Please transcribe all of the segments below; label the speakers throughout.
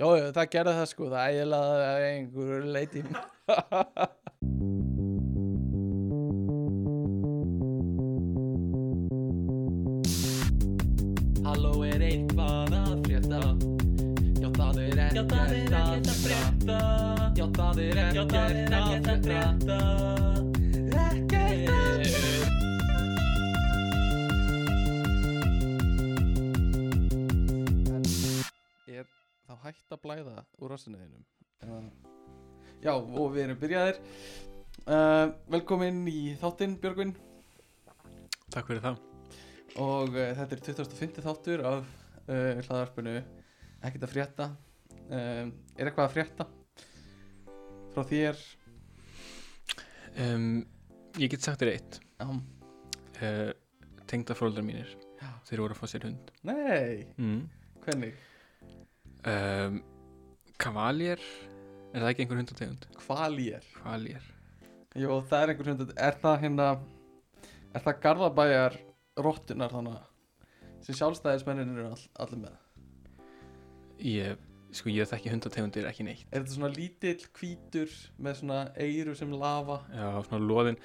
Speaker 1: Jó, já, það gerði það sko, það ægilaði það einhverju leiti Halló er eitthvað að frétta Já, það er ekkert
Speaker 2: það er ekkert að frétta.
Speaker 1: Já, það er
Speaker 2: Já, það er ekkert að frétta. Ekkert að
Speaker 1: er þá hægt að blæða úr rassinniðinum Já, og við erum byrjaðir uh, Velkomin í þáttinn, Björgvin
Speaker 2: Takk fyrir það
Speaker 1: og uh, þetta er 25. þáttur af uh, hlaðarpinu Ekkert að frétta um, Er eitthvað að frétta? Frá þér
Speaker 2: um, Ég get sagt þér eitt
Speaker 1: um,
Speaker 2: uh, Tengdafóreldrar mínir
Speaker 1: Já.
Speaker 2: Þeir voru að fá sér hund
Speaker 1: Nei,
Speaker 2: mm.
Speaker 1: hvernig?
Speaker 2: um, Kavaljer Er það ekki einhver hundategund?
Speaker 1: Hvalýr
Speaker 2: Kavaljer
Speaker 1: Jó, það er einhver hundið Er það hérna Er það garðabæjar rottunar þannig sem sjálfstæðismennin eru all, allir með
Speaker 2: Ég, sko ég þekki hundategundir ekki neitt
Speaker 1: Er þetta svona lítill hvítur með svona eyru sem lava
Speaker 2: Já, svona loðin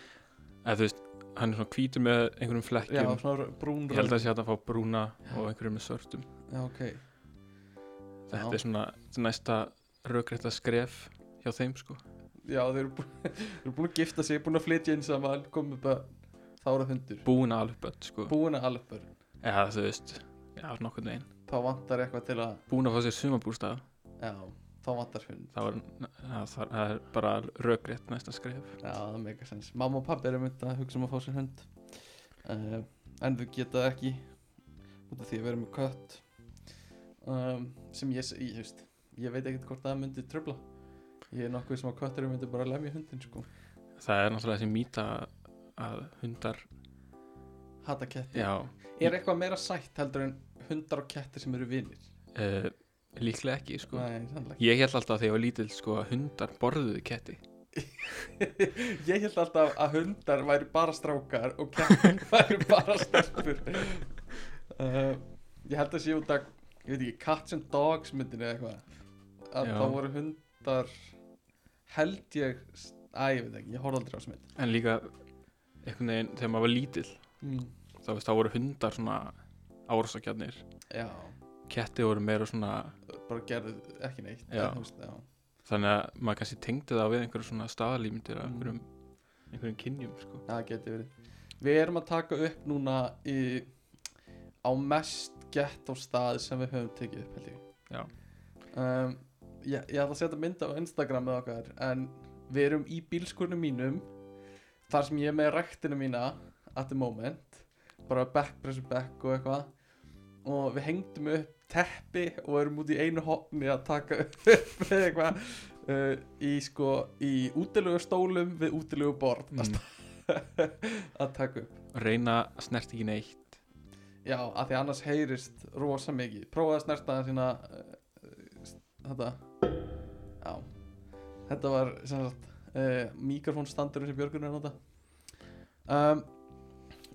Speaker 2: Eða þú veist, hann er svona hvítur með einhverjum
Speaker 1: Já,
Speaker 2: flekkjum
Speaker 1: svona brún
Speaker 2: Ég held að það sé hægt að fá brúna og einhverjum með svörtum
Speaker 1: Já, ok
Speaker 2: Þetta
Speaker 1: Já.
Speaker 2: er svona næsta rökrétta skref hjá þeim sko
Speaker 1: Já, þeir eru, bú... þeir eru búin að gifta sig, búin að flytja inn saman komið bara þára hundur
Speaker 2: Búin að alveg börn sko
Speaker 1: Búin að alveg börn
Speaker 2: Eða þú veist, já, nokkurn veginn
Speaker 1: Þá vantar eitthvað til að
Speaker 2: Búin að fá sér sumabúrstað
Speaker 1: Já, þá vantar hund
Speaker 2: Það, var, það, það, það er bara rökrétt næsta skref
Speaker 1: Já, það meika sens Mamma og pappi eru mynd að hugsa um að fá sér hund uh, En þau geta það ekki Út af því að vera með kött um, Sem ég, s- ég, hefst, ég veit ekkert hvort það myndi tröfla Ég er nokkuð sem að kött eru myndi bara lemja hundin sko
Speaker 2: Það er náttúrulega þessi mýta að hundar
Speaker 1: Hata ketti
Speaker 2: Já,
Speaker 1: Er eitthvað meira sætt heldur en hundar og kettir sem eru vinir?
Speaker 2: uh, líklega ekki sko
Speaker 1: Nei, sannlega
Speaker 2: Ég held alltaf þegar ég var lítill sko að hundar borðuðu ketti
Speaker 1: Ég held alltaf að hundar væri bara strákar og kettir væri bara stelpur uh, Ég held að sé út að, ég veit ekki, Cats and Dogs myndin eða eitthvað að
Speaker 2: Já.
Speaker 1: þá voru hundar held ég, æ, ég veit ekki, ég horfði aldrei á þessu mynd
Speaker 2: En líka einhvern veginn þegar maður var lítill
Speaker 1: mm.
Speaker 2: þá veist þá voru hundar svona árásakjarnir
Speaker 1: Já,
Speaker 2: Ketti voru meira svona
Speaker 1: bara gerðu ekki neitt
Speaker 2: Já.
Speaker 1: þú veist, já.
Speaker 2: þannig að maður kannski tengdi það við einhverjum svona staðalímyndir af
Speaker 1: Mm.
Speaker 2: einhverjum, einhverjum kynjum sko
Speaker 1: það geti verið Við erum að taka upp núna í, á mest gett á stað sem við höfum tekið upp held ég
Speaker 2: Já.
Speaker 1: um, ég, ég ætla að setja mynda á Instagram með okkar en við erum í bílskurnum mínum þar sem ég er með ræktina mína at the moment bara back press back og eitthvað og við hengdum upp teppi og erum út í einu hopni að taka upp eitthvað uh, í sko í útilegu stólum við útilegu borð mm.
Speaker 2: mm.
Speaker 1: að taka upp
Speaker 2: Reyna að snert ekki neitt
Speaker 1: já, af því annars heyrist rosa mikið prófaði að snerta það sína eh, þetta já, þetta var sem sagt uh, mikrofónstandur sem Björgun er að nota um,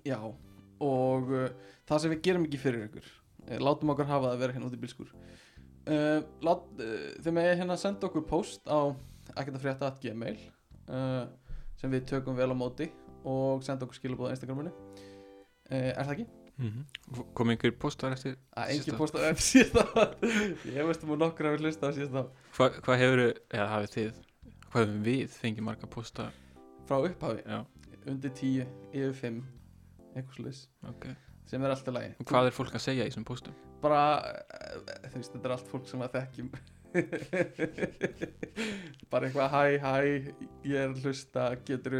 Speaker 1: já og uh, það sem við gerum ekki fyrir ykkur uh, látum okkar hafa það að vera hérna út í bílskur uh, lát, uh, þeim er hérna að senda okkur post á ekkert að frétta at gmail uh, sem við tökum vel á móti og senda okkur skilabóð á Instagraminu uh, er það ekki?
Speaker 2: mm
Speaker 1: Mhm.
Speaker 2: Kom einhver postar eftir
Speaker 1: að
Speaker 2: Síðasta
Speaker 1: engin postar enn síðan ég veist um að nokkur hefur hlusta á síðan
Speaker 2: Hva, Hvað hefur, eða hafið þið Hvað hefur við fengið marga posta
Speaker 1: frá upphafi,
Speaker 2: Já,
Speaker 1: undir 10 yfir 5, eitthvað slis
Speaker 2: ok
Speaker 1: sem er alltaf lægi
Speaker 2: Og hvað er fólk að segja í þessum postum?
Speaker 1: bara, eh, þú veist, þetta er allt fólk sem að þekkjum bara eitthvað hæ, hæ ég er að hlusta, getur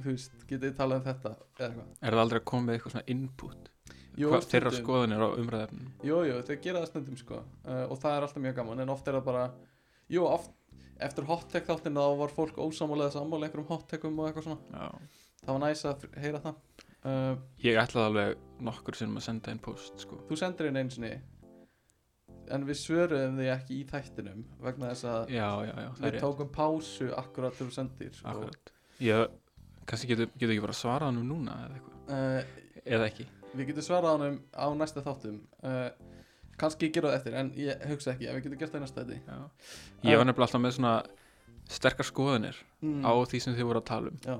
Speaker 1: þú veist, getur þið talað um þetta eða eitthvað,
Speaker 2: Er það aldrei að koma með eitthvað svona input?
Speaker 1: Jú,
Speaker 2: hvað þeirra sko-
Speaker 1: stundum.
Speaker 2: skoðanir á umræðefnum?
Speaker 1: jú, jú, þau gera það stundum sko uh, og það er alltaf mjög gaman, en oft er það bara jú, oft, eftir hot tech þáttinu þá var fólk ósamálega sammála einhverjum hot techum og eitthvað svona
Speaker 2: Já
Speaker 1: það var næs að fr- heyra það uh,
Speaker 2: Ég ætlaði alveg nokkur sinnum að senda einn post sko
Speaker 1: þú sendir inn einu sinni en við svöruðum því ekki í þættinum vegna þess að
Speaker 2: Já, já, já, það er
Speaker 1: við
Speaker 2: rétt
Speaker 1: tókum pásu akkurat þegar þú sendir sko.
Speaker 2: Akkurat Ég, kannski getur getu ekki bara að svara hann um núna eða eitthvað
Speaker 1: uh,
Speaker 2: Eða ekki
Speaker 1: við getum svarað honum á næsta þáttum uh, kannski gera það eftir en ég hugsa ekki að við getum gert það í næsta þetta
Speaker 2: Já. Ég var nefnilega alltaf með svona sterkar skoðunir
Speaker 1: mm.
Speaker 2: á því sem þið voru að tala um
Speaker 1: já,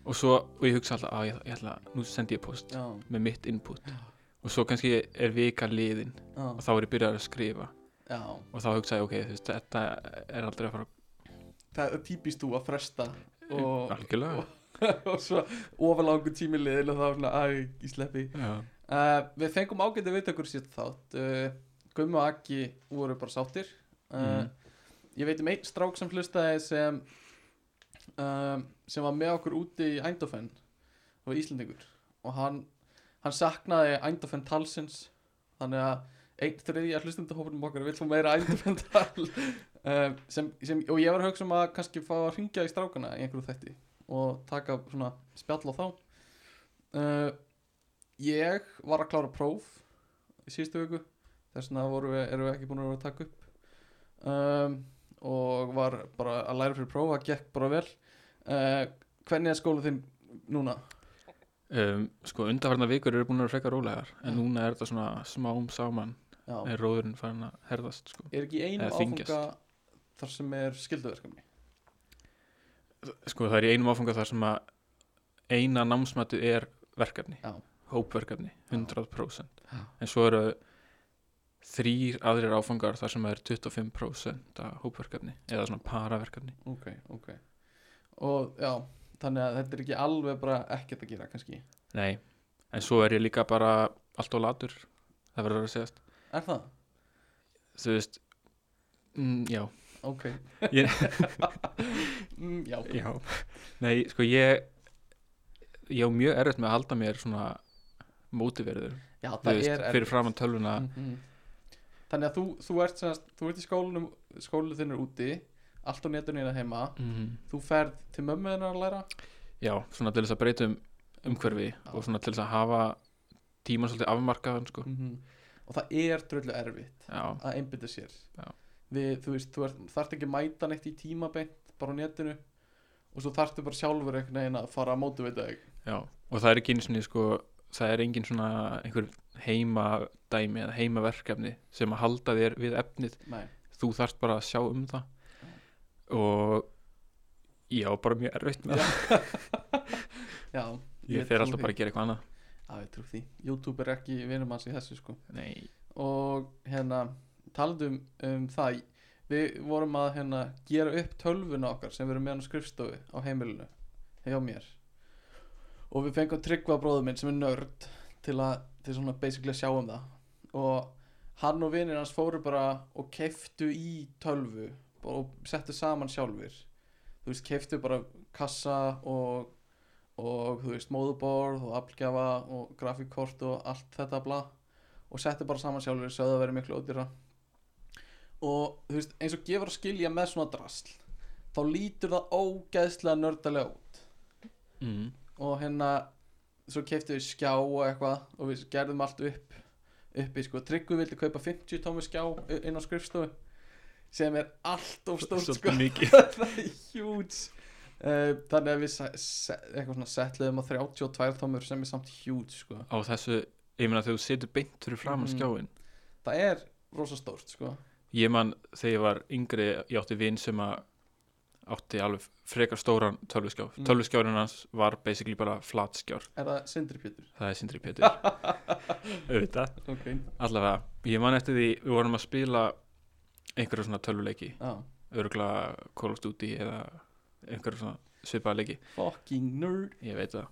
Speaker 2: og svo, og ég hugsa alltaf, á ég, ég ætla, nú sendi ég post
Speaker 1: já,
Speaker 2: með mitt input
Speaker 1: Já.
Speaker 2: og svo kannski er vika liðin
Speaker 1: já,
Speaker 2: og þá er ég byrjað að skrifa
Speaker 1: já.
Speaker 2: og þá hugsa ég, ok, þú veist, þetta er aldrei að fara
Speaker 1: það er típist þú að fresta og,
Speaker 2: algjörlega
Speaker 1: og svo ofurlangu tímilið og þá svona, æ, ég sleppi
Speaker 2: Já,
Speaker 1: uh, Við fengum ágæti viðtökur sér þátt uh, Gummi og Akki voru bara sáttir uh,
Speaker 2: Mhm.
Speaker 1: Ég veit um einn strák sem hlustaði sem um, sem var með okkur úti í Eindhoven og Íslendingur og hann, hann saknaði Eindhoven talsins þannig að einn þriðja hlustendahópunum okkar vill fá meira Eindhoven tal um, sem, sem, og ég var að hugsa um að kannski fá að hringja í strákana í einhverju þætti og taka svona spjall á þá uh, ég var að klára próf í síðustu viku þess vegna vorum við, erum við ekki búin að vera að taka upp um, og var bara að læra fyrir prófa gekk bara vel uh, hvernig er skóla þinn núna?
Speaker 2: um, sko undarfarna vikur eru búin að vera frekar rólegar
Speaker 1: Já.
Speaker 2: en núna er þetta svona smám saman
Speaker 1: Já.
Speaker 2: er róðurinn farin að herðast sko.
Speaker 1: er ekki í einum
Speaker 2: Eða þyngjast.
Speaker 1: áfunga þar sem er skilduverkefni
Speaker 2: sko það er í einum áfanga þar sem að eina námsmætu er verkefni
Speaker 1: Já.
Speaker 2: hópverkefni, 100%
Speaker 1: Já.
Speaker 2: en svo eru þrýr aðrir áfangar þar sem er 25% af hópverkefni eða svona paraverkefni
Speaker 1: ok, ok og já, þannig að þetta er ekki alveg bara ekkert að gera kannski
Speaker 2: Nei, en svo er ég líka bara allt og latur, það verður að segjast
Speaker 1: er það?
Speaker 2: þú veist, mm, já
Speaker 1: ok
Speaker 2: Ég-
Speaker 1: mm, já,
Speaker 2: Já, nei, sko ég ég á mjög erfitt með að halda mér svona mótiverður,
Speaker 1: já
Speaker 2: þú
Speaker 1: það
Speaker 2: veist,
Speaker 1: er
Speaker 2: fyrir framann tölvuna
Speaker 1: -hmm. Þannig að þú, þú ert semast, þú ert í skólanum skólu þinn er úti, allt á netinu hérna heima,
Speaker 2: Mhm.
Speaker 1: þú ferð til mömmu þinn að læra
Speaker 2: Já, svona til þess að breyta um umhverfi og svona til þess að hafa tíman svolítið afmarkaðan, sko
Speaker 1: og það er dröldu erfitt
Speaker 2: Já,
Speaker 1: að einbytta sér
Speaker 2: Já.
Speaker 1: Við, þú veist, þú ert, þarft ekki að mæta neitt í tímabeint bara á netinu og svo þarftu bara sjálfur einhvern veginn að fara að mótu við þau
Speaker 2: já, og það er ekki einu sinni, sko það er engin svona einhver heimadæmi eða heimaverkefni sem að halda þér við efnið
Speaker 1: Nei,
Speaker 2: þú þarft bara að sjá um það og ég á bara mjög erfitt
Speaker 1: Já,
Speaker 2: með það
Speaker 1: já,
Speaker 2: ég fer alltaf bara að gera eitthvað annað
Speaker 1: Já, ég trú því, YouTube er ekki vinum hans í þessu sko
Speaker 2: Nei,
Speaker 1: og hérna talandum um það við vorum að hérna gera upp tölvuna okkar sem við erum með hann á skrifstofu á heimilinu hjá mér og við fengum tryggva bróður minn sem er nörd til að til svona basically að sjá um það og hann og vinir hans fóru bara og keiftu í tölvu og settu saman sjálfur þú veist, keiftu bara kassa og, og þú veist, móðuborð og aflgjafa og grafíkkort og allt þetta bla og settu bara saman sjálfur sögðu að vera miklu ódýra og þú veist, eins og gefur að skilja með svona drasl þá lítur það ógeðslega nördalega út
Speaker 2: mm.
Speaker 1: og hérna svo keiftu við skjá og eitthvað og við gerðum allt upp uppi sko, Tryggvi vildi kaupa 50 tómi skjá inn á skrifstofu sem er allt of stórt sko
Speaker 2: mikið
Speaker 1: það er huge uh, þannig að við se- se- eitthvað svona settluðum á 32 tómur sem er samt huge sko
Speaker 2: á þessu, ég meina þegar þú setur beint fyrir framan
Speaker 1: Mhm.
Speaker 2: skjáin
Speaker 1: það er rosa stórt sko
Speaker 2: ég man þegar ég var yngri ég átti vin sem að átti alveg frekar stóran tölvuskjá
Speaker 1: Mm.
Speaker 2: mm. tölvuskjárin hans var basically bara flatskjár
Speaker 1: er það Sindri Pétur
Speaker 2: það er Sindri Pétur auðvitað,
Speaker 1: ok,
Speaker 2: allavega ég man eftir því, við vorum að spila einhverja svona tölvuleiki
Speaker 1: já
Speaker 2: örgla Call of Duty eða einhverja svona svipaða leiki
Speaker 1: Fucking nerd
Speaker 2: ég veit það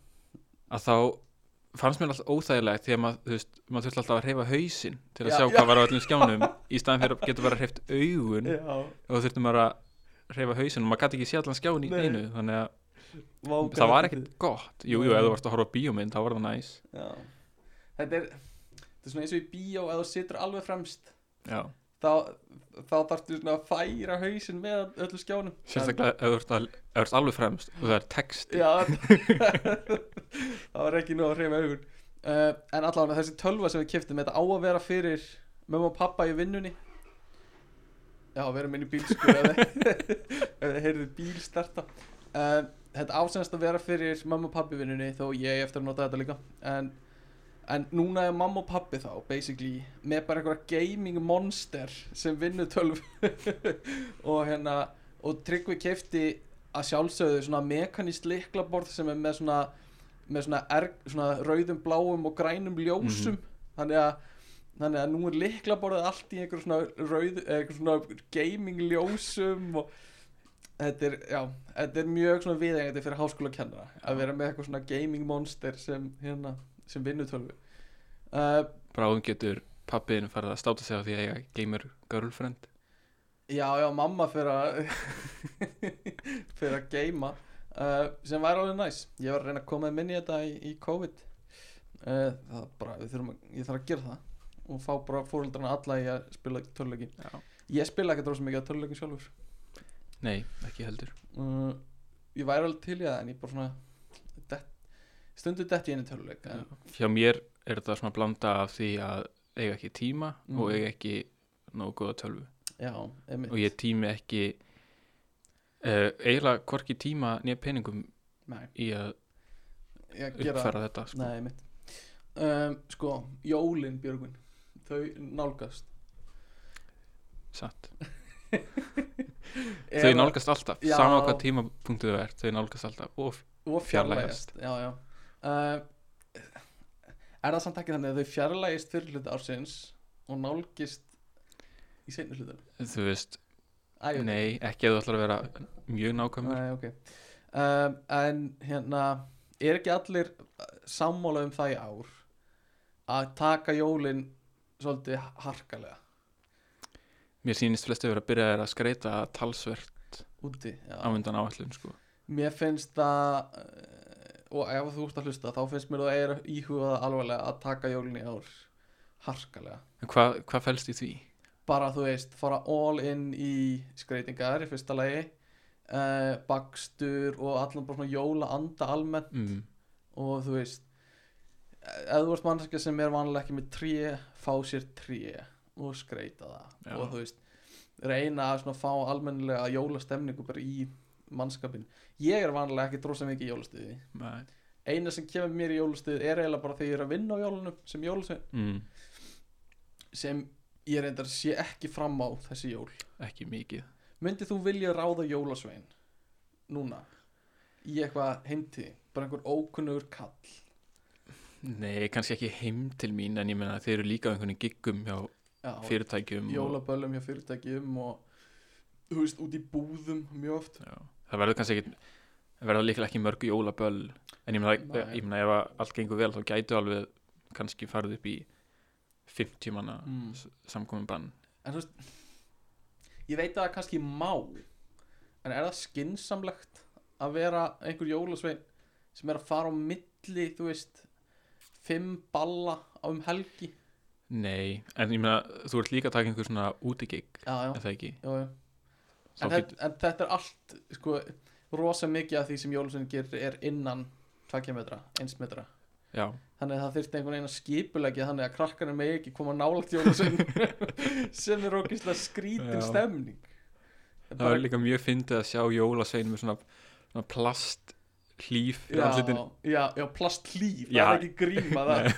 Speaker 2: að þá fannst mér alltaf óþægilegt því að maður, þú veist, maður þurfti alltaf að hreyfa hausinn til að
Speaker 1: Já,
Speaker 2: sjá
Speaker 1: já.
Speaker 2: hvað var á öllum skjánum í staðan fyrir að geta bara hreyft augun
Speaker 1: Já,
Speaker 2: og þurfti maður að hreyfa hausinn og maður gæti ekki sé allan skján í
Speaker 1: Nei.
Speaker 2: einu þannig að
Speaker 1: vá,
Speaker 2: það
Speaker 1: hvað
Speaker 2: var
Speaker 1: fyndið.
Speaker 2: ekkert gott jú, jú, ef þú varst að horfa á bíómynd þá var það næs
Speaker 1: Já. Þetta er Þetta er svona eins og í bíó eða þú situr alveg fremst
Speaker 2: já.
Speaker 1: þá, þá þarftu svona að færa hausinn með öllu skjánum
Speaker 2: sérstaklega ef þú ert að- ef þú ert alveg fremst og það er texti
Speaker 1: Já Það var ekki nú að hreyfa augun uh, En allavega þessi tölva sem við keftum þetta á að vera fyrir mömmu og pappa í vinnunni Já, við erum inn í bílskur ef þið- ef þið heyrðu bíl starta Eh, uh, Þetta ásennast að vera fyrir mömmu og pappa í vinnunni þó ég eigi eftir að nota þetta líka en En núna er mamma og pappi þá basically með bara einhverja gaming monster sem vinnu tölv og hérna og Tryggvi kefti að sjálfsögðu svona mekanist liklaborð sem er með svona með svona, er, svona rauðum bláum og grænum ljósum þannig að þannig að nú er liklaborðið allt í einhver svona rauð einhver svona gaming ljósum og þetta er, já, þetta er mjög svona viðengandi fyrir háskóla kennara að vera með eitthvað svona gaming monster sem hérna sem vinnutölvu uh,
Speaker 2: bráðum getur pappiðin farið að státa sig á því að eiga gamer girlfriend
Speaker 1: já, já, mamma fyrir að fyrir að geima uh, sem væri alveg næs ég var að reyna að koma með minni í þetta í, í COVID uh, það er bara, við þurfum að ég þarf að gera það og fá bara fóröldrana alla í að spila törleiki
Speaker 2: Já.
Speaker 1: ég spila ekkert rosa mikið að törleikin sjálfur
Speaker 2: nei, ekki heldur
Speaker 1: uh, ég væri alveg til í það en ég bara svona dett, stundu dett í einu törleik en,
Speaker 2: hjá mér er þetta svona blanda af því að eiga ekki tíma
Speaker 1: Mm.
Speaker 2: og eiga ekki nógu góða tölvu
Speaker 1: já, einmitt
Speaker 2: og ég tími ekki uh, eiginlega hvorki tíma nýja peningum
Speaker 1: Nei,
Speaker 2: í að
Speaker 1: ég gera
Speaker 2: uppfæra þetta sko.
Speaker 1: Nei, mitt um, Sko, jólin Björgvin Þau nálgast
Speaker 2: satt
Speaker 1: Eða-
Speaker 2: þau nálgast alltaf,
Speaker 1: Já.
Speaker 2: sama á hvað tímapunktu þau er þau nálgast alltaf og
Speaker 1: Og fjarlægast Já, já um, Er það samt ekki þannig að þau fjarlægist fyrir hluta ársins Og nálgist Í seinni hluta
Speaker 2: þú veist,
Speaker 1: Æ, ok.
Speaker 2: nei, ekki að þú ætlar að vera mjög nákvæmur
Speaker 1: Nei, ok um, En hérna Er ekki allir sammála um það í ár Að taka jólin Svolítið harkalega
Speaker 2: mér sýnist flestu vera að byrja að skreita talsvert
Speaker 1: Úti já.
Speaker 2: á undan áallun sko.
Speaker 1: Mér finnst það eh, og ef þú ert að hlusta þá finnst mér það er íhugað alvarlega að taka jólin í ár harkalega
Speaker 2: en hvað hva fælst í því?
Speaker 1: bara þú veist, fara all in í skreitingar í fyrsta lagi uh, bakstur og allan bara svona jóla anda almennt
Speaker 2: Mm.
Speaker 1: og þú veist eh, ef þú ert mannskja sem er vanlega ekki með tré fá sér tré og skreita það
Speaker 2: Já.
Speaker 1: og þú veist reyna að svona fá almennilega jólastemningu bara í mannskapin ég er vanlega ekki drósa mikið í jólastuði
Speaker 2: Nei.
Speaker 1: eina sem kemur mér í jólustuð er eiginlega bara þegar ég er að vinna á jólunum sem jólusvein
Speaker 2: Mm.
Speaker 1: sem ég reyndar sé ekki fram á þessi jól
Speaker 2: ekki mikið
Speaker 1: myndið þú vilja ráða jólasvein núna í eitthvað heimti bara einhver ókunnugur kall
Speaker 2: nei, kannski ekki heim til mín en ég meina þeir eru líka á einhvern giggum hjá
Speaker 1: já,
Speaker 2: fyrirtækjum og,
Speaker 1: jólaböllum hjá fyrirtækjum og þú veist út í búðum mjög oft
Speaker 2: já, það verður kannski ekki það verður líklega ekki mörg jólaböll en ég meina,
Speaker 1: Nei.
Speaker 2: ég meina ef að allt gengur vel þá gætu alveg kannski farið upp í 50 manna
Speaker 1: Mm.
Speaker 2: mm. samkominn bann
Speaker 1: en þú veist ég veit að það kannski má en er það skinsamlegt að vera einhver jólasvein sem er að fara á milli þú veist fimm balla á um helgi
Speaker 2: nei, en ég meina þú ert líka að taka einhver svona útigigg
Speaker 1: já, já,
Speaker 2: er það ekki
Speaker 1: já, já.
Speaker 2: Þá
Speaker 1: En,
Speaker 2: get,
Speaker 1: þetta, en þetta er allt sko, rosa mikið af því sem jólasvein gerir er innan 2 metra, 1 metra
Speaker 2: já,
Speaker 1: þannig að það þyrfti einhvern veginn að skipulegja þannig að krakkarnir megi ekki koma nálægt jólasvein sem er ókvæmstlega skrítin
Speaker 2: Já.
Speaker 1: stemning
Speaker 2: það verður líka mjög fyndið að sjá jólasvein með svona, svona plast hlýf fyrir
Speaker 1: já,
Speaker 2: andlitin
Speaker 1: já, já, plast hlýf
Speaker 2: Já.
Speaker 1: það er ekki gríma það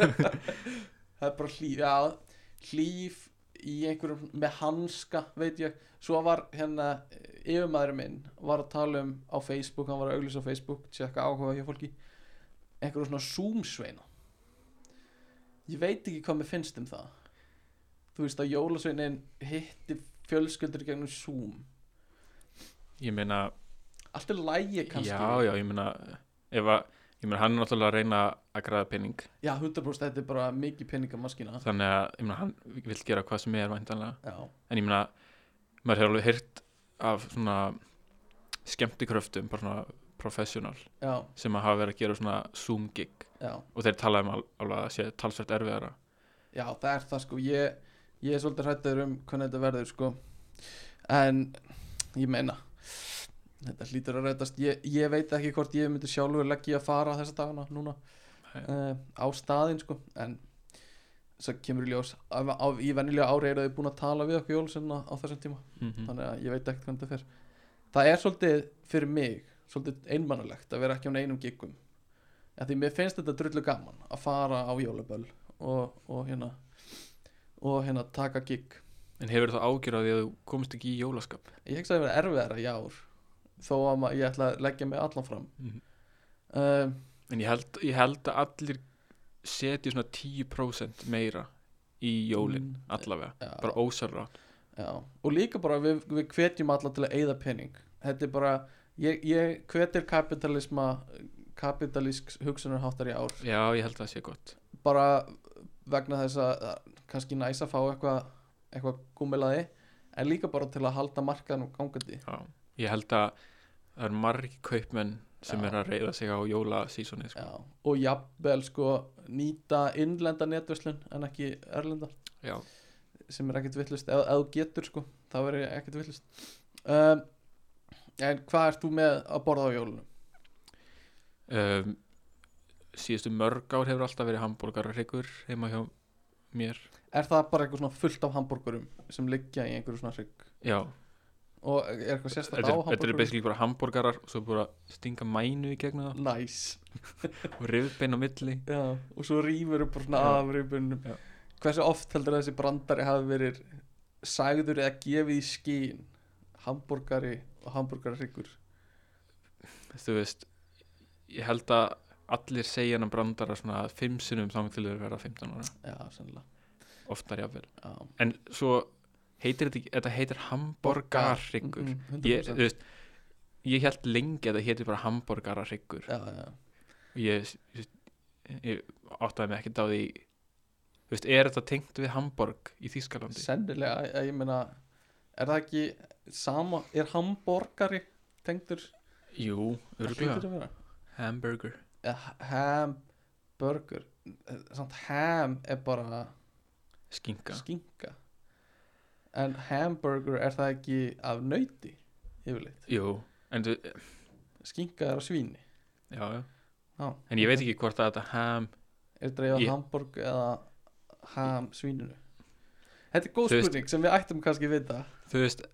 Speaker 1: það er bara hlýf já, hlýf í einhverjum með hanska, veit ég svo var hérna, yfirmaður minn var að tala um á Facebook hann var að auglýsa á Facebook, tjekka áhuga hjá fólki einhverjum svona zoomsveina ég veit ekki hvað mér finnst um það þú veist að jólasveinin hitti fjölskyldur í gegnum zoom
Speaker 2: ég meina
Speaker 1: allt er lægi kannski
Speaker 2: Já, já, ég meina ef að, ég meina hann er náttúrulega að reyna að græða pening,
Speaker 1: Já, 100% þetta er bara mikið peningamaskina
Speaker 2: þannig að ég meina hann vil gera hvað sem er væntanlega
Speaker 1: Já,
Speaker 2: en ég meina, maður hefur alveg heyrt af svona skemmtikröftum, bara svona professional
Speaker 1: já,
Speaker 2: sem að hafa verið að gera svona Zoom gig
Speaker 1: já,
Speaker 2: og þeir tala um al- alveg að það sé talsvert erfiðara
Speaker 1: já, það er það sko ég, ég er svolítið hrættur um hvernig þetta verður sko en ég meina þetta hlýtur að rætast ég, ég veit ekki hvort ég myndi sjálfur leggja í að fara þessa dagana núna
Speaker 2: Nei.
Speaker 1: uh, á staðinn sko en svo kemur í ljós á, á, í venjulega ári eru þau búin að tala við okkur jólusinna á þessum tíma
Speaker 2: mm
Speaker 1: þannig að ég veit ekkert hvernig það fer það er svolítið fyrir mig svolítið einmannalegt að vera ekki á neinum giggum af því mér finnst þetta drullu gaman að fara á jólaböll og, og hérna og hérna taka gig
Speaker 2: En hefur þá ágjör á því að þú komst ekki í jólaskap
Speaker 1: ég hugsa að það verið erfiðara í ár þó að ma- ég ætla að leggja mig allan fram
Speaker 2: Mhm.
Speaker 1: um,
Speaker 2: En ég held, ég held að allir setji svona 10% meira í jólin
Speaker 1: Mm.
Speaker 2: allavega,
Speaker 1: já,
Speaker 2: bara ósarra
Speaker 1: já. og líka bara við, við hvetjum alla til að eyða pening þetta er bara, ég, ég hvetir kapitalisma kapitalísk hugsunarháttar í ár
Speaker 2: Já, ég held að það sé gott
Speaker 1: bara vegna þess að það er kannski næs að fá eitthvað eitthvað gúmilaði en líka bara til að halda markaðan gangandi
Speaker 2: Já. Ég held að það er margi kaupmenn sem
Speaker 1: Já.
Speaker 2: er að reyða sig á jólasísoni sko.
Speaker 1: já. og jafnvel sko nýta innlenda netverslun en ekki erlenda
Speaker 2: Já.
Speaker 1: sem er ekkert vittlust ef ef þú getur sko, þá er ekkert vittlust um, en hvað ert þú með að borða á jólunum?
Speaker 2: um, Síðustu mörg ár hefur alltaf verið hambúrgarreikur heima hjá mér
Speaker 1: Er það bara eitthvað svona fullt af hambúrgurum sem liggja í einhverju svona hrygg
Speaker 2: Já,
Speaker 1: og er eitthvað sérstætt á
Speaker 2: þetta er, þetta er
Speaker 1: hambúrgurum?
Speaker 2: basically bara hambúrgarar og svo bara stinga mænu í gegnum
Speaker 1: Næs nice.
Speaker 2: það og rifbein á milli
Speaker 1: Já, og svo rýfur upp bara svona
Speaker 2: Já.
Speaker 1: af rýfunum
Speaker 2: Já.
Speaker 1: Hversu oft heldur þessi brandari hafi verið sagður eða gefið í skín hambúrgari og hambúrgarhryggur
Speaker 2: þú veist, ég held að allir segja hann brandara svona fimm sinnum þannig til þau verða 15 ára
Speaker 1: Já, sennilega
Speaker 2: oftar jáfnvel,
Speaker 1: Já.
Speaker 2: en svo heitir þetta, ekki- þetta heitir hamborgarhryggur
Speaker 1: Mm, mm,
Speaker 2: ég,
Speaker 1: 100%.
Speaker 2: þú veist ég held lengi að það heitir bara hamborgarhryggur
Speaker 1: Já, já,
Speaker 2: ég, ég, ég áttaði mig ekkert á því þú veist, er þetta tengt við hamborg í Þýskalandi?
Speaker 1: sennilega ég, ég meina, er það ekki sama, er hambúrgari tengdur
Speaker 2: Jú,
Speaker 1: Það hlýtur
Speaker 2: örgulega,
Speaker 1: að vera.
Speaker 2: hamburger
Speaker 1: Eða ham, burger samt ham er bara
Speaker 2: skinka,
Speaker 1: skinka en hamburger er það ekki af nöyti yfirleitt,
Speaker 2: jú, en þú
Speaker 1: skinka er á svíni
Speaker 2: já, já,
Speaker 1: Já,
Speaker 2: en ég veit ekki hvort að þetta ham
Speaker 1: er dreifað ég...
Speaker 2: Ég-
Speaker 1: hamburg eða ham svíninu þetta er góð
Speaker 2: Þú veist-
Speaker 1: spurning sem við ættum kannski að vita
Speaker 2: þú veist,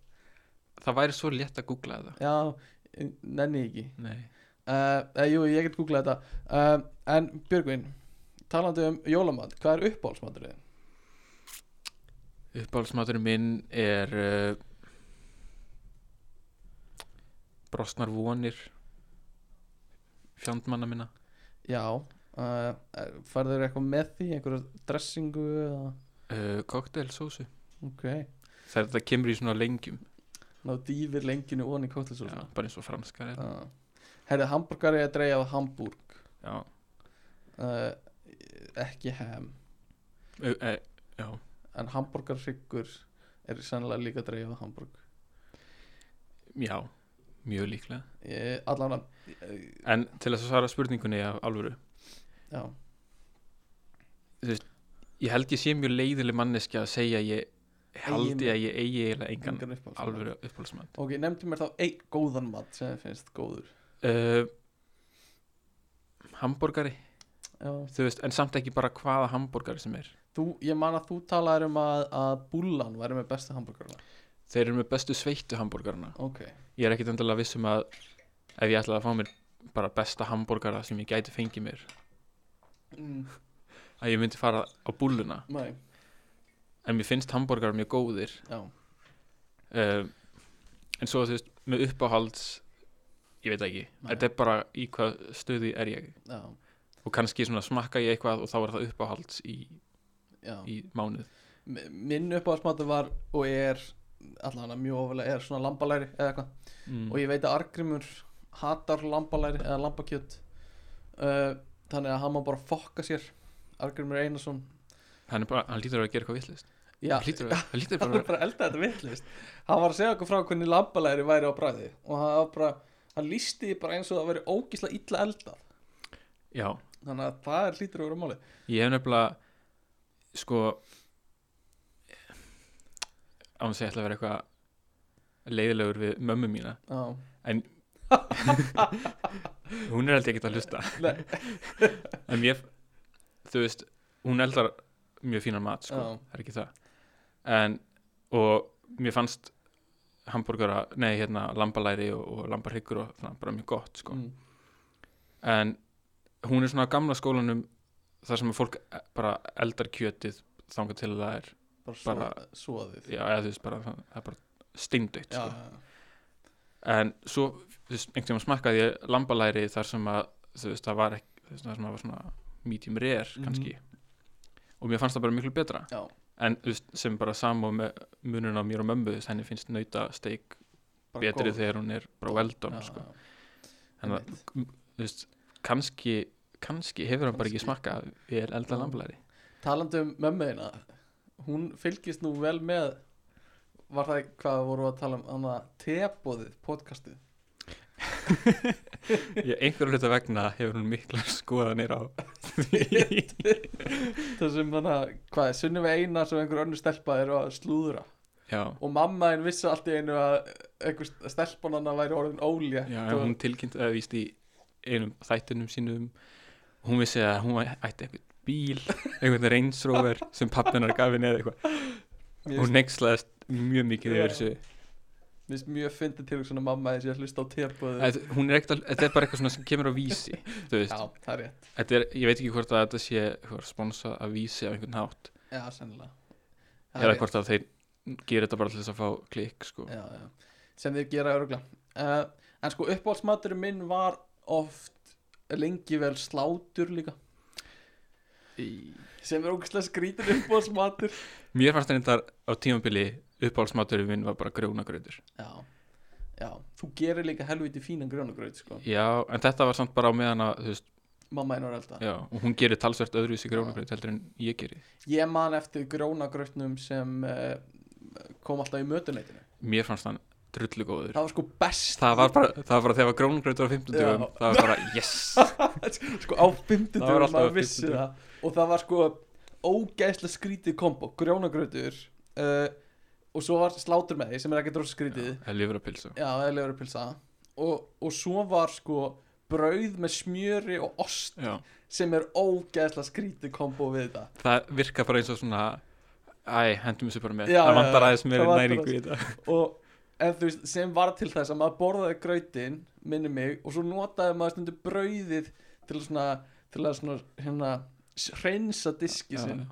Speaker 2: það væri svo létt að googla þetta
Speaker 1: já, nenni ég ekki
Speaker 2: Nei.
Speaker 1: uh, eða, jú, ég get googlað þetta uh, en Björgvin, talandi um jólamat hvað er uppáhaldsmatur þið?
Speaker 2: uppáhaldsmaturinn minn er uh, brostnar vonir fjandmanna minna
Speaker 1: já, uh, farður eitthvað með því einhverja dressingu eða,
Speaker 2: uh, koktelsósu
Speaker 1: ok,
Speaker 2: það er þetta kemur í svona lengjum
Speaker 1: ná dýfir lenginu onni
Speaker 2: já,
Speaker 1: kóttilsósa
Speaker 2: bara eins og franskar er.
Speaker 1: uh, herri, hambúrgari er dreifað af hambúrg
Speaker 2: já,
Speaker 1: uh, ekki ham
Speaker 2: uh, uh, já.
Speaker 1: en hambúrgarhryggur er sannlega líka dreifð af hambúrg
Speaker 2: já mjög líklega
Speaker 1: Ég- Eh, allan að
Speaker 2: en til þess að svara spurningunni af alvöru
Speaker 1: já,
Speaker 2: ég held ég sé mjög leiðileg manneski að segja að ég haldi
Speaker 1: Eigi-
Speaker 2: að ég eigi eiginlega engan
Speaker 1: engan uppáhalds
Speaker 2: alvöru uppáhaldsmat
Speaker 1: ok, nefndu mér þá einn góðan mat sem þið finnst góður
Speaker 2: uh, hambúrgari
Speaker 1: já.
Speaker 2: þú veist, en samt ekki bara hvaða hambúrgari sem er
Speaker 1: þú, ég man að þú talaðir um að, að búllan væri með bestu hambúrgarna
Speaker 2: þeir eru með bestu sveittu hambúrgarana
Speaker 1: ok,
Speaker 2: ég er ekkit endalega viss um að ef ég ætlaði að fá mér bara besta hambúrgara sem ég gæti fengið mér
Speaker 1: mm,
Speaker 2: að ég myndi fara á búluna
Speaker 1: nei,
Speaker 2: en mér finnst hambúrgarar mjög góðir
Speaker 1: já
Speaker 2: uh, en svo þú veist, með uppáhalds ég veit það ekki,
Speaker 1: Nei.
Speaker 2: þetta er bara í hvað stöði er ég
Speaker 1: já,
Speaker 2: og kannski svona smakka ég eitthvað og þá er það uppáhalds í,
Speaker 1: já
Speaker 2: í mánuð
Speaker 1: M- minn uppáhaldsmatur var og er allan að mjög ofalega er svona lambalæri eða eitthvað
Speaker 2: mm.
Speaker 1: og ég veit að Argrimur hatar lambalæri eða lambakjöt uh, þannig að hann má bara fokka sér Argrimur Einarsson
Speaker 2: hann, er bara, hann lítur að vera að gera eitthvað vittlist
Speaker 1: Já,
Speaker 2: hann lítur að, hann lítur
Speaker 1: hann
Speaker 2: bara
Speaker 1: var bara að elda þetta vittlist hann var að segja okkur frá hvernig lambalæri væri á bræði og hann var bara hann lísti því bara eins og það væri ógísla illa elda
Speaker 2: að já,
Speaker 1: þannig að það er hlýtur að vera máli
Speaker 2: Ég hef nefnilega sko án þess að ég ætla að vera eitthvað leiðilegur við mömmu mína
Speaker 1: Já,
Speaker 2: hún er held ég ekki að hlusta
Speaker 1: Nei.
Speaker 2: en mér þú veist, hún eldar mjög fínan mat sko,
Speaker 1: Já.
Speaker 2: það er ekki það en, og mér fannst hambúrgara, nei hérna lambalæri og, og lambarhyggur sko. og svona bara mjög gott sko
Speaker 1: mm,
Speaker 2: en hún er svona á gamla skólanum þar sem fólk e, bara eldar kjötið þangað til að það er
Speaker 1: bara, bara
Speaker 2: Bara-
Speaker 1: svoðið
Speaker 2: já, eða þú veist bara, það er bara steindautt
Speaker 1: já,
Speaker 2: sko.
Speaker 1: já.
Speaker 2: en svo, þú veist, einhvern tímann smakkaði ég lambalæri þar sem að þú veist, það var ekki, þú veist, það sem að var svona medium rare
Speaker 1: Mhm.
Speaker 2: kannski og mér fannst það bara miklu betra
Speaker 1: Já.
Speaker 2: en þú veist, sem bara samá með munun á mér og mömmu, þú veist, henni finnst nautasteik
Speaker 1: bara
Speaker 2: betri
Speaker 1: góð.
Speaker 2: þegar hún er bara veldón,
Speaker 1: Já,
Speaker 2: sko
Speaker 1: já.
Speaker 2: Þannig að-
Speaker 1: Einmitt.
Speaker 2: þú veist, kannski kannski hefur hann bara ekki
Speaker 1: Kannski.
Speaker 2: smakkað vel elda lambalæri
Speaker 1: talandi um mömmuðina hún fylgist nú vel með var það hvað voru að tala um hana tebóðið podcastið
Speaker 2: Ég- einhverju hluta vegna hefur hún mikla skoðanir á því
Speaker 1: það sem þannig að hvað er sunnum við eina sem einhver önnur stelpa eru að slúðra
Speaker 2: já,
Speaker 1: og mamma einn vissi allt í einu að einhver stelpan hann væri orðin ólétt
Speaker 2: já
Speaker 1: og,
Speaker 2: en hún tilkynnt eða víst í einum þættinum sínum hún vissi að hún ætti einhvern bíl einhvern reynsróver sem pappinar gaf henni eða eitthvað
Speaker 1: mér
Speaker 2: hún nexlaðist mjög mikið
Speaker 1: Já.
Speaker 2: yfir þessu
Speaker 1: finnst- mér finnst mjög fyndið til svona mamma þessi að hlusta á tebóðið
Speaker 2: Að hún er ekkert al- þetta er bara eitthvað svona sem kemur á vísi
Speaker 1: já,
Speaker 2: þú veist,
Speaker 1: það er rétt
Speaker 2: Þetta er, ég veit ekki hvort að þetta sé hvort sponsað að vísi af einhvern hátt
Speaker 1: já, sennilega Það er
Speaker 2: eða
Speaker 1: rétt.
Speaker 2: hvort að þeir gerir þetta bara til þess að fá klikk sko.
Speaker 1: já, já. sem þeir gera örgla uh, en sko uppáhaldsmaturinn minn var oft lengi vel slátur líka
Speaker 2: Í-
Speaker 1: sem er ógæslega skrítin uppáhaldsmatur
Speaker 2: Mér fannst þetta á tímabili uppáhaldsmaturinn minn var bara grjónagrautur
Speaker 1: já, já, þú gerir líka helviti fínan grjónagraut sko,
Speaker 2: Já, en þetta var samt bara á meðan að þú veist,
Speaker 1: mamma einn var elda
Speaker 2: já, og hún gerir talsvert öðruvísi grjónagraut heldur en ég geri
Speaker 1: ég man eftir grjónagrautnum sem uh, kom alltaf í mötuneytinu
Speaker 2: Mér fannst hann drullu góður
Speaker 1: það var sko best
Speaker 2: Það var bara, það var bara þegar grjónagrautur á 50 dögum
Speaker 1: Já.
Speaker 2: það var bara yes
Speaker 1: sko á
Speaker 2: Það var
Speaker 1: fimmtudögum
Speaker 2: alltaf á
Speaker 1: maður vissi
Speaker 2: fimmtudögum.
Speaker 1: það og það var sko ógæslega skrítið kombo grjónagrautur uh, og svo var slátur með því sem er ekki dróð skrítið já,
Speaker 2: Það er lifur að pilsa
Speaker 1: það er lefur pilsa og, og svo var sko brauð með smjöri og ost
Speaker 2: Já.
Speaker 1: sem er ógæslega skrítið kombo við þetta
Speaker 2: Það virka bara eins og svona Æ, hendum þessu bara með,
Speaker 1: Já,
Speaker 2: það
Speaker 1: já,
Speaker 2: vantar
Speaker 1: já.
Speaker 2: aðeins meiri
Speaker 1: Það vantar
Speaker 2: næringu í þetta
Speaker 1: og en þú veist, sem var til þess að maður borðaði grautin, minni mig og svo notaði maður stundu brauðið til að svona, til að svona hérna, s- hreinsa diski sinn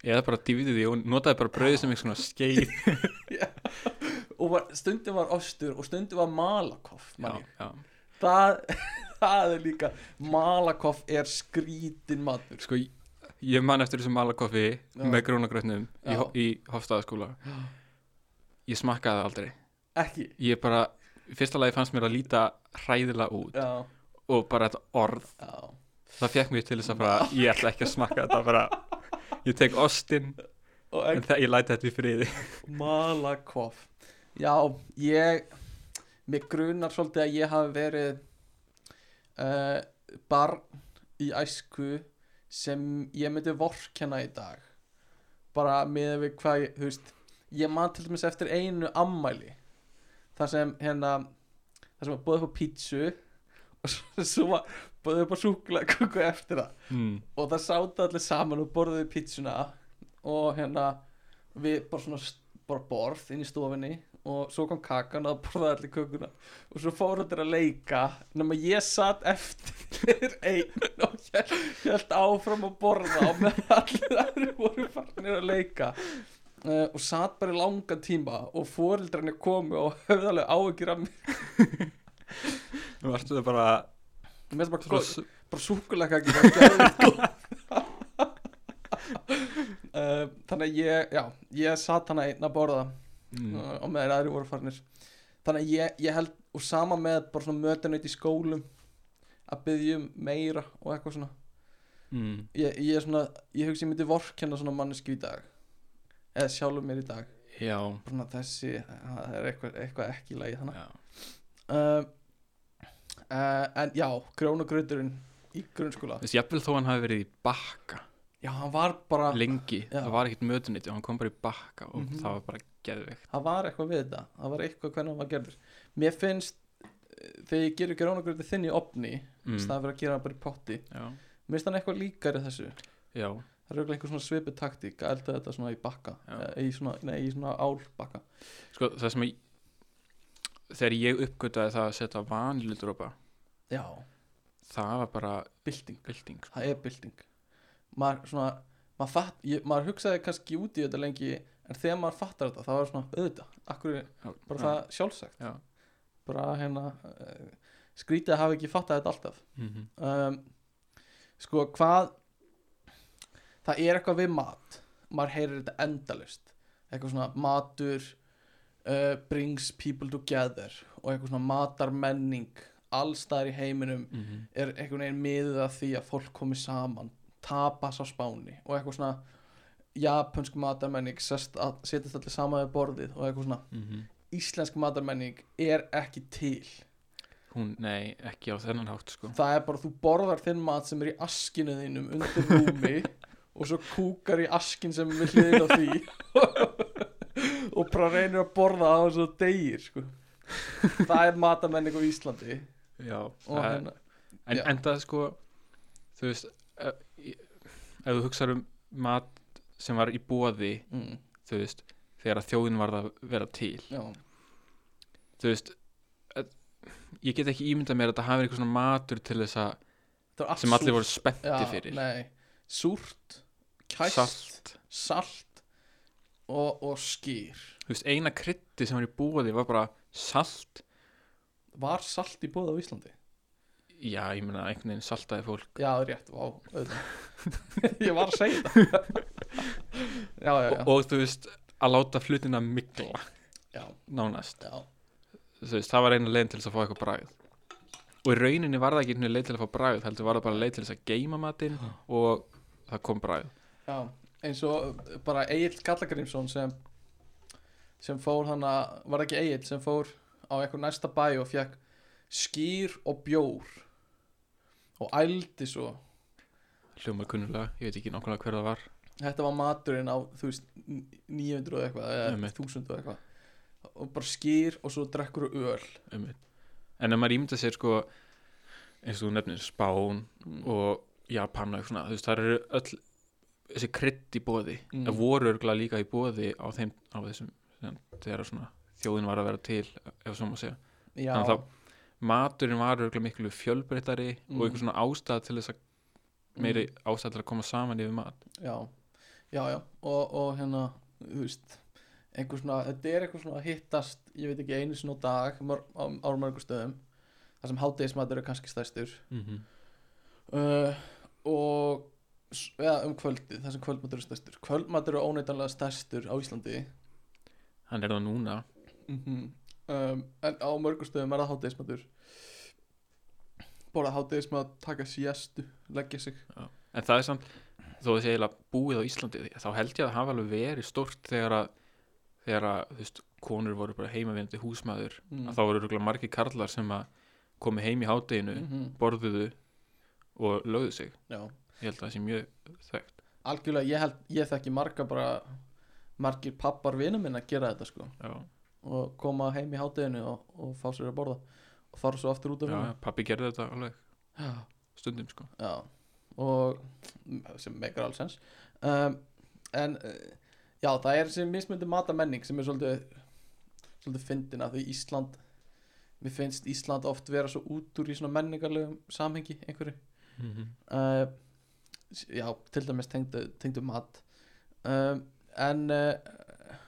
Speaker 2: Ég eða bara dýfði því og notaði bara brauði sem einhvers svona skeið
Speaker 1: og var, stundum var ostur og stundum var malakoff
Speaker 2: já,
Speaker 1: man ég.
Speaker 2: já.
Speaker 1: það, það er líka malakoff er skrítin matur
Speaker 2: Sko, ég- ég man eftir þessu malakoffi
Speaker 1: Já.
Speaker 2: með grónagrötnum í,
Speaker 1: Já.
Speaker 2: ho- í Hofstaðaskóla Ég smakkaði það aldrei
Speaker 1: ekki
Speaker 2: Ég bara, í fyrsta lagi fannst mér að líta hræðilega út
Speaker 1: já,
Speaker 2: og bara þetta orð,
Speaker 1: já,
Speaker 2: það fekk mér til þess að bara, ég ætla ekki að smakka þetta bara Ég tek ostinn,
Speaker 1: og
Speaker 2: en
Speaker 1: ekki
Speaker 2: það ég læti þetta í friði
Speaker 1: malakoff já, ég mér grunar svolítið að ég hafi verið uh, barn í æsku sem ég myndi vorkenna í dag bara með við hvað ég, þú veist ég man til dæmis eftir einu ammæli þar sem hérna þar sem að bóði upp á pítsu og svo, svo var bóði upp á súkla kukku eftir það
Speaker 2: mm.
Speaker 1: og það sátu allir saman og borðuðu pítsuna og hérna við bara svona st- bara borð inn í stofinni og svo kom kakan og það borðaði allir kökuna og svo fóru allir að leika nema ég satt eftir einn og hélt, hélt áfram að borða og með allir aðri voru farnir að leika uh, og satt bara í langan tíma og fórildranir komu og höfðu alveg áhyggjur af mér
Speaker 2: Nú varstu það bara,
Speaker 1: Mér finnst bara
Speaker 2: svona,
Speaker 1: gott-
Speaker 2: s-
Speaker 1: bara súkulakakir var geðveikt góð. uh, þannig að ég já, ég satt hana einn að borða
Speaker 2: mm.
Speaker 1: uh, og meðan aðri voru farnir þannig að ég, ég held og sama með bara svona mötunaut í skólum að byggjum meira og eitthvað svona
Speaker 2: Mm.
Speaker 1: ég, ég er svona, ég hugsi ég myndi vorkenna svona mannesku í dag eða sjálfur mér í dag
Speaker 2: Já,
Speaker 1: Bara svona þessi, það er eitthvað, eitthvað ekki í lagi þannig
Speaker 2: já
Speaker 1: uh, uh, en já, grónagrauturinn í grunnskóla
Speaker 2: Þess, jafnvel þó hann hafi verið í bakka
Speaker 1: já, hann var bara
Speaker 2: lengi,
Speaker 1: Já.
Speaker 2: það var ekkert mötunit og hann kom bara í bakka og
Speaker 1: Mhm.
Speaker 2: það var bara geðveikt
Speaker 1: það var eitthvað við þetta það var eitthvað hvernig hann var gerður mér finnst eh, þegar ég gerir grónagröti þinn í opni mm. staðan fyrir að gera hann bara í potti
Speaker 2: já,
Speaker 1: mér finnst hann eitthvað líkari þessu
Speaker 2: já,
Speaker 1: það er auðvitað eitthvað svona svipu taktík að elda þetta svona í bakka
Speaker 2: Já.
Speaker 1: eh, í svona, nei, í svona álbakka
Speaker 2: sko það sem ég þegar ég uppgötaði það að setja vaniludrópa
Speaker 1: já,
Speaker 2: það var bara
Speaker 1: bylting,
Speaker 2: bylting sko.
Speaker 1: það er bylting maður svona maður, fatt, ég, maður hugsaði kannski út í þetta lengi en þegar maður fattar þetta þá er svona auðvitað, akkur er
Speaker 2: sko.
Speaker 1: bara það sjálfsagt
Speaker 2: Já.
Speaker 1: bara hérna uh, skrítið að hafa ekki fattað þetta alltaf
Speaker 2: mm -hmm.
Speaker 1: um, sko hvað það er eitthvað við mat maður heyrir þetta endalust eitthvað svona matur uh, brings people together og eitthvað svona matarmenning allstaðar í heiminum
Speaker 2: Mm -hmm.
Speaker 1: er einhvern veginn miðið að því að fólk komi saman tapas á spáni og eitthvað svona japansk matarmenning sest að, setjast allir saman við borðið og eitthvað svona
Speaker 2: Mm-hmm.
Speaker 1: íslensk matarmenning er ekki til
Speaker 2: hún, nei, ekki á þennan hátt sko
Speaker 1: það er bara þú borðar þinn mat sem er í askinu þínum undir rúmi og svo kúkar í askin sem er hliðin á því og bara reynir að borða á þess að þú deyir sko. það er matamenning á Íslandi
Speaker 2: já,
Speaker 1: og
Speaker 2: það-
Speaker 1: hérna
Speaker 2: en
Speaker 1: já.
Speaker 2: enda sko þú veist ef, ef þú hugsar um mat sem var í bóði
Speaker 1: mm,
Speaker 2: þú veist, þegar að þjóðin varð að vera til
Speaker 1: já,
Speaker 2: þú veist að- ég get ekki ímyndað mér að þetta hafi eitthvað svona matur til þess að
Speaker 1: það er allt
Speaker 2: sem allir
Speaker 1: súrt.
Speaker 2: voru spennti
Speaker 1: Já,
Speaker 2: fyrir
Speaker 1: nei, súrt, kæst salt,
Speaker 2: salt,
Speaker 1: og, og skýr
Speaker 2: þú veist, eina krytti sem var í bóði var bara salt
Speaker 1: var salt í bóða á Íslandi?
Speaker 2: já, ég meina, einhvern veginn saltaði fólk
Speaker 1: já, það er rétt, vá, auðvitað ég var að segja það já, já, já,
Speaker 2: og, og þú veist, að láta flutina mikla
Speaker 1: já,
Speaker 2: nánast
Speaker 1: já.
Speaker 2: þú veist, það var einu leiðin til þess að fá eitthvað bragð og í rauninni var það ekki einu leið til að fá bragð heldur var það bara leið til þess að geima matinn og það kom bragð
Speaker 1: Já, eins og uh, bara Egil Gallagrimsson sem sem fór hann að, var það ekki Egil sem fór á eitthvað næsta bæ og fekk skýr og bjór og ældi svo
Speaker 2: hljóma kunnulega, ég veit ekki nákvæmlega hver það var
Speaker 1: þetta var maturinn á, þú veist, n- 900 og eitthvað eða
Speaker 2: Einmitt.
Speaker 1: 1000 og eitthvað og bara skýr og svo drekkur og öl
Speaker 2: um en ef maður ímynda sér sko eins og þú nefnir Spán
Speaker 1: mm.
Speaker 2: og Japan og eitthvað svona, þú veist, það eru öll þessi krydd í bóði
Speaker 1: Mm.
Speaker 2: það voru örgulega líka í bóði á þeim á þessum, sem- þegar svona þjóðin var að vera til, ef svo má segja
Speaker 1: Já,
Speaker 2: en þá- maturinn var örgulega miklu fjölbreyttari
Speaker 1: Mm.
Speaker 2: og einhver svona ástæð til þess að
Speaker 1: Mm.
Speaker 2: meiri ástæð til að koma saman yfir mat
Speaker 1: já, já, já og, og hérna, þú veist einhver svona, þetta er eitthvað svona að hittast ég veit ekki einu sinni á dag mör, á, á mörgum stöðum þar sem hádegismatur er kannski stærstur
Speaker 2: mm -hmm.
Speaker 1: uh, og s- eða um kvöldið, þar sem kvöldmatur er stærstur kvöldmatur er óneitanlega stærstur á Íslandi
Speaker 2: hann er það núna
Speaker 1: mm um, en á mörgum stöðum er það hádegismatur borða hádegismat, taka siestu leggja sig
Speaker 2: en það er samt, þó þessi eiginlega búið á Íslandi þá held ég að það hafa alveg verið stort þegar að, þegar að þú veist, konur voru bara heimavinandi húsmaður
Speaker 1: mm.
Speaker 2: að þá voru örgulega margir karlar sem að komi heim í hádeginu,
Speaker 1: Mhm,
Speaker 2: borðuðu og lögðu sig,
Speaker 1: já
Speaker 2: ég held að það sé mjög þekkt
Speaker 1: algjörlega ég, held, ég þekki marga bara margir pappar vinum minn að gera þetta sko
Speaker 2: já,
Speaker 1: og koma heim í hátteginu og, og fá sér að borða og fara svo aftur út af
Speaker 2: já,
Speaker 1: vinnu
Speaker 2: pappi gerði þetta alveg
Speaker 1: já.
Speaker 2: stundum sko
Speaker 1: já og sem megar alls sens um, en eh, já það er sem mismundi matamenning sem er svolítið svolítið fyndin að því Ísland mér finnst Ísland oft vera svo út úr í svona menningarlegum samhengi einhverju
Speaker 2: mm
Speaker 1: uh, já, til dæmis tengdu, tengdu mat um, en uh,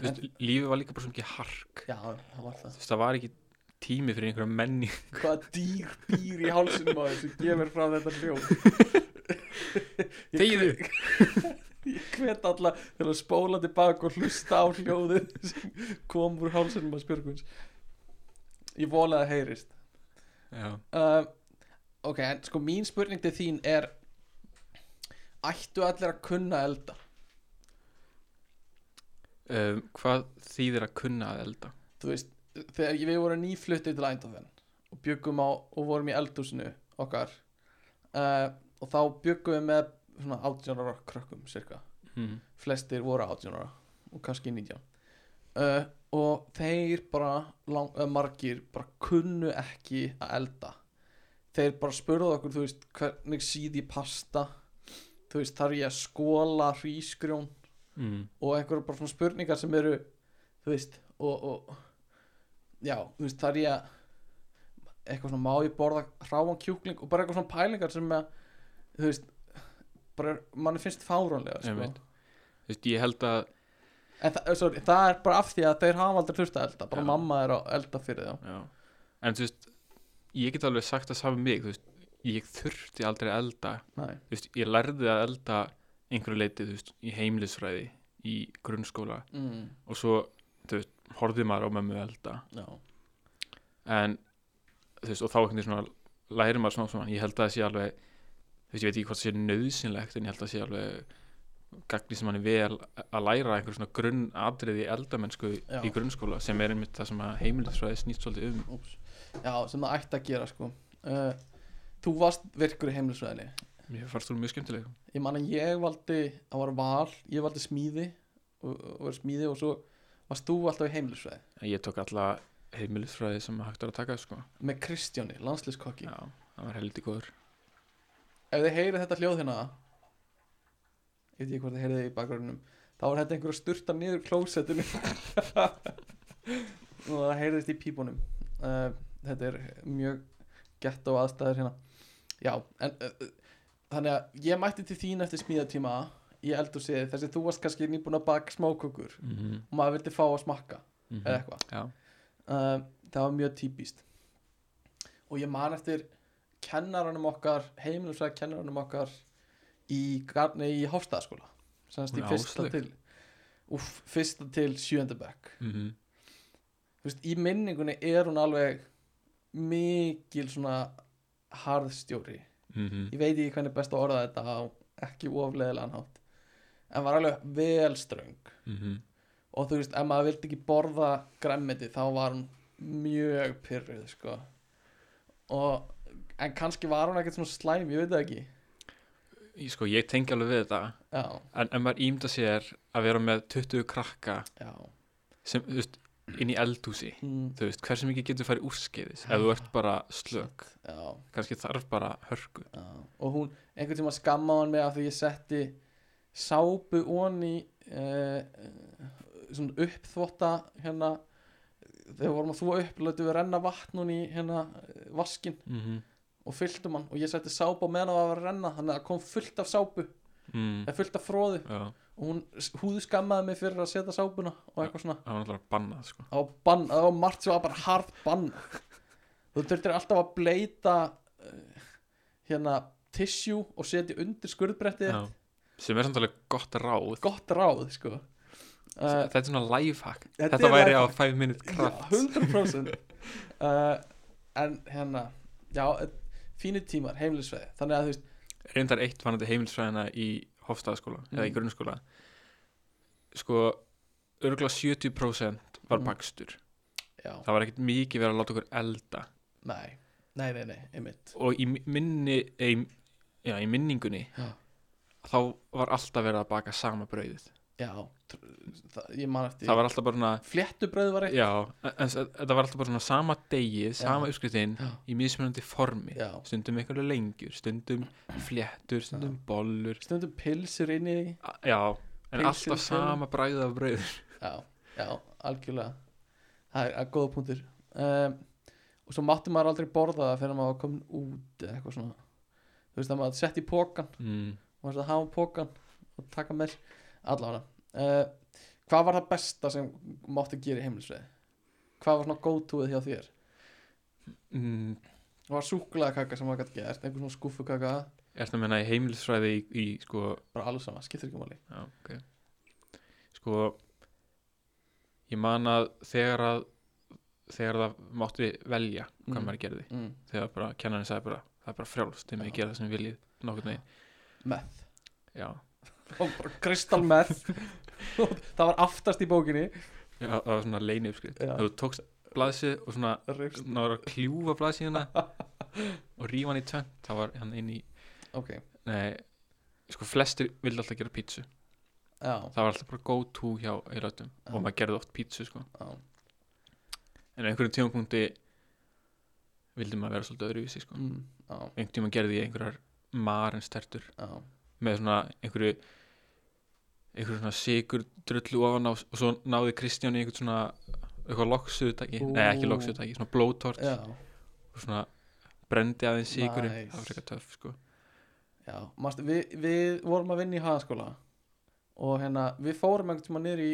Speaker 2: veist, lífið var líka bara svo mikið hark
Speaker 1: já, það var
Speaker 2: Þú
Speaker 1: það
Speaker 2: veist, það var ekki tími fyrir einhverja menning
Speaker 1: hvaða dýr býr í hálsinum á þessu gefur frá þetta hljóð Ég-
Speaker 2: Þegiðu.
Speaker 1: ég hvet alla til að spóla tilbaka og hlusta á hljóðið sem kom úr hálsinum á spjörgvins ég vona að það heyrist
Speaker 2: já,
Speaker 1: uh, ok, en sko mín spurning til þín er ættu allir að kunna að elda
Speaker 2: um, hvað þýðir að kunna að elda
Speaker 1: þú veist, þegar ég- við vorum nýfluttið til Eindhoven og byggum á og vorum í eldhúsinu okkar uh, og þá byggum við með svona 18 ára krökkum cirka,
Speaker 2: mm.
Speaker 1: flestir voru 18 ára og kannski 19 uh, og þeir bara lang, uh, margir bara kunnu ekki að elda þeir bara spurðu okkur, þú veist, hvernig síði pasta, þú veist, þarf ég að skóla hrísgrjón
Speaker 2: Mm.
Speaker 1: og einhverja bara svona spurningar sem eru þú veist og, og já, þú veist þar ég að- eitthvað svona má ég borða hráan kjúkling og bara eitthvað svona pælingar sem að, þú veist bara, mann finnst fáránlega sko.
Speaker 2: Einmitt. Þú veist, ég held að
Speaker 1: en það, sorry, það er bara af því að þeir hafa aldrei þurft að elda bara
Speaker 2: Já.
Speaker 1: mamma er að elda fyrir þá
Speaker 2: já. en þú veist, ég get alveg sagt það saman mig, þú veist, ég þurfti aldrei að elda,
Speaker 1: Nei.
Speaker 2: þú veist, ég lærði að elda einhverju leiti, þú veist, í heimilisfræði í grunnskóla
Speaker 1: Mm,
Speaker 2: og svo, þú veist, horfði maður á mömmu elda
Speaker 1: já.
Speaker 2: en þú veist, og þá einhvern veginn svona læri maður svona svona, ég held að það sé alveg þú veist, ég veit ekki hvort það sé nöðsynlegt en ég held að það sé alveg gagni sem hann er vel að læra einhver svona grunn atriði eldamennsku
Speaker 1: Já.
Speaker 2: í grunnskóla sem er einmitt það sem að heimilisfræði snýst svolítið um
Speaker 1: Úps. já, sem það ætti að gera sko. uh, þú varst virkur í heimlisvæðinni
Speaker 2: mér fannst þú mjög skemmtileg
Speaker 1: ég man að ég valdi, það var val ég valdi smíði og, og var smíði og svo varst þú alltaf í heimlisvæði
Speaker 2: ég tók alla heimilisfræði sem hægt er að taka sko.
Speaker 1: með Kristjáni, landsliskokki
Speaker 2: já, það var heldig góður
Speaker 1: ef þið heyrið þetta hljóð hérna ég veit ekki hvort þið heyrið í bakgrunum þá var þetta einhver að sturta niður klósettinu og það heyrðist í pípunum uh, þetta er mjög gett og aðstæður hérna já, en uh, uh, þannig að ég mætti til þín eftir smíðatíma í eldhúsið þar sem þú varst kannski nýbúin að baka smákökur
Speaker 2: mm -hmm.
Speaker 1: og maður vildi fá að smakka
Speaker 2: Mm
Speaker 1: eða eitthvað
Speaker 2: já,
Speaker 1: uh, það var mjög típist og ég man eftir kennaranum okkar, heimilislega kennaranum okkar í, gar- nei, í Háfstæðaskóla semast í
Speaker 2: Hún
Speaker 1: fyrsta
Speaker 2: Áslaug?
Speaker 1: til úf, fyrsta til sjöndabæk
Speaker 2: mm
Speaker 1: veist, í minningunni er hún alveg mikil svona harðstjóri ég
Speaker 2: mhm,
Speaker 1: veit ekki hvernig er best að orða þetta á ekki ofleðilegan hátt en var alveg vel ströng
Speaker 2: mhm.
Speaker 1: og þú veist, ef maður vildi ekki borða græmmiti þá var hún mjög pyrruð sko. og en kannski var hún ekkert svona slæm, ég veit það ekki
Speaker 2: Ég, sko, ég tengi alveg við þetta
Speaker 1: já,
Speaker 2: en ef maður ímda sér að vera með 20 krakka
Speaker 1: já
Speaker 2: sem, þú veist, inn í eldhúsi
Speaker 1: mm,
Speaker 2: þú veist, hversu mikið getur farið úrskeiðis ef þú ert bara slök,
Speaker 1: já,
Speaker 2: kannski þarf bara hörku
Speaker 1: já og hún, einhvern tíma skamma hann mig af því ég setti sápu onni eh, eh, svona uppþvotta hérna þegar við vorum að þvo upp, lötu við renna vatn hún í hérna eh, vaskinn
Speaker 2: mm -hmm.
Speaker 1: og fylltum hann og ég setti sápu á meðan það var að renna þannig að það kom fullt af sápu,
Speaker 2: mm,
Speaker 1: eða fullt af fróðu
Speaker 2: já,
Speaker 1: og hún húðu skammaði mig fyrir að setja sápuna og eitthvað svona
Speaker 2: það var náttúrulega bannað sko.
Speaker 1: það var, bann, það var margt sem var bara hart bann þú þurftir alltaf að bleita uh, hérna tissue og setja undir skurðbrettið
Speaker 2: Já. sem er samt alveg gott ráð
Speaker 1: gott ráð sko uh,
Speaker 2: þetta er svona lifehack
Speaker 1: Þetta
Speaker 2: þetta,
Speaker 1: er
Speaker 2: væri á
Speaker 1: lifehack.
Speaker 2: 5 minute
Speaker 1: já,
Speaker 2: kraft
Speaker 1: 100% uh, en hérna já, eh, fínir tímar, heimlisveið þannig að þú veist,
Speaker 2: reyndar eitt vanandi heimilsfræðina í hofstaðaskóla eða í
Speaker 1: Mm.
Speaker 2: grunnskóla sko örgulega 70% var
Speaker 1: Mm.
Speaker 2: bakstur
Speaker 1: já,
Speaker 2: það var ekkert mikið verið að láta okkur elda
Speaker 1: nei nei, nei, nei, einmitt
Speaker 2: og í mi- minni ei, já, í minningunni
Speaker 1: Já.
Speaker 2: þá var alltaf verið að baka sama brauðið
Speaker 1: já, tr- það, ég man eftir
Speaker 2: það var alltaf bara svona
Speaker 1: fléttubröð var eitt
Speaker 2: já, en en þetta var alltaf bara svona sama degi sama
Speaker 1: Já.
Speaker 2: uppskritin
Speaker 1: Já.
Speaker 2: í mismunandi formi
Speaker 1: já,
Speaker 2: stundum einhverju lengjur, stundum fléttur stundum bollur
Speaker 1: stundum pilsur inn í því
Speaker 2: A- já, en
Speaker 1: Pilsin
Speaker 2: alltaf
Speaker 1: sjálf.
Speaker 2: sama bræðið af brauðið
Speaker 1: Já, já, algjörlega Það er að góða punktur um, Og svo mátti maður aldrei borða það fyrir maður var komin út eða eitthvað svona Þú veist að maður sett í pókan
Speaker 2: mm.
Speaker 1: maður þess að hafa pókan og taka með allavega uh, Hvað var það besta sem mátti gera í heimilisveið? Hvað var svona góðtúið hjá þér?
Speaker 2: mm.
Speaker 1: Það var súkulega kaka sem maður gæti gert einhver svona skúfukaka,
Speaker 2: er það meina í heimilisfræði í, í sko
Speaker 1: bara alveg sama, skiptir ekki máli
Speaker 2: Já, ok. Sko, ég man að þegar að þegar það mátti velja hvað
Speaker 1: Mm.
Speaker 2: maður gerði
Speaker 1: mm.
Speaker 2: þegar bara kennarinn sagði bara það er bara frjálst þegar maður
Speaker 1: Já.
Speaker 2: gera það sem þið viljið nokkurn veginn
Speaker 1: Meth,
Speaker 2: já.
Speaker 1: það var bara kristal meth Það var aftast í bókinni
Speaker 2: já, það var svona leini uppskrift
Speaker 1: Já.
Speaker 2: þú tókst blaðsið og svona
Speaker 1: Rifst.
Speaker 2: náður að kljúfa blaðsíðuna og rífa hann í tönn það var hann inn í
Speaker 1: Ok,
Speaker 2: nei, sko flestir vildi alltaf gera pítsu
Speaker 1: já,
Speaker 2: það var alltaf bara go to hjá í röttum
Speaker 1: Já.
Speaker 2: og maður gerði oft pítsu sko
Speaker 1: já
Speaker 2: en á einhverjum tímapunkti vildi maður vera svolítið öðruvísi sko.
Speaker 1: mm, Já,
Speaker 2: einhvern tíma gerði ég einhverjar marinn stertur
Speaker 1: já
Speaker 2: með svona einhverju einhverju svona sigur drullu ofan á og svo náði Kristján í einhvern svona eitthvað loksuðutæki,
Speaker 1: Ú.
Speaker 2: nei ekki loksuðutæki svona blowtort
Speaker 1: Já,
Speaker 2: og svona brendi aðeins sigurinn
Speaker 1: Nice.
Speaker 2: það var frekar töff sko
Speaker 1: já, manstu, við, við vorum að vinna í hagaskóla og hérna við fórum einhvern tíma niður í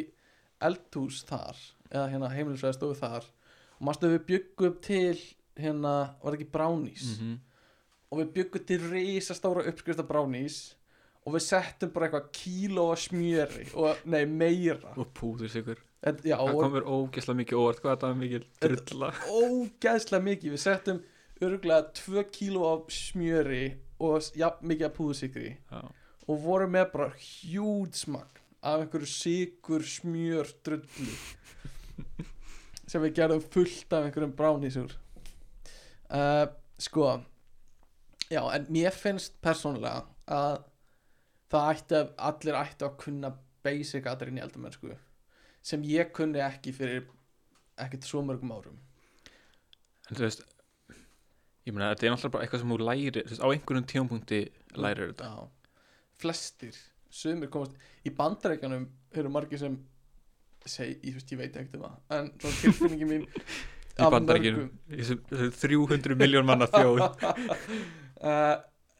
Speaker 1: eldhús þar eða hérna heimilisvæði stofu þar og manstu við byggum upp til hérna, var ekki brownies
Speaker 2: mm
Speaker 1: og við byggum til risastóra uppskrifta brownies og við settum bara eitthvað kíló af smjöri og, nei, meira
Speaker 2: og púður sigur
Speaker 1: Þetta- já,
Speaker 2: það
Speaker 1: og
Speaker 2: komur ógeðslega mikið óvart hvað þetta er mikil drulla
Speaker 1: ógæðslega mikið við settum örgulega 2 kíló af smjöri og s- jafn mikið af púðsikri
Speaker 2: Já.
Speaker 1: og vorum með bara hjúd smagn af einhverju sigur smjör drullu sem við gerðum fullt af einhverjum bránísur uh, sko já en mér finnst persónulega að það ætti að allir ætti að kunna basic aðrin í eldamennsku sem ég kunni ekki fyrir ekkert svo mörgum árum
Speaker 2: en þú veist ég meina þetta er náttúrulega bara eitthvað sem þú lærir þú veist á einhverjum tímapunkti lærir þetta
Speaker 1: Já. flestir, sumir komast í bandarækjanum eru margir sem seg, ég, veist, ég veit ekkert um það en svona tilfinningi mín
Speaker 2: í bandaríkjum þessu þessu 300 miljón manna þjóð
Speaker 1: uh,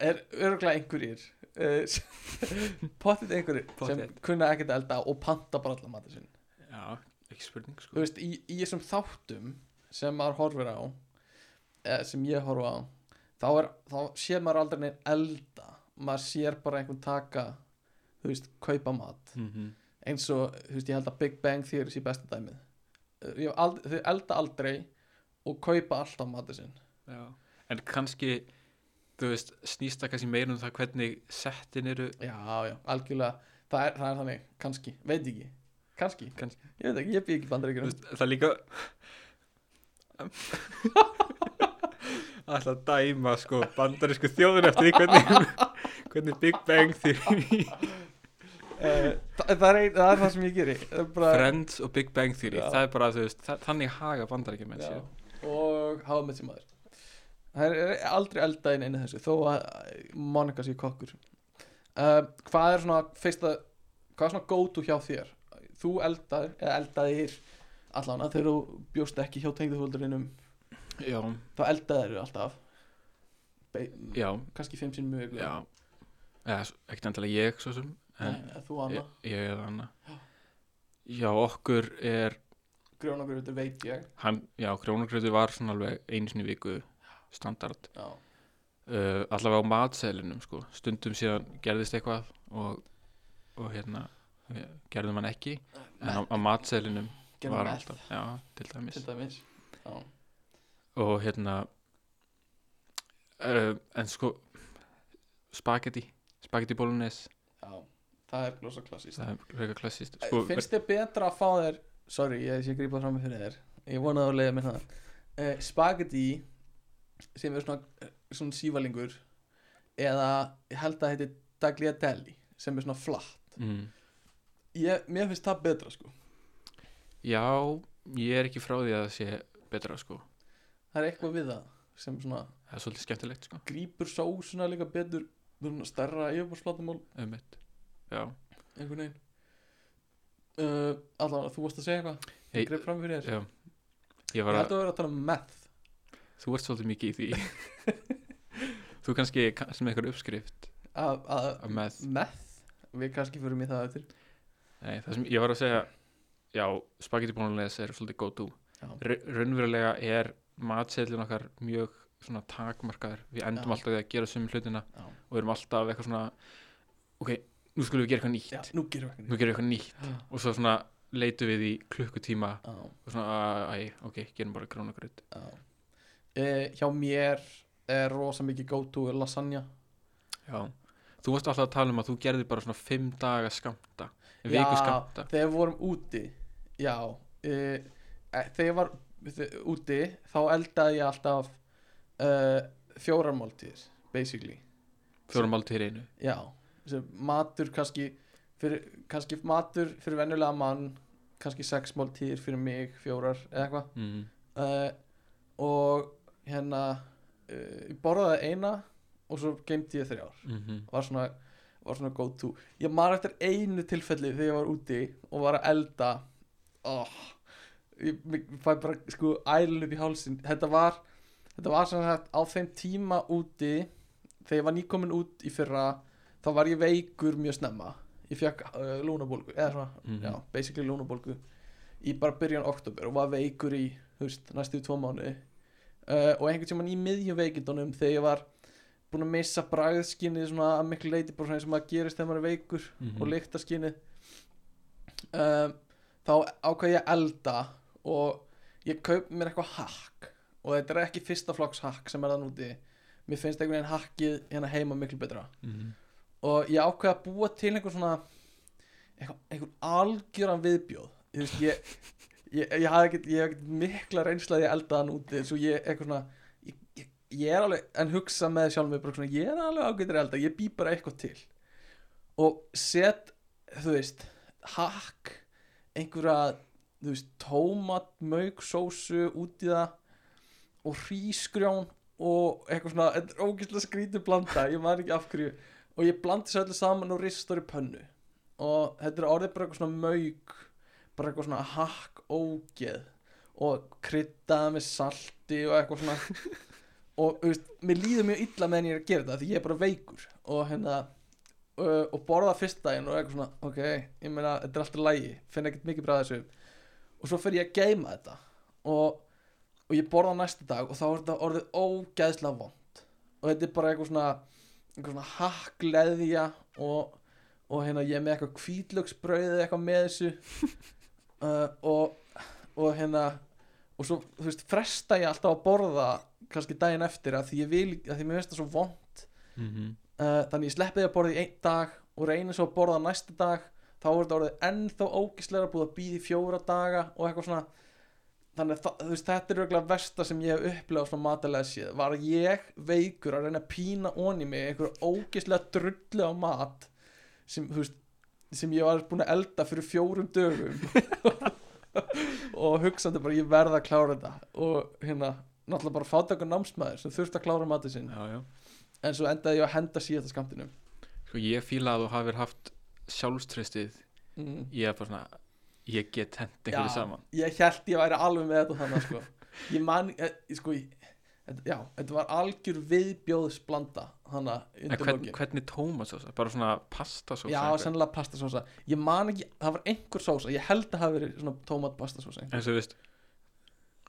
Speaker 1: er örgulega einhverjir uh, pottit einhverjir sem
Speaker 2: Pottþétt.
Speaker 1: kunna ekkert að elda og panta bara allan matur sinn
Speaker 2: já, ekki spurning
Speaker 1: þú
Speaker 2: sko
Speaker 1: veist, í, í þessum þáttum sem maður horfir á eða sem ég horfa á þá, er, þá sér maður aldrei neinn elda maður sér bara einhvern taka þú veist, kaupa mat
Speaker 2: mm -hmm.
Speaker 1: eins og, þú veist, ég held að Big Bang Theory sé besta dæmið Uh, ég hef ald- þau elda aldrei og kaupa alltaf matur sinn
Speaker 2: en kannski þú veist snýst það kannski meira um það hvernig settin eru
Speaker 1: já, já, algjörlega það er, það er þannig, kannski, veit ekki kannski,
Speaker 2: Kannski.
Speaker 1: ég veit ekki, ég bygg ekki
Speaker 2: Þú
Speaker 1: bandaríkjum
Speaker 2: veist, það er líka alltaf dæma sko bandarísku þjóðun eftir því hvernig, hvernig Big Bang Theory
Speaker 1: uh, það, það, er ein, það er það sem ég geri Það er bara,
Speaker 2: Friends og Big Bang Theory
Speaker 1: Já.
Speaker 2: það er bara þú veist, það, þannig haga bandaríkjum með sér
Speaker 1: já, og hafa með sem maður það er aldrei elda inn einu þessu þó að Monika sé kokkur uh, hvað er svona fyrsta, hvað er svona go to hjá þér þú eldar, eða eldaðir allan að þegar þú bjóst ekki hjá tengduföldurinnum
Speaker 2: já,
Speaker 1: þá eldaðir þú alltaf Be
Speaker 2: já,
Speaker 1: kannski fimm sinn mjög
Speaker 2: já. Eða, s- ekkert endilega ég svo sem en
Speaker 1: Eh, þú annað,
Speaker 2: ég, ég eða Anna já, okkur er
Speaker 1: grjóna grjóta veit ég
Speaker 2: hann, já, krónugröðu var svona alveg einu sinni í viku standard
Speaker 1: já,
Speaker 2: uh, allavega á matseðlinum sko. stundum síðan gerðist eitthvað og, og hérna eh, gerðum hann ekki en á, á matseðlinum
Speaker 1: gerðum
Speaker 2: var
Speaker 1: með
Speaker 2: hann alltaf já, til dæmis
Speaker 1: til dæmis já,
Speaker 2: og hérna uh, en sko spagetti, spagetti bolognese
Speaker 1: já, það er glosa klassist
Speaker 2: það er reyka klassist sko,
Speaker 1: Eh, finnst þið betra að fá þér sorry, ég sé grípað fram með fyrir þér ég vona að þú leiðir mér það uh, spagetti sem er svona, svona sívalingur eða ég held að heiti dagliatelli sem er svona flatt
Speaker 2: mm,
Speaker 1: ég, mér finnst það betra sko
Speaker 2: já, ég er ekki frá því að það sé betra sko
Speaker 1: það er eitthvað við það sem svona
Speaker 2: það er svolítið skemmtilegt sko
Speaker 1: grípur sósuna líka betur svona stærra yfirbúrsflatamál
Speaker 2: um já,
Speaker 1: einhvern veginn uh, allavega þú varst að segja eitthvað
Speaker 2: Hey,
Speaker 1: ég greip fram fyrir þér
Speaker 2: já. ég
Speaker 1: ég
Speaker 2: var
Speaker 1: held að vera að tala um meth
Speaker 2: Þú ert svolítið mikið í því Þú kannski kannski með eitthvað uppskrift
Speaker 1: að, að,
Speaker 2: af með
Speaker 1: meth við kannski fyrir mig það eftir
Speaker 2: Nei, það sem ég var að segja Já, spagetti bónulegis er svolítið góð tú
Speaker 1: Já.
Speaker 2: Raunverulega er matseðlun okkar mjög svona takmarkaður Við endum
Speaker 1: Já.
Speaker 2: alltaf við að gera sömu hlutina
Speaker 1: Já.
Speaker 2: og erum alltaf eitthvað svona Ok, nú skulum við gera eitthvað
Speaker 1: Já,
Speaker 2: nýtt
Speaker 1: nú gerum við
Speaker 2: Nú
Speaker 1: eitthvað
Speaker 2: gerum við eitthvað nýtt
Speaker 1: Já.
Speaker 2: og svo svona leitum við í klukkutíma
Speaker 1: Já,
Speaker 2: og svona, æ, ok, gerum bara krónagröð
Speaker 1: já. Eh, hjá mér er rosa mikið go to lasagna
Speaker 2: Já Þú varst alltaf að tala um að þú gerðir bara svona fimm daga skamta,
Speaker 1: Já,
Speaker 2: viku skamta
Speaker 1: þegar við vorum úti já eh, eh, þegar ég var þe- úti þá eldaði ég alltaf uh, fjórarmáltíðir basically
Speaker 2: fjórum máltíðir í einu
Speaker 1: já, sem matur kannski fyrir, kannski matur fyrir venjulega mann kannski sex máltíðir fyrir mig fjórar eða eitthvað
Speaker 2: mm.
Speaker 1: uh, og hérna uh, ég borðaði eina og svo geimti ég þrjár
Speaker 2: Mm
Speaker 1: var svona, var svona go to ég maður eftir einu tilfelli þegar ég var úti og var að elda oh, ég, ég fæ bara sko ælun upp í hálsin þetta var, þetta var sem sagt á þeim tíma úti þegar ég var nýkomin út í fyrra þá var ég veikur mjög snemma ég fekk uh, lúnabólgu eða svona,
Speaker 2: Mhm.
Speaker 1: já, basically lúnabólgu í bara byrjan oktober og var veikur í þú veist, næstu tvo mánuði uh, og einhvern tímann í miðjum veikindunum þegar ég var búin að missa bragðskinnið svona að miklu leiti bara svona eins og maður gerist þegar maður er veikur
Speaker 2: Mhm.
Speaker 1: og lyktaskynið um, þá ákvað ég að elda og ég kaup mér eitthvað hakk og þetta er ekki fyrsta flokks hakk sem er það núti mér finnst einhvern veginn hakkið hérna heima miklu betra
Speaker 2: Mhm.
Speaker 1: og ég ákvað að búa til einhver svona einhver, einhver algjöran viðbjóð ég, veist, ég, ég, ég hafði ekkert ég hef ekkert mikla reynslaði að elda hann úti svo ég eitthvað svona ég, ég, ég er alveg, en hugsa með sjálf mig bara svona, ég er alveg ágættur að elda, ég bý bara eitthvað til og set þú veist, hakk einhverja, þú veist tómat, mauk, sósu út í það og hrísgrjón og eitthvað svona, þetta er ógeðslega skrítið blanda, ég maður ekki af hverju og ég blandi þessu öllu saman og ristur í pönnu og þetta er orðið bara eitthvað svona mauk bara eitthvað svona hakk ógeð og kryddaða með salti og eitthvað svona og þú veist, mér líður mjög illa meðan ég er að gera þetta því ég er bara veikur og hérna uh, og borða fyrst daginn og eitthvað svona ok, ég meina, þetta er alltaf lægi finn ekkert mikið bræða þessu og svo fer ég að geima þetta og, og ég borða næsta dag og þá er þetta orðið ógeðslega vond og þetta er bara eitthvað svona einhver svona hakkleðja og, og hérna ég er með eitthvað kvítlöksbrauð eða eitthvað með þessu uh, og, og hérna og svo þú veist fresta ég alltaf að borða kannski daginn eftir að því ég vil að því mér veist það svo vond
Speaker 2: Mhm.
Speaker 1: uh, þannig ég sleppi því að borða í einn dag og reyni svo að borða næsta dag þá er þetta orðið ennþá ógislega búið að býði fjóra daga og eitthvað svona þannig að þa- þú veist, þetta er auðvitað versta sem ég hef upplegað svona matalega séð var að ég veikur að reyna að pína onni mig einhver ógislega drullu á mat sem, þú veist, sem ég var búin að elda fyrir fjórum dögum og hugsandi bara ég verð að klára þetta og hérna náttúrulega bara fátakur námsmaður sem þurfti að klára matið sinn
Speaker 2: Já, já.
Speaker 1: en svo endaði ég að henda síðasta skamtinum
Speaker 2: Sko ég fíla að þú hafir haft sjálfströstið
Speaker 1: mm.
Speaker 2: ég er bara svona ég get hent einhverju saman
Speaker 1: ég held ég væri alveg með þetta þannig sko. ég man eh, sko, ég, þetta- já, þetta var algjör viðbjóðsblanda þannig
Speaker 2: En
Speaker 1: undir
Speaker 2: hvern,
Speaker 1: lokin
Speaker 2: hvernig tómasósa? Bara svona pastasósa?
Speaker 1: já,
Speaker 2: eitthvað?
Speaker 1: sennilega pastasósa ég man ekki, það var einhver sósa ég held að hafa verið svona tómatpastasósa
Speaker 2: En þú veist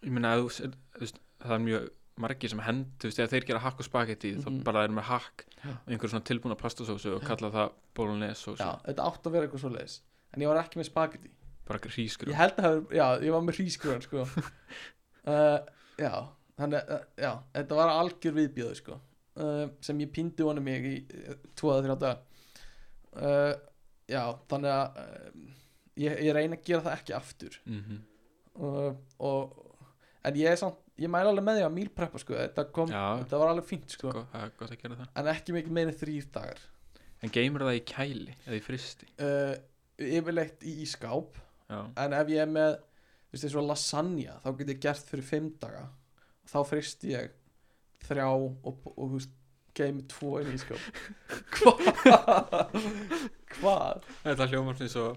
Speaker 2: Ég meina að þú set- þú veist, það er mjög margir sem hend, þú veist, þegar þeir gera hakk og spagetti
Speaker 1: Mhm.
Speaker 2: þá bara er með hakk
Speaker 1: Já.
Speaker 2: og einhverjum svona tilbúna pastasósu og
Speaker 1: Já.
Speaker 2: kalla það bolognese sósu,
Speaker 1: já, þetta átti að vera eitthvað svo en ég var ekki með spagetti
Speaker 2: bara hrískur
Speaker 1: ég held að hafa, já, ég var með hrískröðan sko. uh, já þannig, uh, já, þetta var algjör viðbjöðu sko. uh, sem ég pindi honum mig í uh, 2-3 dag uh, já, þannig að uh, ég, ég reyna að gera það ekki aftur
Speaker 2: mm -hmm.
Speaker 1: uh, og en ég er samt, ég mæla alveg með því að mílpreppa sko, þetta kom,
Speaker 2: Já,
Speaker 1: þetta var alveg fínt sko,
Speaker 2: gott, það er gott að gera það
Speaker 1: en ekki mikið meina þrýr dagar
Speaker 2: En geymir það í kæli eða í fristi
Speaker 1: uh, yfirleitt í, í skáp
Speaker 2: Já,
Speaker 1: en ef ég er með þú veist, eins og lasagna þá get ég gert fyrir fimm daga þá frist ég þrjá og, og þú veist geimi tvo inn í skáp hvað hvað
Speaker 2: þetta hljómar finnst svo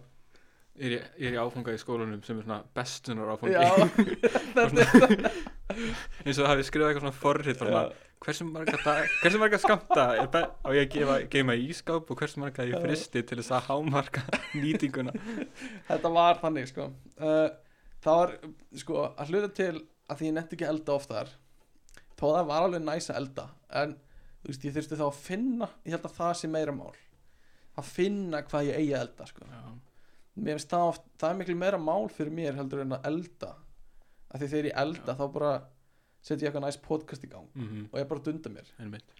Speaker 2: er ég, er ég áfanga í skólanum sem er svona bestunar áfangi
Speaker 1: já þetta er
Speaker 2: eins og það hafi skrifað eitthvað svona forrið
Speaker 1: það
Speaker 2: bara svona, hversu marga, dag, hversu marga skamta er be- á ég að gefa, geima í skáp og hversu marga ég fristi til þess að hámarka nýtinguna
Speaker 1: þetta var þannig sko uh, það var sko að hluta til að því ég nefndi ekki að elda oftar þó að það var alveg næs að elda en þú veist ég þurfti þá að finna ég held að það sé meira mál að finna hvað ég eigi að elda sko
Speaker 2: Já,
Speaker 1: mér finnst það oft, það er miklu meira mál fyrir mér heldur en að elda af því þegar ég elda þá bara setja ég eitthvað næst podcast í gang
Speaker 2: mhm,
Speaker 1: og ég bara dunda mér,
Speaker 2: einmitt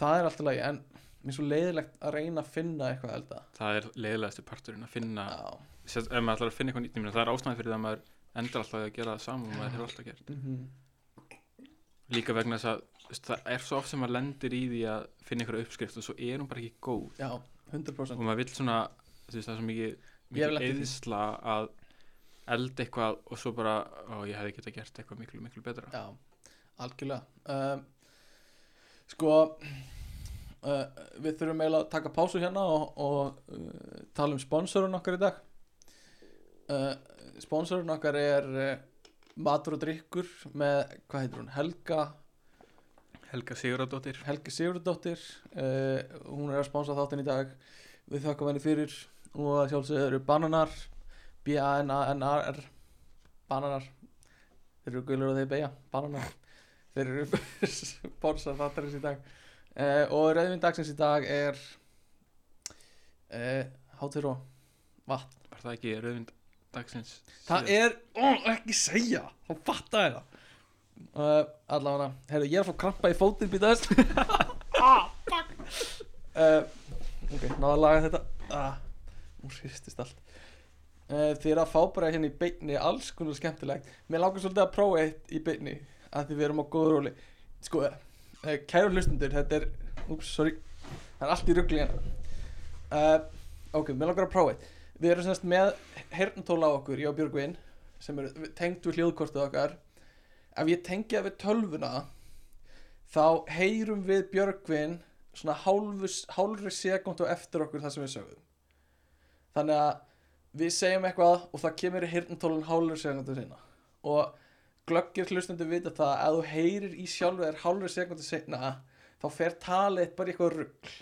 Speaker 1: það er alltaf lagi en mér er svo leiðilegt að reyna að finna eitthvað að elda
Speaker 2: það er leiðilegastu parturinn að finna
Speaker 1: já,
Speaker 2: sérst, ef maður ætlar að finna eitthvað nýtt ég meina, það er ástæðan fyrir það að maður endur alltaf að gera það saman og maður hefur alltaf gert
Speaker 1: mm
Speaker 2: líka vegna þess að þú veist, það er svo oft sem maður lendir í því að finna eitthvað uppskrift og svo er hún bara ekki góð
Speaker 1: já
Speaker 2: og
Speaker 1: 100%
Speaker 2: maður vill svona þú veist það er svo mikið,
Speaker 1: Ég vil
Speaker 2: mikið
Speaker 1: ekki því.
Speaker 2: eðisla að elda eitthvað og svo bara ó ég hefði geta gert eitthvað miklu miklu betra
Speaker 1: já, algjörlega um, sko uh, við þurfum eiginlega að taka pásu hérna og, og uh, tala um sponsorun okkar í dag uh, sponsorun okkar eh, er uh, matur og drikkur með, hvað heitir hún, Helga
Speaker 2: Helga Siguradóttir
Speaker 1: Helgi Sigurdóttir uh, hún er að sponsa þáttinn í dag við þakkum henni fyrir og að sjálfsögðu eru bananar B-A-N-A-N-A-R bananar þeir eru gulur og þeir beigja bananar þeir eru sponsar þáttarins í dag uh, og rauðvinn dagsins í dag er uh, hátur og vatn
Speaker 2: Var það ekki rauðvind dagsins?
Speaker 1: það er, ó, ekki segja þá fatta ég það uh, allavega, herru, ég er að fá krampa í fótinn býtaðist ah, fuck uh, ok, náða að laga þetta ah, hún hristist allt uh, þið eru að fá bara hérna í beinni alls konar skemmtilegt mér langar svolítið að prófa eitt í beinni að því við erum á góður róli sko, uh, kæru hlustundur, þetta er úps, sorry, það er allt í ruggli hérna uh, ok, mér langar að prófa eitt við erum semst með herntóla á okkur, ég og Björgvin sem eru tengd við hljóðkortið okkar ef ég tengi það við tölvuna þá heyrum við Björgvin svona hálfu, hálfri sekundu eftir okkur það sem við sögum þannig að við segjum eitthvað og það kemur herntólan hálfri sekundu sinna og glöggir hlustundu vita það að þú heyrir í sjálfu þér hálfri sekundu sinna þá fer talið bara í eitthvað rugl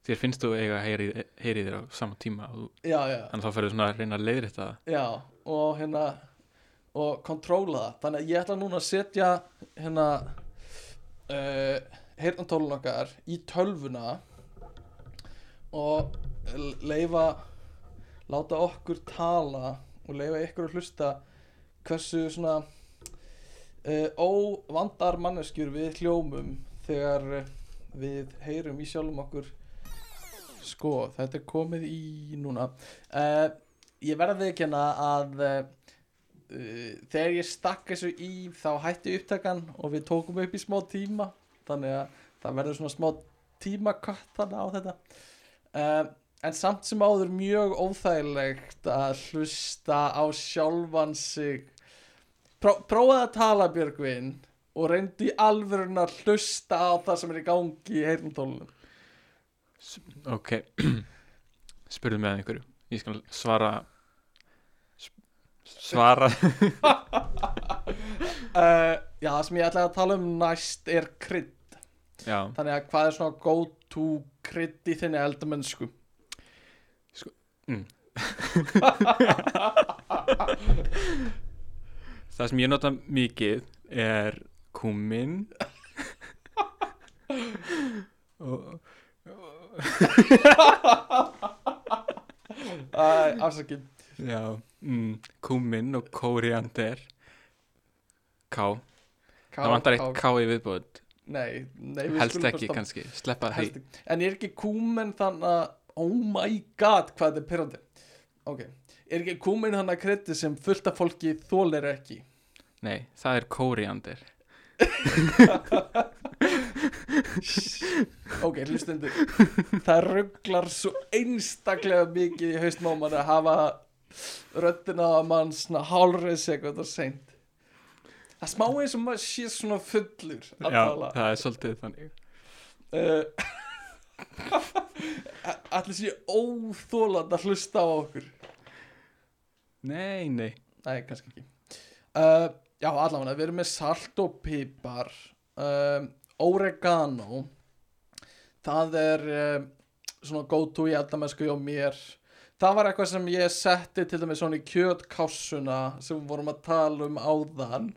Speaker 2: Þér finnst þú eiga að heyri, heyri þér á sama tíma og þú,
Speaker 1: já, já,
Speaker 2: þannig að þá ferðu svona að reyna að leiðri þetta
Speaker 1: Já, og hérna og kontróla það þannig að ég ætla núna að setja hérna uh, heyrnantólun okkar í tölvuna og leifa láta okkur tala og leifa ykkur að hlusta hversu svona uh, óvandar manneskjur við hljómum þegar eh, við heyrum í sjálfum okkur sko, þetta er komið í núna uh, ég verði ekki hérna að uh, uh, þegar ég stakk þessu í þá hætti upptakan og við tókum upp í smá tíma þannig að það verður svona smá tímakött þannig á þetta uh, en samt sem áður mjög óþægilegt að hlusta á sjálfan sig Pró prófaði að tala Björgvin og reyndi í alvörun að hlusta á það sem er í gangi í heyrnumtólunum
Speaker 2: Ok, spurðu mig að einhverju Ég skal svara sp- svara
Speaker 1: uh, já það sem ég ætlaði að tala um næst er krydd
Speaker 2: Já,
Speaker 1: Þannig að hvað er svona go to krydd í þinni eldamennsku?
Speaker 2: Sko- mm. það sem ég nota mikið er kúmin og
Speaker 1: Æ, afsakið.
Speaker 2: Já, mm, kúmin og kóriander K,
Speaker 1: Ká-
Speaker 2: það
Speaker 1: ká-
Speaker 2: vantar eitt K í viðbúð
Speaker 1: Nei, nei, við
Speaker 2: Helst
Speaker 1: skulum bara
Speaker 2: ekki
Speaker 1: stoppa-
Speaker 2: kannski, sleppa því
Speaker 1: helst ekki. En er ekki kúmen þann að, oh my god, hvað þetta er pyrrandi. Ok, er ekki kúmen þann að kryddi sem fullt af fólki þólir ekki?
Speaker 2: Nei, það er kóriander
Speaker 1: Ok, hlustendur, það rugglar svo einstaklega mikið í haustum á mann að hafa röddina á mann svona hálfrið sekund og seint. Það er smá eins og maður sé svona fullur að
Speaker 2: Já,
Speaker 1: tala.
Speaker 2: það er svolítið þannig
Speaker 1: uh, allir sé óþóland að hlusta á okkur
Speaker 2: Nei, nei
Speaker 1: nei, kannski ekki uh, já, allavega, við erum með salt og pipar um, oregano það er um, svona go to í eldamennsku hjá mér það var eitthvað sem ég setti til dæmis svona í kjötkássuna sem við vorum að tala um áðan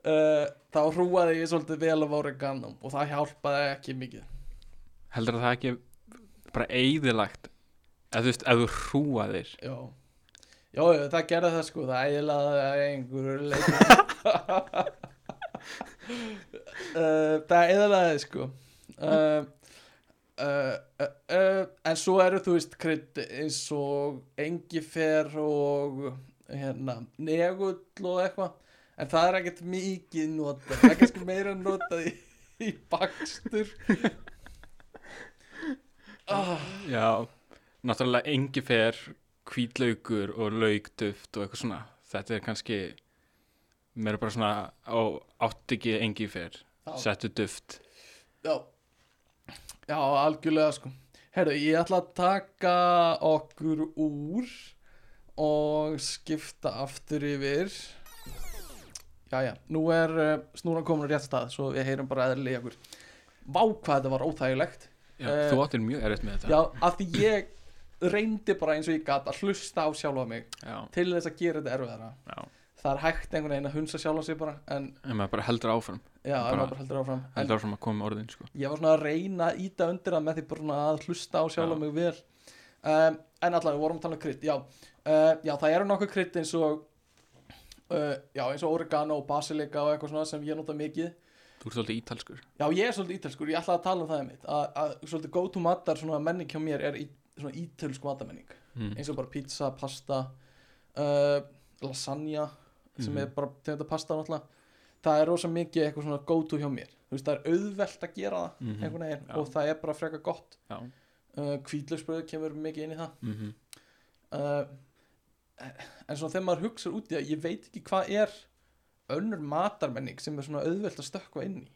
Speaker 1: uh, þá hrúaði ég svolítið vel af oregano og það hjálpaði ekki mikið
Speaker 2: Heldur það ekki bara eigðilagt Ef þú veist, ef þú hrúaðir
Speaker 1: Já, já, já, það gerði það sko, það ægilaði að einhverju leik Eh, Það ægilaði sko uh, uh, uh, uh, En svo eru þú veist krydd eins og engifer og hérna, negull og eitthvað En það er ekkert mikið notað, það er kannski meira notað í, í bakstur Ah,
Speaker 2: Já, náttúrulega engifer, hvítlaugur og laugduft og eitthvað svona Þetta er kannski Mér er bara svona á átt ekki engifer
Speaker 1: já.
Speaker 2: Settu duft
Speaker 1: Já Já, algjörlega sko Herru, ég ætla að taka okkur úr og skipta aftur yfir Jæja, nú er uh, snúran komin á rétt stað Svo við heyrum bara eðli í okkur Vá hvað þetta var óþægilegt
Speaker 2: Já,
Speaker 1: Eh,
Speaker 2: þú áttir mjög erfitt með
Speaker 1: Já,
Speaker 2: þetta
Speaker 1: af því ég reyndi bara eins og ég gat að hlusta á sjálfa mig
Speaker 2: já,
Speaker 1: Til þess að gera þetta erfiðara
Speaker 2: já.
Speaker 1: Það er hægt einhvern veginn að hunsa sjálfa sig bara En
Speaker 2: en maður bara heldur áfram
Speaker 1: já, ef
Speaker 2: Bara-
Speaker 1: maður bara heldur áfram en,
Speaker 2: heldur áfram að koma með orðin sko.
Speaker 1: ég var svona að reyna að íta undir það með því bara svona að hlusta á sjálf
Speaker 2: Já.
Speaker 1: mig vel um, en allavega, við vorum að tala um krydd já, uh, já, það eru nokkuð krydd eins og uh, já, eins og oregano og basilika og eitthvað svona sem ég nota mikið
Speaker 2: þú ert svolítið ítalskur
Speaker 1: já, ég er svolítið ítalskur, ég ætlaði að tala um það einmitt að, að svolítið go to matar svona menning hjá mér er í, svona ítalsk matamenning
Speaker 2: mm.
Speaker 1: eins og bara pizza, pasta uh, lasagna sem
Speaker 2: Mhm.
Speaker 1: er bara tegunda pasta náttúrulega það er rosa mikið eitthvað svona go to hjá mér þú veist, það er auðvelt að gera það
Speaker 2: Mhm.
Speaker 1: einhvern veginn
Speaker 2: Já.
Speaker 1: og það er bara frekar gott
Speaker 2: já,
Speaker 1: uh, kvítlöksbröð kemur mikið inn í það
Speaker 2: mm
Speaker 1: uh, en svona þegar maður hugsa út í það ég veit ekki hvað er önnur matarmenning sem er svona auðvelt að stökkva inn í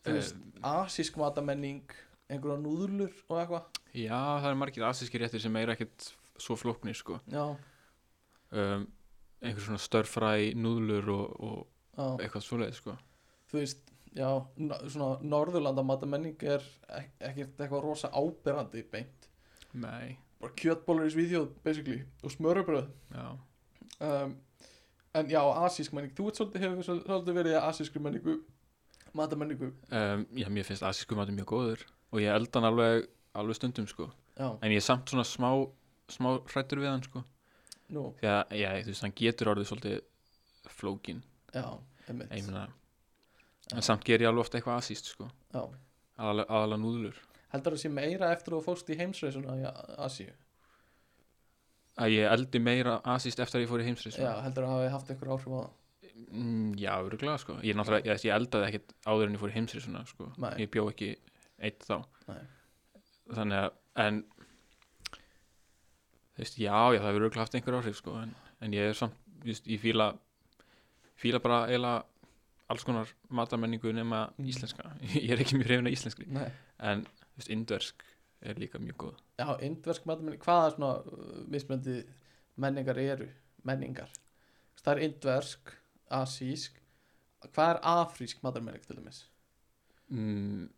Speaker 2: Eh,
Speaker 1: þú veist, asísk matarmenning einhverja núðlur og eitthvað
Speaker 2: já, það er margir asíski réttir sem er ekkert svo flóknir sko.
Speaker 1: já,
Speaker 2: um, einhver svona störfræ, núðlur og, og
Speaker 1: já,
Speaker 2: eitthvað svoleið sko.
Speaker 1: þú veist já, no- svona norðurlanda matarmenning er ek- ekkert eitthvað rosa áberandi beint
Speaker 2: nei,
Speaker 1: bara kjötbólur í svíðjóð basically og smörubröð
Speaker 2: já
Speaker 1: um, en já, asísk menning þú ert svolítið, hefur svol- svolítið verið í asískri menningu matamenningu
Speaker 2: um, já, mér finnst asísku matur mjög góður og ég eldan alveg, alveg stundum sko.
Speaker 1: já,
Speaker 2: en ég er samt svona smá smá hrættur við hann sko.
Speaker 1: nú,
Speaker 2: því að, já, þú veist, hann getur orðið svolítið flókin,
Speaker 1: já, einmitt
Speaker 2: ég meina en samt ger ég alveg ofta eitthvað asíst sko.
Speaker 1: já.
Speaker 2: aðalega, aðalega núðlur
Speaker 1: heldur það sé meira eftir að þú fóst í heimsreisuna í A- Asíu
Speaker 2: að ég eldi meira asíst eftir að ég fór í heimsreis
Speaker 1: já, heldur það hafi haft einhver áhrif á það
Speaker 2: Mm, já, öruglega sko Ég, náttúrulega- ég, ég eldaði ekkert áður en ég fór í heimsri svona, sko.
Speaker 1: Nei.
Speaker 2: Ég bjó ekki eitt þá
Speaker 1: Nei.
Speaker 2: Þannig að en, þú veist, Já, já, það hefur öruglega haft einhver áhrif sko, en, en ég er samt þú veist, Ég fíla fíla bara eiginlega alls konar matamenningu nema
Speaker 1: Mm.
Speaker 2: íslenska Ég er ekki mjög reyfin að íslenskri
Speaker 1: Nei.
Speaker 2: En þú veist, indversk er líka mjög góð
Speaker 1: já, indversk matamenning, hvaða svona uh, mismöndi menningar eru menningar, það er indversk asísk hvað er afrísk matamenning til dæmis
Speaker 2: mm,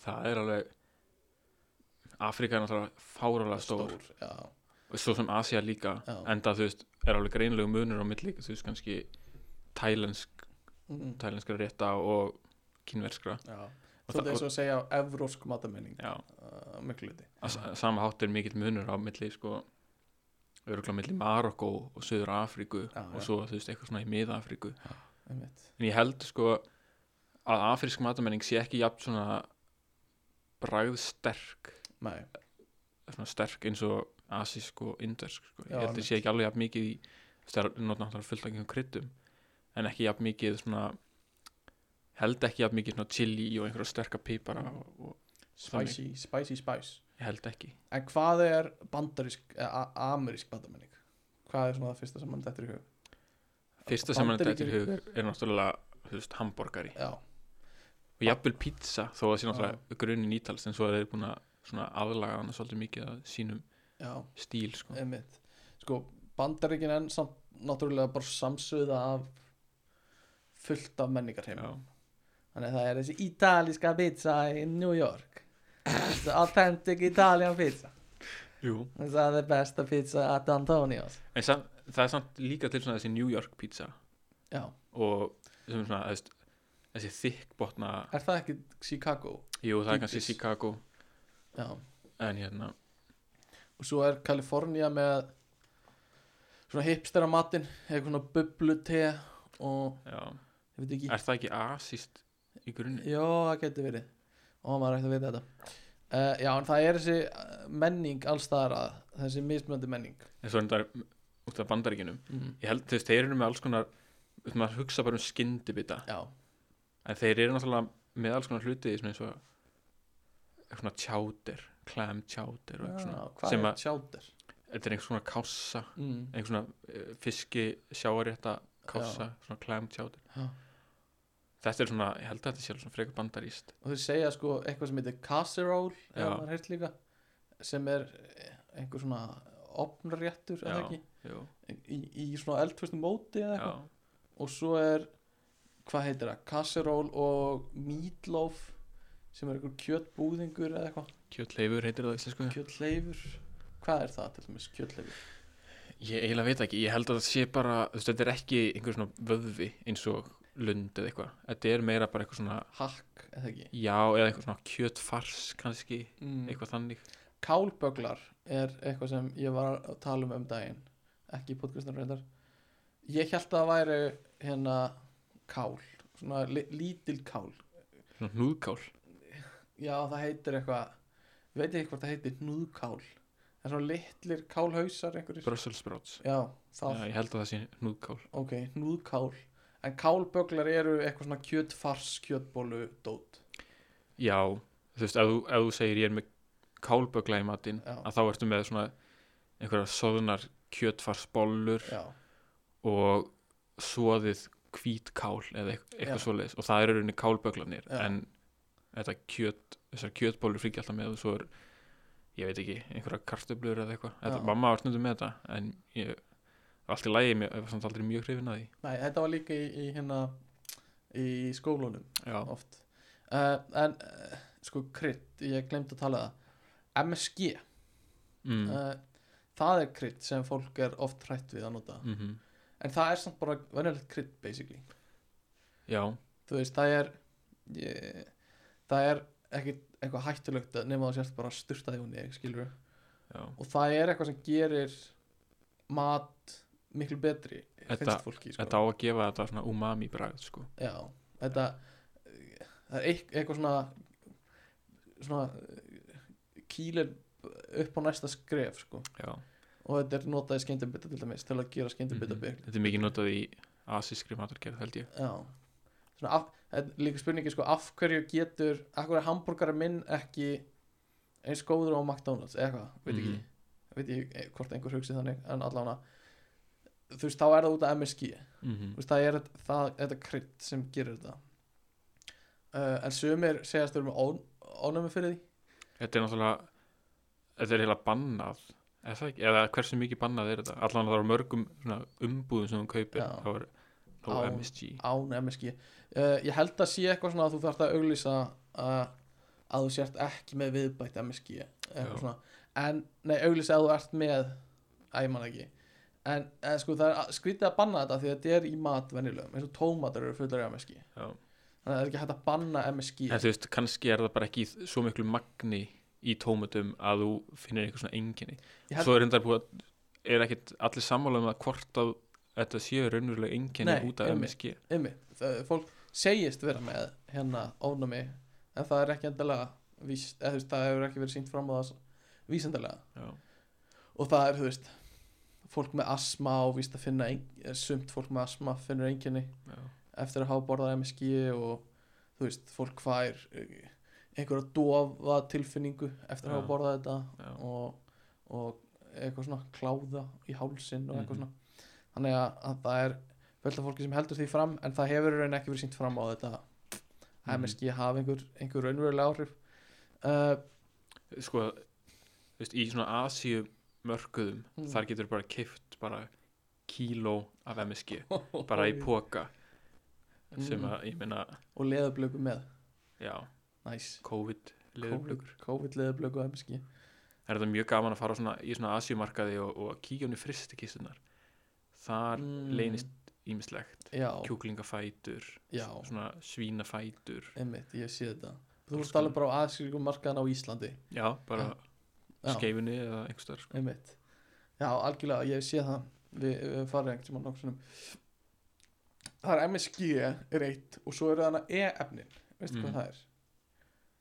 Speaker 2: Það er alveg Afrika er náttúrulega fárálega stór
Speaker 1: já,
Speaker 2: og svo sem Asia líka
Speaker 1: Já.
Speaker 2: enda þú veist, er alveg greinlegu munur á milli, þú veist, kannski tælensk,
Speaker 1: mm.
Speaker 2: tælenskra rétta og kínverskra
Speaker 1: já.
Speaker 2: og
Speaker 1: Svolítið
Speaker 2: það,
Speaker 1: eins og að segja evrósk matamenning
Speaker 2: já,
Speaker 1: uh, miklu liti
Speaker 2: að sa- sama hátt er mikill munur á milli, sko öruglega milli Marokko og Suður Afríku
Speaker 1: Já,
Speaker 2: og
Speaker 1: já.
Speaker 2: svo, þú veist, eitthvað svona í Mið Afríku
Speaker 1: einmitt.
Speaker 2: en ég held, sko að afrísk matamenning sé ekki jafn svona bragðsterk
Speaker 1: Nei,
Speaker 2: svona sterk eins og asísk og indversk sko. ég
Speaker 1: Já,
Speaker 2: held að
Speaker 1: einmitt.
Speaker 2: sé ekki alveg jafn mikið í það er notað náttúrulega fullt af einhverjum kryddum en ekki jafn mikið svona held ekki jafn mikið svona chili og einhverja sterka pipara
Speaker 1: Mm.
Speaker 2: og, og
Speaker 1: spicy, spicy spice
Speaker 2: ég held ekki
Speaker 1: En hvað er bandarísk eða a- amerísk bandamenning? Hvað er svona það fyrsta sem mann dettur í hug?
Speaker 2: fyrsta sem hann dættir
Speaker 1: Bandaríkin-
Speaker 2: hug er, er náttúrulega þú veist, hambúrgari
Speaker 1: Já,
Speaker 2: og jafnvel pizza þó að það sé náttúrulega grunin ítals en svo er þeir búin að svona aðlaga hann svolítið mikið að sínum
Speaker 1: já,
Speaker 2: stíl sko.
Speaker 1: einmitt Sko, bandaríkin enn samt náttúrulega bara samsöða af fullt af menningar
Speaker 2: já,
Speaker 1: Þannig að það er þessi italíska pizza í New York Þessi authentic Italian pizza
Speaker 2: jú
Speaker 1: Það er besta pizza at Antonio's
Speaker 2: en sam, það er samt líka til svona þessi New York pizza
Speaker 1: Já,
Speaker 2: og sem er svona þú veist, þessi þykkbotna
Speaker 1: er það ekki Chicago?
Speaker 2: jú það er
Speaker 1: Dýtis.
Speaker 2: kannski Chicago
Speaker 1: Já
Speaker 2: en hérna
Speaker 1: og svo er Kalifornía með svona hipstera matinn eitthvað svona bublu te og
Speaker 2: já.
Speaker 1: ég veit ekki
Speaker 2: er það ekki asist í grunni
Speaker 1: já það getur verið og maður ætti að vita þetta uh, já en það er þessi eh, menning alls staðar að þessi mismöndi menning
Speaker 2: en svo er þetta út af bandaríkinum
Speaker 1: mm.
Speaker 2: ég held þú veist þeir eru með alls konar þú veist, maður hugsa bara um skyndibita
Speaker 1: já
Speaker 2: en þeir eru náttúrulega með alls konar hluti svona eins og eitthvað svona chowder clam chowder og eitthvað
Speaker 1: Já,
Speaker 2: svona
Speaker 1: Ah, hvað
Speaker 2: sem
Speaker 1: er
Speaker 2: að
Speaker 1: tjáter
Speaker 2: þetta er einhvers konar kássa
Speaker 1: mm.
Speaker 2: einhvers svona eh, fiski sjáarétta kássa svona clam chowder
Speaker 1: Já.
Speaker 2: þetta er svona ég held að þetta sé alveg svona frekar bandaríst
Speaker 1: og þau segja sko eitthvað sem heitir casserole ef
Speaker 2: Já.
Speaker 1: maður heilt líka sem er eh, einhver svona opnréttur eða
Speaker 2: Já,
Speaker 1: ekki
Speaker 2: Jú,
Speaker 1: í, í svona eldfustum móti eða eitthvað
Speaker 2: já,
Speaker 1: og svo er hvað heitir það, kasseról og meatloaf sem er einhver kjötbúðingur eða eitthvað,
Speaker 2: Kjötleifur heitir það á íslensku
Speaker 1: kjötleifur hvað er það til dæmis, kjötleifur
Speaker 2: Ég eiginlega veit ekki, ég held að það sé bara þú veist, þetta er ekki einhver svona vöðvi eins og lund eða eitthvað Þetta er meira bara eitthvað svona
Speaker 1: hakk, eða ekki
Speaker 2: já eða eitthvað svona kjötfars kannski,
Speaker 1: mm.
Speaker 2: eitthvað þannig
Speaker 1: kálböglar er eitthvað sem ég var að tala um um daginn ekki í podcastinu reyndar ég held að það væri hérna kál, svona li- lítil kál
Speaker 2: Svona hnúðkál
Speaker 1: já það heitir eitthvað ég veit ekki hvort það heitir hnúðkál það er svona litlir kálhausar einhverjir
Speaker 2: Brussels sprouts
Speaker 1: já, það
Speaker 2: Já, ég held að það sé hnúðkál
Speaker 1: ok, hnúðkál en kálböglar eru eitthvað svona kjötfars kjötbólu dót
Speaker 2: Já, þú veist, ef þú, ef þú segir ég er með kálbögla í matinn
Speaker 1: Já.
Speaker 2: að þá ertu með svona einhverjar soðunar kjötfarsbollur
Speaker 1: já,
Speaker 2: og svoðið hvítkál eða eitth- eitthvað
Speaker 1: Já.
Speaker 2: svoleiðis og það eru rauninni kálböglanir
Speaker 1: Já.
Speaker 2: en þetta kjöt, þessar kjötbólur fríkja alltaf með og svo er, ég veit ekki einhverja kartöblur eða eitthvað þetta,
Speaker 1: Já.
Speaker 2: mamma var stundum með þetta en ég, allt í lagi, ég var samt aldrei mjög hrifin að því
Speaker 1: nei, þetta var líka í, í hérna í skólunum
Speaker 2: Já,
Speaker 1: oft uh, en uh, sko krydd, ég glemt að tala um það MSG
Speaker 2: mm,
Speaker 1: uh, það er krydd sem fólk er oft hrætt við að nota
Speaker 2: mm
Speaker 1: en það er samt bara venjulegt krydd basically
Speaker 2: já,
Speaker 1: þú veist, það er ég, það er ekkit eitthvað hættulegt að nema það sérst bara styrtaði hún í skilur
Speaker 2: já
Speaker 1: og það er eitthvað sem gerir mat miklu betri
Speaker 2: Þetta-
Speaker 1: finnst fólki sko.
Speaker 2: Þetta á að gefa þetta svona umami bragð sko.
Speaker 1: Já, þetta eh, það er eitth- eitthvað svona svona kýlir upp á næsta skref sko.
Speaker 2: Já,
Speaker 1: og þetta er notaði skemmtibita til dæmis til að gera skemmtibita
Speaker 2: Mhm.
Speaker 1: mm
Speaker 2: Þetta er mikið notað í asískri matargerð held ég
Speaker 1: Já svona, af, þetta er líka spurningi sko, af hverju getur af hverju er hambúrgara minn ekki eins góður á McDonalds eða eitthvað, veit ekki
Speaker 2: Mhm.
Speaker 1: veit ekki eh, hvort einhver hugsi þannig en allána þú veist, þá er það út af MSG
Speaker 2: mm
Speaker 1: Þú veist, það er það, þetta krydd sem gerir þetta uh, en sumir segjast þau eru með ón- ónæmi fyrir því
Speaker 2: Þetta er náttúrulega Þetta er heila bannað eða, það ekki, eða hversu mikið bannað er þetta Allan að það eru mörgum svona, umbúðum sem hún kaupir
Speaker 1: Já.
Speaker 2: þá er no
Speaker 1: Á-
Speaker 2: MSG
Speaker 1: án MSG uh, ég held að sé eitthvað svona að þú þarft að auglýsa uh, að þú sért ekki með viðbætt MSG
Speaker 2: Já.
Speaker 1: eitthvað svona en, nei, auglýsa að þú ert með að ég man ekki en, en sko það er að- skrítið að banna þetta því að þetta er í mat venjulegum eins og tómatar eru fullar í MSG
Speaker 2: Já.
Speaker 1: þannig að það er ekki hægt að banna MSG
Speaker 2: En þú veist, kannski er það bara ekki í svo miklu magni í tómutum að þú finnir einhver svona enginni
Speaker 1: Ég held-
Speaker 2: Svo er þetta búið að er ekkit allir sammála um að hvort að þetta séu raunverulega enginni
Speaker 1: Nei,
Speaker 2: út af
Speaker 1: einmitt.
Speaker 2: MSG
Speaker 1: Ymmi, fólk segist vera með hérna ónami en það er ekki endilega víst, eða, þú veist, það hefur ekki verið sínt fram á það vísendilega
Speaker 2: Já,
Speaker 1: og það er, þú veist, fólk með asma og víst að finna, ein, eh, sumt fólk með asma finnur einkenni
Speaker 2: já,
Speaker 1: eftir að hafa borðað MSG og þú veist, fólk fær eh, einhverja dofa tilfinningu eftir að
Speaker 2: Já.
Speaker 1: hafa borðað þetta
Speaker 2: já.
Speaker 1: og, og eitthvað svona kláða í hálsinn og eitthvað
Speaker 2: Mhm.
Speaker 1: svona þannig að, að það er fullt af fólki sem heldur því fram en það hefur í raun ekki verið sínt fram á þetta
Speaker 2: Mhm.
Speaker 1: MSG hafi einhver, einhver raunverulega áhrif uh,
Speaker 2: sko þú veist, í svona Asíu mörkuðum
Speaker 1: Mm.
Speaker 2: þar getur bara kift bara kíló af MSG bara í póka sem
Speaker 1: Mm.
Speaker 2: að, ég meina,
Speaker 1: og leðublöku með,
Speaker 2: já,
Speaker 1: næs
Speaker 2: COVID leðurblökur.
Speaker 1: nice. COVID leðublöku og MSG
Speaker 2: Það er þetta mjög gaman að fara á svona, í svona Asíumarkaði og, og kíkja hún í fristikistunar þar
Speaker 1: Mm.
Speaker 2: leynist ímislegt,
Speaker 1: já,
Speaker 2: kjúklingafætur
Speaker 1: já,
Speaker 2: svona svínafætur
Speaker 1: einmitt, ég sé þetta þú
Speaker 2: Alls
Speaker 1: ert alveg bara á aðskilgum markaðan á Íslandi
Speaker 2: já, bara
Speaker 1: já,
Speaker 2: skeifunni eða einhverstaðar sko.
Speaker 1: einmitt já, algjörlega, ég sé það við, við farið einhvern tímann nokkuð sinnum það er MSG er eitt og svo eru þarna E-efnin veistu
Speaker 2: Mhm.
Speaker 1: hvað það er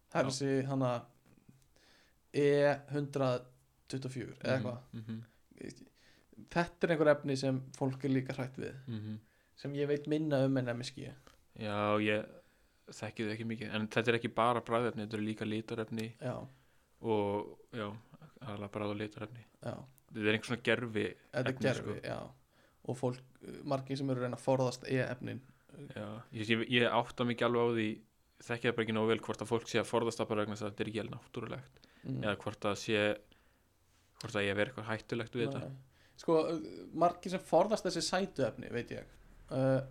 Speaker 1: það er
Speaker 2: Já.
Speaker 1: þessi hana E124 eða eitthvað
Speaker 2: mm -hmm,
Speaker 1: þetta er einhver efni sem fólk er líka hrætt við
Speaker 2: mm -hmm.
Speaker 1: sem ég veit minna um en MSG
Speaker 2: Já, ég þekki þau ekki mikið en þetta er ekki bara bræðefni, þetta eru líka litarefni
Speaker 1: já,
Speaker 2: og já, aðalega bræð og litarefni
Speaker 1: já,
Speaker 2: þetta er einhver svona gerfi
Speaker 1: þetta er
Speaker 2: Efni,
Speaker 1: gerfi já. og fólk, eh, margir sem eru að reyna að forðast E-efnin
Speaker 2: já, ég, ég, ég átta mikið alveg á því þekki það bara ekki nóg vel hvort að fólk sé að forðast það bara vegna þess að þetta er ekki alveg náttúrulegt
Speaker 1: mm.
Speaker 2: eða hvort að sé hvort að ég verið eitthvað hættulegt við þetta
Speaker 1: eh, Nei. sko, uh, margir sem forðast þessi sætuefni veit ég uh,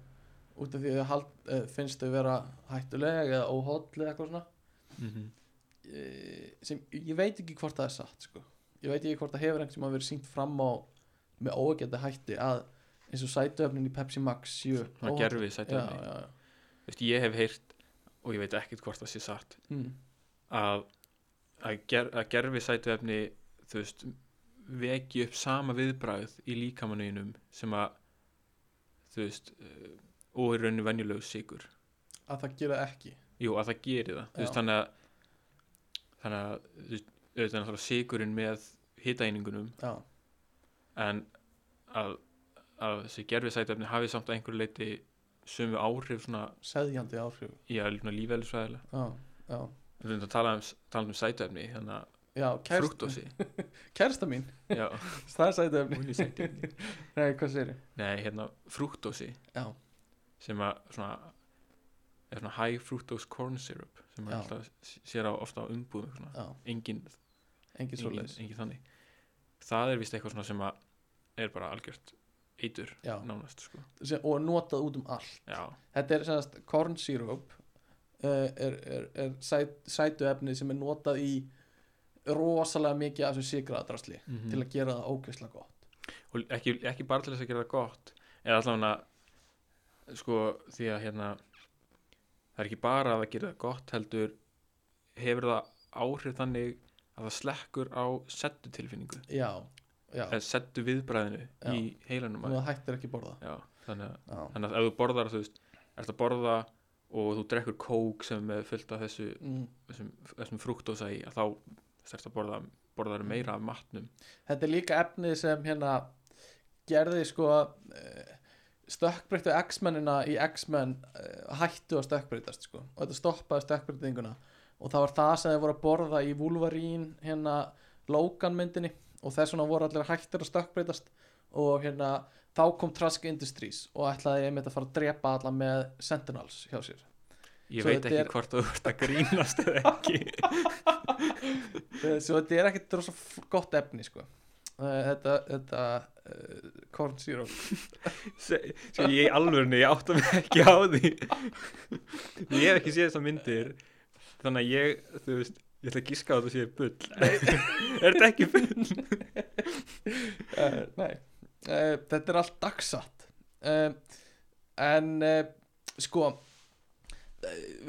Speaker 1: út af því að hald, uh, finnst þau vera hættuleg eða óhóttleg eitthvað svona
Speaker 2: mm -hmm.
Speaker 1: uh, sem ég veit ekki hvort það er satt sko. ég veit ekki hvort það hefur einhvern sem verið sínt fram á með óegjandi hætti að eins og sætuöfnin í Pepsi Max séu
Speaker 2: Svona
Speaker 1: óholl.
Speaker 2: gerfið
Speaker 1: já,
Speaker 2: sætið
Speaker 1: já, já.
Speaker 2: Veist, ég hef heyrt og ég veit ekkert hvort það sé satt
Speaker 1: Mm.
Speaker 2: að, að, ger, að gerfi sætuefni þú veist veki upp sama viðbræð í líkamanuðinum sem að þú veist eh, og er rauninu venjulegu sigur
Speaker 1: að það gera ekki
Speaker 2: jú að það gerir það þú veist,
Speaker 1: Já.
Speaker 2: þannig að þannig að þú veist, auðvitað er náttúrulega sigurinn með hitaeiningunum
Speaker 1: já,
Speaker 2: en að, að þessi gerfi sætuefni hafi samt að einhverju leiti sömu áhrif svona
Speaker 1: seðjandi áhrif
Speaker 2: í að lífæðlisfræðilega
Speaker 1: já, já,
Speaker 2: við erum að tala um, tala um sætuefni þannig að
Speaker 1: já kærst,
Speaker 2: frúktósi
Speaker 1: kærsta mín
Speaker 2: já,
Speaker 1: það er sætuöfni
Speaker 2: hún er sætuefni
Speaker 1: nei, hvað segir
Speaker 2: Nei, hérna frúktósi
Speaker 1: Já.
Speaker 2: sem að svona er svona high fructose corn syrup sem maður
Speaker 1: Já.
Speaker 2: alltaf s- sér á ofta á umbúðum svona.
Speaker 1: já,
Speaker 2: engin,
Speaker 1: engin svo
Speaker 2: engin, engin þannig það er vist eitthvað svona sem að er bara algjört eitur
Speaker 1: já,
Speaker 2: nánast sko.
Speaker 1: sem- og notað út um allt
Speaker 2: Já,
Speaker 1: þetta er sannast corn syrup uh, er, er, er sæt, sætuefni sem er notað í rosalega mikið af þessu
Speaker 2: Mm.
Speaker 1: sigraðadrasli til að gera það ógeðslega gott
Speaker 2: og ekki, ekki bara til þess að gera það gott eða allavega sko því að hérna það er ekki bara að það gera það gott heldur hefur það áhrif þannig að það slekkur á settu tilfinningu
Speaker 1: já, já,
Speaker 2: eða settu viðbræðinu
Speaker 1: Já.
Speaker 2: í heilanum
Speaker 1: þannig
Speaker 2: að,
Speaker 1: að hættir ekki borða
Speaker 2: já, þannig, að,
Speaker 1: já,
Speaker 2: þannig að ef þú borðar þú veist, ert að borða og þú drekkur kók sem er fullt af þessu
Speaker 1: mm.
Speaker 2: þessum, þessum frúktósa í að þá ert að borða borðar
Speaker 1: Mm.
Speaker 2: meira af matnum
Speaker 1: þetta er líka efni sem hérna gerði sko uh, stökkbreyttu X-menina í X-men uh, hættu að stökkbreytast sko og þetta stoppaði stökkbreytinguna og það var það sem þeir voru að borða í Wolverine hérna Logan myndinni og þess vegna voru allir hættir að stökkbreytast og hérna þá kom Trask Industries og ætlaði einmitt að fara að drepa alla með Sentinels hjá sér
Speaker 2: ég
Speaker 1: Svo
Speaker 2: veit
Speaker 1: þetta
Speaker 2: ekki
Speaker 1: er-
Speaker 2: hvort þú ert að grínast eða ekki
Speaker 1: Eh, svo þetta er ekkert rosa f- gott efni sko Eh, þetta, þetta uh, Corn Syrup
Speaker 2: Se- sko ég í alvörni, ég átta mig ekki á því ég hef ekki séð þessar myndir þannig að ég, þú veist ég ætla að gíska á þetta séð bull er þetta ekki bull?
Speaker 1: uh, nei, uh, þetta er allt dagsatt uh, en uh, sko uh,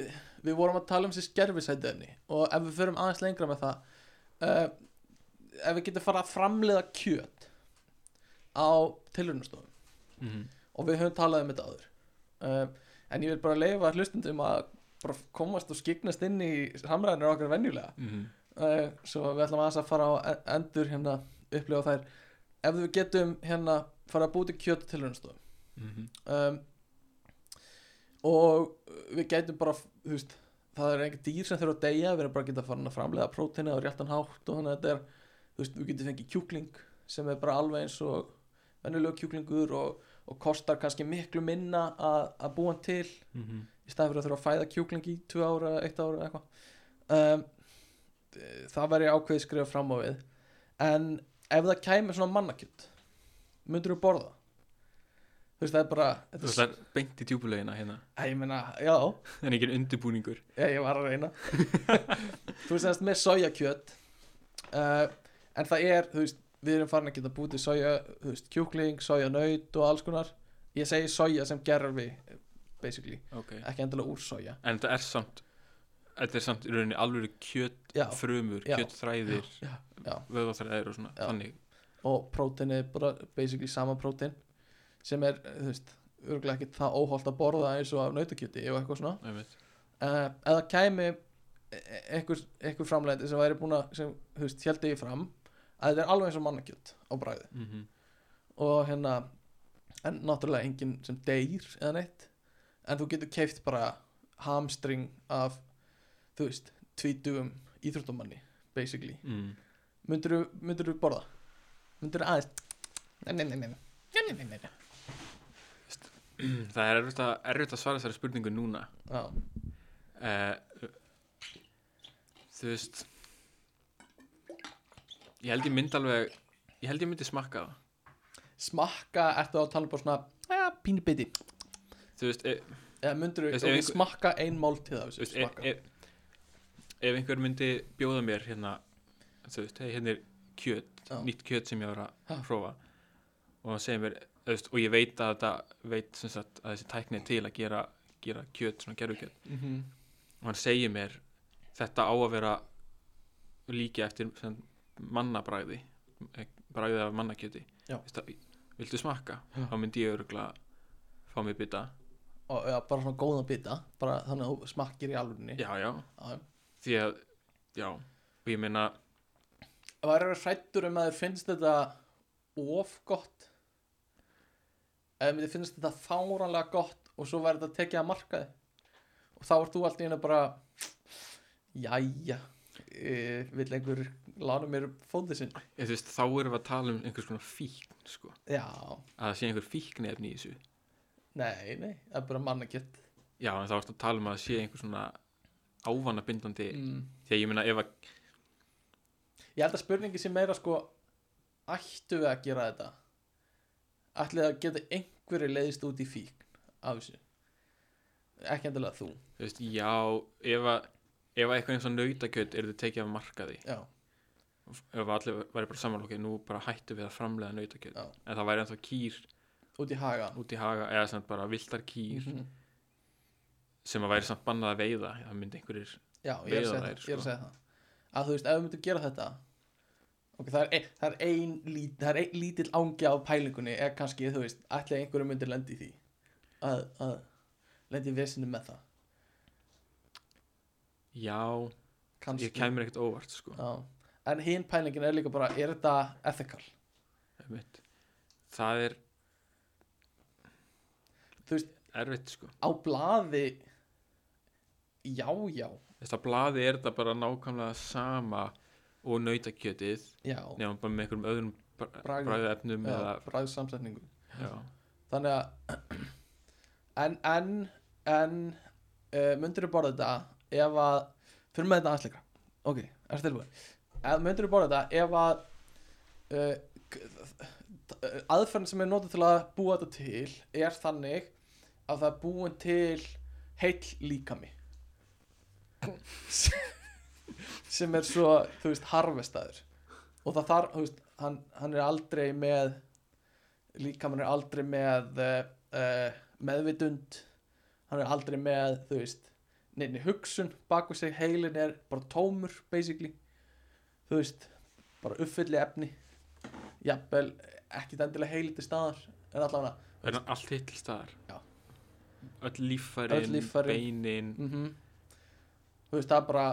Speaker 1: við, við vorum að tala um sér skerfisætiðinni og ef við förum aðeins lengra með það uh, ef við getum fara að framleiða kjöt á tilhörnustofum
Speaker 2: Mm -hmm.
Speaker 1: og við höfum talað um þetta áður uh, en ég vil bara leifa hlustundum að bara komast og skiknast inn í samræðinir okkar venjulega uh, svo við ætlum aðeins að fara á en- endur hérna upplifa þær ef við getum hérna fara að búti kjöt til hlunastof um, og við getum bara þú veist, það er engin dýr sem þurfa að deyja við erum bara að geta farin að framlega prótina og réttan hátt og þannig að þetta er þú veist, við getum fengið kjúkling sem er bara alveg eins og venjulega kjúklingur og, og kostar kannski miklu minna að, að búa hann til í staðan fyrir að þurfa að fæða kjúkling í tvö ára, eitt ára eða eitthvað um, e, það væri ákveðið skrifa fram á við en ef það kæmi svona mannakjöt myndur þú borða þú veist það er bara
Speaker 2: Þú
Speaker 1: þetta
Speaker 2: veist það er beint í djúbulegina hérna
Speaker 1: Æ, ég meina, já,
Speaker 2: en ekki undirbúningur
Speaker 1: ég, ég var að reyna þú veist það með sojakjöt uh, en það er þú veist, við erum farin að geta bútið soja, þú veist, kjúkling, sojanaut og alls konar, ég segi soja sem gerfi basically,
Speaker 2: okay.
Speaker 1: ekki endilega úr soja
Speaker 2: En þetta er samt Þetta er samt í rauninni alveg
Speaker 1: já,
Speaker 2: kjötfrumur,
Speaker 1: Já.
Speaker 2: kjötþræðir
Speaker 1: já, já.
Speaker 2: vöðvaþræðir og svona
Speaker 1: Já.
Speaker 2: Þannig,
Speaker 1: og prótein er bara basically sama prótein sem er, þú veist, örgulega ekki það óholt að borða eins og af nautakjöti og eitthvað svona
Speaker 2: einmitt
Speaker 1: uh, eða kæmi e- einhver, einhver framleiti sem væri búin að, sem, þú veist, héldi ég fram að þetta er alveg eins og mannakjöt á bræði
Speaker 2: mm -hmm.
Speaker 1: og hérna, en náttúrulega enginn sem deyr eða neitt en þú getur keift bara hamstring af, þú veist, tvítugum íþróttamanni, basically
Speaker 2: mm.
Speaker 1: myndirðu, myndirðu borða myndirðu aðeins nei, nei, nei, nei, nei, nei, nei, nei, nei.
Speaker 2: Það er erfitt að, erfitt að svara þessari spurningu núna
Speaker 1: Já,
Speaker 2: uh, Þú veist Ég held ég myndi alveg Ég held ég myndi smakka það
Speaker 1: smakka ertu á að tala bara svona ja, pínu biti
Speaker 2: þú veist, e,
Speaker 1: eða myndur
Speaker 2: Þú
Speaker 1: við
Speaker 2: veist,
Speaker 1: okay,
Speaker 2: ef einhver-
Speaker 1: smakka ein máltíð af
Speaker 2: þú
Speaker 1: þessu
Speaker 2: veist e,
Speaker 1: smakka
Speaker 2: e, ef einhver myndi bjóða mér hérna þú veist, hey, hérna er kjöt
Speaker 1: Já.
Speaker 2: nýtt kjöt sem ég var að
Speaker 1: Ha.
Speaker 2: prófa og hann segir mér, þú veist, og ég veit að þetta veit sem sagt að þessi tækni er til að gera, gera kjöt, svona gerfukjöt
Speaker 1: Mhm.
Speaker 2: og hann segir mér, þetta á að vera líki eftir sem, mannabræði bræði af mannakjöti
Speaker 1: Já.
Speaker 2: Þú veist, að- viltu smakka?
Speaker 1: Já.
Speaker 2: þá myndi ég örugla fá mér bita
Speaker 1: og ja, bara svona góðan bita bara þannig að þú smakkir í alvunni
Speaker 2: já, já,
Speaker 1: það
Speaker 2: því að já, og ég meina
Speaker 1: er hrættur um að þér finnst þetta of gott eða þér finnst þetta fáranlega gott og svo verður þetta tekið að markaði og þá ert þú allt í henni bara jæja e, vill einhver lána mér fóðið sinn
Speaker 2: Ég, eh, þú veist, þá erum við að tala um einhvers konar fíkn sko.
Speaker 1: já,
Speaker 2: að það sé einhver fíknefni í þessu
Speaker 1: nei, nei, það er bara mannakjött
Speaker 2: já, en þá ertu að tala um að það sé einhver svona ávanabindandi
Speaker 1: mm.
Speaker 2: því að ég meina ef að
Speaker 1: Ég held að spurningi sé meira sko ættu við að gera þetta ætlið að geta einhverju leiðist út í fíkn af þessu ekki endilega þú
Speaker 2: þú veist, já, ef að ef að eitthvað eins og nautakjöt eru þið tekið af markaði
Speaker 1: já,
Speaker 2: ef að allir væri bara samanlokið, nú bara hættu við að framlega nautakjöt
Speaker 1: Já.
Speaker 2: en það væri ennþá kýr
Speaker 1: út í hagan
Speaker 2: út í haga eða sem sagt bara viltar kýr
Speaker 1: Mhm.
Speaker 2: sem að væri samt bannað að veiða það myndi einhverjir
Speaker 1: já, ég er, að segja, það,
Speaker 2: Veiðar þær,
Speaker 1: ég er að
Speaker 2: sko.
Speaker 1: segja það að þú veist, ef við myndum gera þetta ok, það er, ein, það er ein lít, það er ein lítill ángi á pælingunni eða kannski, þú veist, ætlið einhverju myndir lendi í því að, að lendi í vesinu með það
Speaker 2: já,
Speaker 1: kannski
Speaker 2: ég kemur ekkert óvart sko.
Speaker 1: já. en hinn pælingin er líka bara, er þetta ethical
Speaker 2: Einmitt. það er
Speaker 1: Þú veist-
Speaker 2: erfitt sko
Speaker 1: á blaði já, já,
Speaker 2: Þess að blaði er þetta bara nákvæmlega sama og nautakjötið
Speaker 1: já
Speaker 2: nefnum bara með einhverjum öðrum
Speaker 1: Bragði.
Speaker 2: bræðefnum eða,
Speaker 1: bræðsamsetningu
Speaker 2: já,
Speaker 1: þannig að en, en, en uh, myndir þú borða þetta ef að, fyrir með þetta aðsleika ok, er tilbúin ef myndir þú borða þetta ef að uh, aðferðin sem er notið til að búa þetta til er þannig að það er búin til heill líkami sem sem er svo, þú veist, harvestaður og það þarf, þú veist, hann, hann er aldrei með líkamann er aldrei með uh, meðvitund hann er aldrei með, þú veist nefnir hugsun, baku sig heilin er bara tómur, basically þú veist, bara uppfylli efni jafnvel ekkit endilega heili til staðar en allavega
Speaker 2: er hann allt hitt til staðar
Speaker 1: Já.
Speaker 2: öll líffærin,
Speaker 1: Öll líffærin.
Speaker 2: beinin
Speaker 1: mm þú veist, það er bara,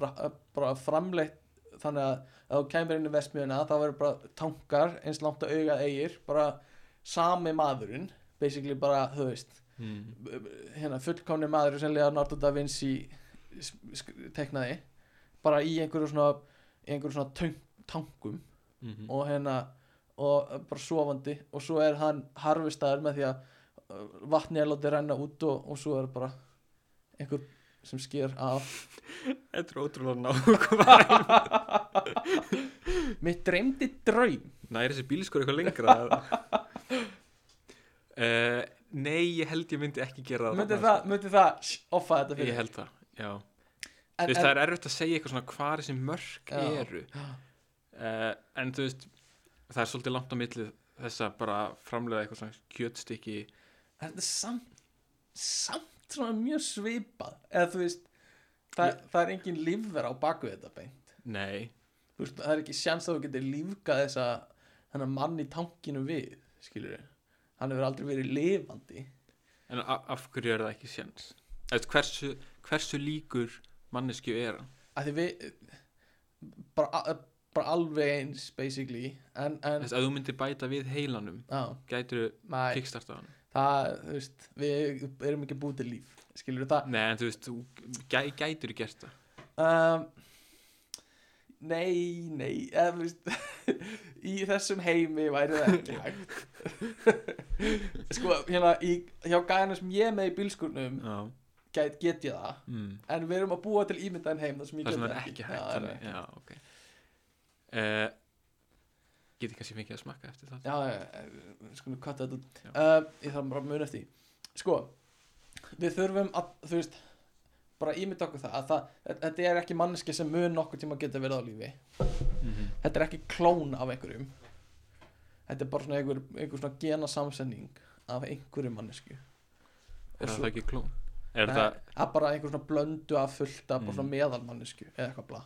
Speaker 1: bara, bara framleitt þannig að ef þú kemur inn í vestmiðuna þá verður bara tankar eins langt að augað eigir bara sami maðurinn basically bara, þú veist
Speaker 2: mm.
Speaker 1: hérna fullkomni maður sem Leonardo da Vinci s- sk- teiknaði bara í einhverju svona í einhverju svona töng, tangum
Speaker 2: Mm -hmm.
Speaker 1: og hérna og bara sofandi og svo er hann harfistaður með því að uh, vatni er látið renna út og, og svo er bara einhver sem sker af
Speaker 2: þetta er ótrúlega nákvæm
Speaker 1: mér dreymdi draum
Speaker 2: næri þessi bílskur eitthvað lengra uh, nei, ég held ég myndi ekki gera það,
Speaker 1: myndi það, myndi það sh, offa þetta fyrir
Speaker 2: ég held það, já
Speaker 1: En-
Speaker 2: Þú veist,
Speaker 1: en-
Speaker 2: það er erfitt að segja eitthvað svona hvar þessi mörk
Speaker 1: Já.
Speaker 2: eru uh, en þú veist það er svolítið langt á milli þess að bara framlega eitthvað svona kjötstykki
Speaker 1: en þetta er samt samt svona mjög svipað eða þú veist það, það er engin lífver á baku þetta beint
Speaker 2: nei,
Speaker 1: þú veist, það er ekki sjans að þú getur lífgað þessa hennar mann í tankinu við skilur við, hann hefur aldrei verið lifandi
Speaker 2: en a- af hverju er það ekki sjans Eftir, hversu, hversu líkur mannesku er hann
Speaker 1: að því við bara, bara alveg eins basically, en, en
Speaker 2: þess að þú myndir bæta við heilanum
Speaker 1: á,
Speaker 2: gætur
Speaker 1: mæ,
Speaker 2: kickstarta hann
Speaker 1: það, þú veist við erum ekki búið til líf skilur við það
Speaker 2: nei, en þú veist, þú gæ, gætur gert það
Speaker 1: um, Nei, nei eða, þú veist, Í þessum heimi væri það ekki hægt Sko, hérna í, Hjá gæðinu sem ég er með í bílskurnum
Speaker 2: já,
Speaker 1: get, get ég það
Speaker 2: mm.
Speaker 1: En við erum að búa til ímyndaðin heim þar sem ég
Speaker 2: það sem
Speaker 1: get
Speaker 2: er ekki
Speaker 1: Já,
Speaker 2: hægt
Speaker 1: það er
Speaker 2: þannig,
Speaker 1: ekki.
Speaker 2: já, ok uh, getið kannski fengið að smakka eftir það
Speaker 1: Já, já, já, skulum kvarta þetta út
Speaker 2: Já.
Speaker 1: uh, Ég þarf bara að muna eftir því. Sko, við þurfum að, þú veist bara ímynda okkur það, að það þetta er ekki manneski sem mun nokkur tíma geta verið á lífi
Speaker 2: Mhm.
Speaker 1: þetta er ekki klón af einhverjum þetta er bara svona einhver, einhver svona genasamsending af einhverjum mannesku Og
Speaker 2: er
Speaker 1: svo-
Speaker 2: það ekki klón er
Speaker 1: Nei,
Speaker 2: það,
Speaker 1: það er bara einhver svona blöndu af fullt af
Speaker 2: Mm.
Speaker 1: bara svona meðalmannesku eða eitthvað bla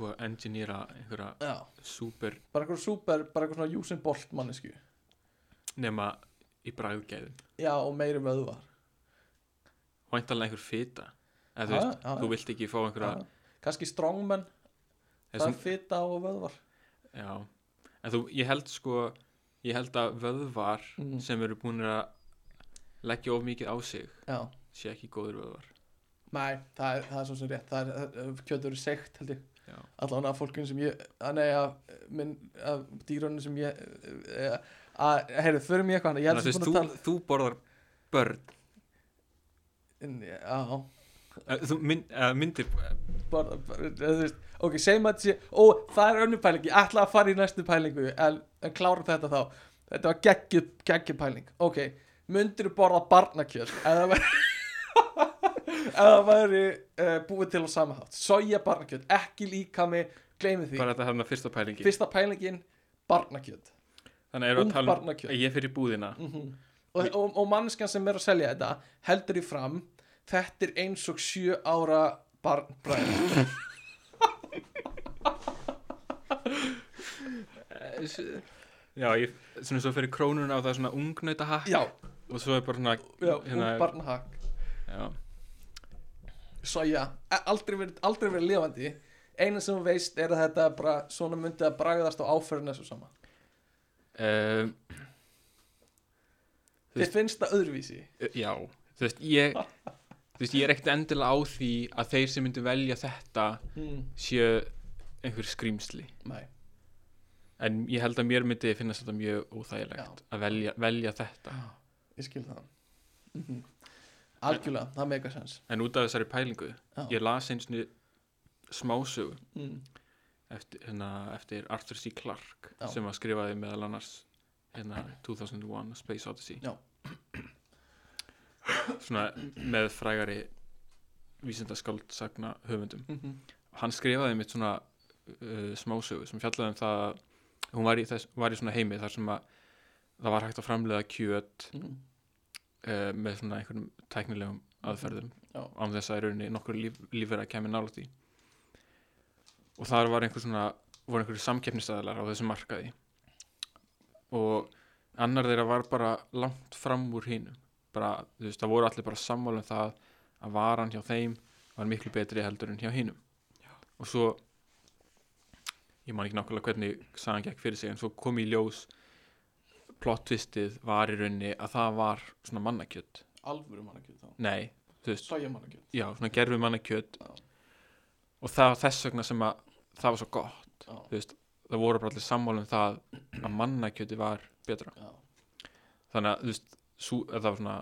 Speaker 2: búið að engineera einhverja
Speaker 1: Já.
Speaker 2: super
Speaker 1: bara einhver super, bara einhver svona Usain Bolt mannesku
Speaker 2: nema í bragðgæðum
Speaker 1: já og meiri vöðvar
Speaker 2: væntalega einhver fita eða þú
Speaker 1: Já,
Speaker 2: veist,
Speaker 1: já,
Speaker 2: þú
Speaker 1: já.
Speaker 2: vilt ekki fá einhverja
Speaker 1: Já. kannski strongmen, það
Speaker 2: þessum,
Speaker 1: er fita og vöðvar
Speaker 2: já, en þú, ég held sko ég held að vöðvar
Speaker 1: Mm.
Speaker 2: sem eru búin að leggja of mikið á sig
Speaker 1: já,
Speaker 2: sé ekki góður vöðvar
Speaker 1: nei, það er, það er svo sem rétt það er, það- kjötur er seikt held ég
Speaker 2: já,
Speaker 1: allan að fólkun sem ég að nei að, minn, að dýrunum sem ég eh, að, heyrðu, förum ég eitthvað annað, ég
Speaker 2: þannig
Speaker 1: held
Speaker 2: að þú,
Speaker 1: sem
Speaker 2: veist,
Speaker 1: búin að
Speaker 2: þú, þú borðar börn
Speaker 1: tala já,
Speaker 2: eða eh, þú mynd, eða myndir
Speaker 1: bara, bara, þú veist ok, segjum að þetta sé, ó, það er önnur pæling ég ætla að fara í næstu pælingu en, en klárum þetta þá, þetta var geggjuð geggjuð pæling, ok myndir borða barnakjöld eða væri eða væri uh, búið til á samahátt, soja barnakjöld ekki líka með, gleymi því
Speaker 2: bara þetta hérna fyrsta pælingi
Speaker 1: fyrsta pælingin, barnakjöld
Speaker 2: þannig erum við
Speaker 1: ung
Speaker 2: að tala um
Speaker 1: barnakjöt. Mhm.
Speaker 2: að ég fyrir búðina
Speaker 1: og, og, og mannskan sem er að selja þetta heldur í fram þetta er eins og sjö ára barnbræð
Speaker 2: já, ég, svona svo fyrir krónuna á það er svona ungnauta hakk
Speaker 1: já,
Speaker 2: og svo er bara svona
Speaker 1: já, hérna, barnahag
Speaker 2: já,
Speaker 1: soja, e- aldrei verið, aldrei verið lifandi eina sem þú veist er að þetta er bara svona myndi að bragðast á áferðin þessu sama
Speaker 2: um, Þú
Speaker 1: þið finnst það öðruvísi
Speaker 2: já þú veist, ég þú veist, ég er ekkert endilega á því að þeir sem myndu velja þetta
Speaker 1: mm.
Speaker 2: séu einhver skrýmsli
Speaker 1: nei,
Speaker 2: en ég held að mér myndi finnast þetta mjög óþægilegt að velja, velja þetta
Speaker 1: ég skil það mm -hmm. algjörlega, það meika sens
Speaker 2: en út af þessari pælingu
Speaker 1: Já.
Speaker 2: ég las eins og smásögu
Speaker 1: mm.
Speaker 2: eftir, hérna, eftir Arthur C. Clarke
Speaker 1: Já.
Speaker 2: sem að skrifaði meðal annars hérna, 2001 A Space Odyssey
Speaker 1: Já.
Speaker 2: svona með frægari vísindaskáld sagna höfundum
Speaker 1: Mm
Speaker 2: hann skrifaði mitt svona uh, smásögu sem fjallaði um það að hún var í, þess, var í svona heimi þar sem að það var hægt að framleiða kjöt
Speaker 1: Mm.
Speaker 2: uh, með svona einhverjum tæknilegum aðferðum
Speaker 1: Já.
Speaker 2: án þess að í rauninni nokkur líf, lífverða kemur nálægt í og þar var einhver svona voru einhverju samkeppnistæðlar á þessum markaði og annar þeirra var bara langt fram úr hínum bara, þú veist, það voru allir bara sammála um það að varan hjá þeim var miklu betri heldur en hjá hínum og svo ég man ekki nákvæmlega hvernig sagan gekk fyrir sig en svo kom í ljós plottvistið var í rauninni að það var svona mannakjöt
Speaker 1: alvöru mannakjöld þá
Speaker 2: nei, þú veist,
Speaker 1: soja mannakjöld
Speaker 2: já, svona gerfi mannakjöt
Speaker 1: Já.
Speaker 2: og það var þess vegna sem að það var svo gott,
Speaker 1: já,
Speaker 2: þú veist það voru bara allir sammála um það að mannakjöti var betra,
Speaker 1: já,
Speaker 2: þannig að þú veist sú, að það var svona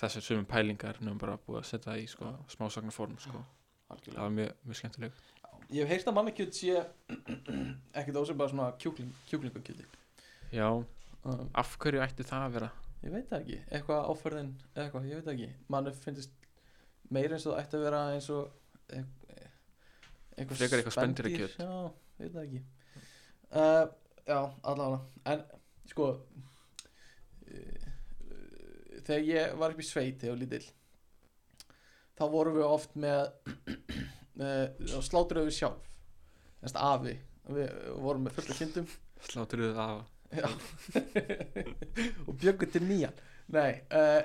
Speaker 2: þessar sömu pælingar nefnum bara búið að setja í sko, smásagnaform sko.
Speaker 1: algjörlega
Speaker 2: það var mjög, mjög skemmtileg
Speaker 1: Ég hef heyrt að mannakjöt sé ekkert ósef bara svona kjúkling, kjúklingakjöti
Speaker 2: já,
Speaker 1: um,
Speaker 2: af hverju ætti það að vera
Speaker 1: Ég veit það ekki, eitthvað áferðin eða eitthvað, ég veit það ekki Mann finnst meira eins og það ætti að vera eins og e- e-
Speaker 2: Frekar eitthvað spendýrakjöt.
Speaker 1: spendýr, Já, ég veit það ekki uh, Já, allavega En sko eh, Þegar ég var upp í sveit þegar ég var lítill þá vorum við oft með uh, slátur við sjálf Þess að afi Við vorum með fullt af kindum
Speaker 2: sláttur þau það af
Speaker 1: Já. og bjöggu til nýjan nei uh,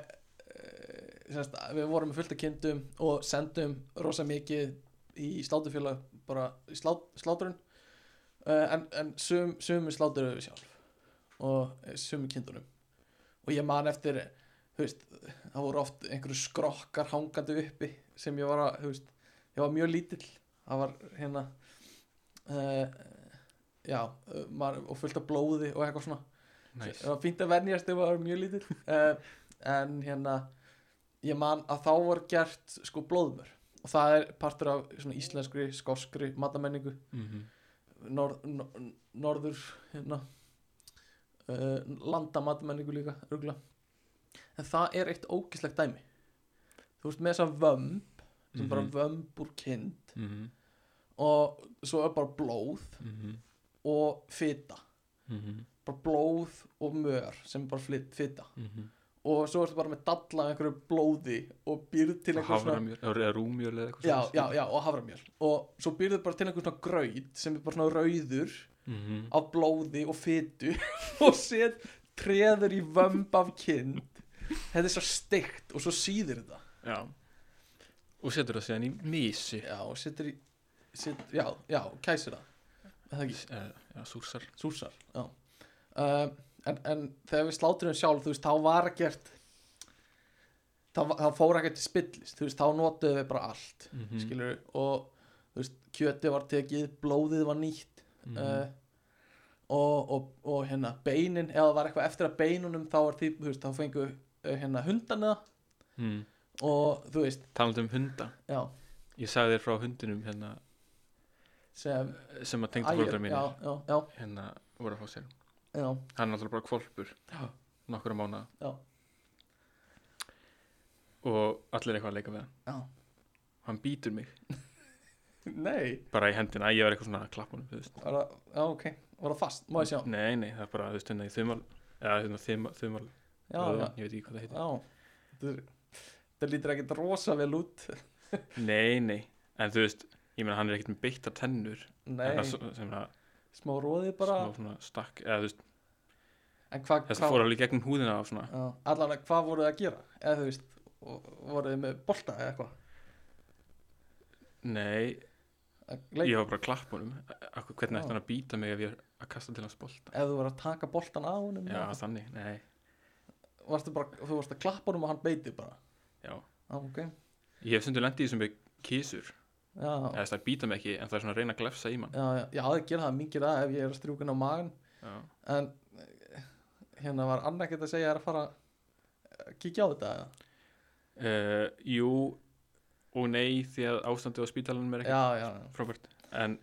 Speaker 1: semst, við vorum með fullt af kindum og sendum rosa mikið í slátufélag bara í slát, slátrun uh, en, en sum, sumi slátur við sjálf og sumi kindunum og ég man eftir þú veist, það voru oft einhverju skrokkar hangandi uppi sem ég var að þú veist, ég var mjög lítill það var hérna uh, já, uh, maður, og fullt af blóði og eitthvað svona
Speaker 2: Nice.
Speaker 1: það var fínt að venjast ef það var mjög lítill uh, en hérna ég man að þá var gert sko blóðmör og það er partur af svona íslenskri, skoskri matamenningu
Speaker 2: mm -hmm.
Speaker 1: norð, nor, norður hérna eh, uh, landa matamenningu líka rugla en það er eitt ógislegt dæmi þú veist með þessa vömb sem bara
Speaker 2: Mhm.
Speaker 1: vömb úr kind
Speaker 2: mhm,
Speaker 1: og svo er bara blóð
Speaker 2: mhm,
Speaker 1: og fita
Speaker 2: mhm,
Speaker 1: bara blóð og mör sem er bara flyt- fita
Speaker 2: mhm.
Speaker 1: og svo ertu bara með dalla af einhverju blóði og býrð til einhver svona
Speaker 2: Haframjöl, eða rúmjöl eða eitthvað
Speaker 1: já,
Speaker 2: svoleiðis.
Speaker 1: já, já, og haframjöl og svo býrðu bara til einhver svona gröyt sem er bara svona rauður
Speaker 2: Mhm,
Speaker 1: af blóði og fitu og set treður í vömb af kind þetta er svo steikt og svo síður þetta
Speaker 2: já og setur það síðan í mísi
Speaker 1: já, og setur í set, já, já, kæsir það Er það ekki,
Speaker 2: Eh, já, súrsar
Speaker 1: súsar já. Uh, en, en þegar við sláturum sjálf þú veist, þá var ekkert þá, va- þá fór ekkert til spillist þú veist, þá notuðu við bara allt
Speaker 2: Mhm,
Speaker 1: skilur, og þú veist, kjöti var tekið, blóðið var nýtt
Speaker 2: mhm,
Speaker 1: uh, og, og, og hérna beinin, ef það var eitthvað eftir að beinunum þá var því, þú veist, þá fengu uh, hérna hundana
Speaker 2: mhm.
Speaker 1: og þú veist,
Speaker 2: talandi um hunda
Speaker 1: já
Speaker 2: ég sagði þér frá hundinum hérna
Speaker 1: sem
Speaker 2: sem að tengda
Speaker 1: Ægir-
Speaker 2: fólkdra mínu
Speaker 1: já, já, já,
Speaker 2: hérna voru að fá sér
Speaker 1: já,
Speaker 2: hann er náttúrulega bara kvolpur
Speaker 1: Já.
Speaker 2: nokkura mánuða
Speaker 1: Já.
Speaker 2: og allir eitthvað að leika við hann
Speaker 1: já.
Speaker 2: hann býtur mig
Speaker 1: nei,
Speaker 2: bara í hendina ég var eitthvað svona að klappa honum þú veist.
Speaker 1: var það, já, ok var það fast, má ég sjá já,
Speaker 2: nei nei það er bara þú veist hérna í þumal eða hérna þumal, þumal
Speaker 1: já,
Speaker 2: ég veit ekki hvað það heitir
Speaker 1: já þetta er- þetta lítur ekkert rosa vel út
Speaker 2: nei nei en þú veist ég meina hann er ekkert með beittar tennur en
Speaker 1: nei,
Speaker 2: það svo- sem að
Speaker 1: smá róði bara
Speaker 2: smá svona stakk eða þú veist
Speaker 1: en hvað,
Speaker 2: þess að
Speaker 1: hvað
Speaker 2: fór alveg í gegnum húðina á svona
Speaker 1: já, allan að hvað voruð þið að gera eða þú veist, voruð þið með bolta eða eitthvað
Speaker 2: nei
Speaker 1: Að leika?
Speaker 2: ég var bara að klappa honum Akkur, hvernig ætti hann að býta mig ef ég er að kasta til hans bolta
Speaker 1: ef þú verður að taka boltan á honum
Speaker 2: já
Speaker 1: eða-
Speaker 2: þannig nei
Speaker 1: varstu bara, þú varst að klappa honum og hann beiti bara
Speaker 2: já
Speaker 1: ah, ok,
Speaker 2: Ég hef stundur lendið í þessum með kísur
Speaker 1: já,
Speaker 2: eða þess að býta mig ekki en það er svona að reyna að glefsa í mann
Speaker 1: já, já, já, það gera það mingir það ef ég er að strjúka strjúkin á magan
Speaker 2: Já,
Speaker 1: en eh, hérna var annað ekkert að segja þér að fara að kíkja á þetta eða?
Speaker 2: uh, Jú og nei því að ástandið á spítalanum er ekki
Speaker 1: já, já, já,
Speaker 2: frábært en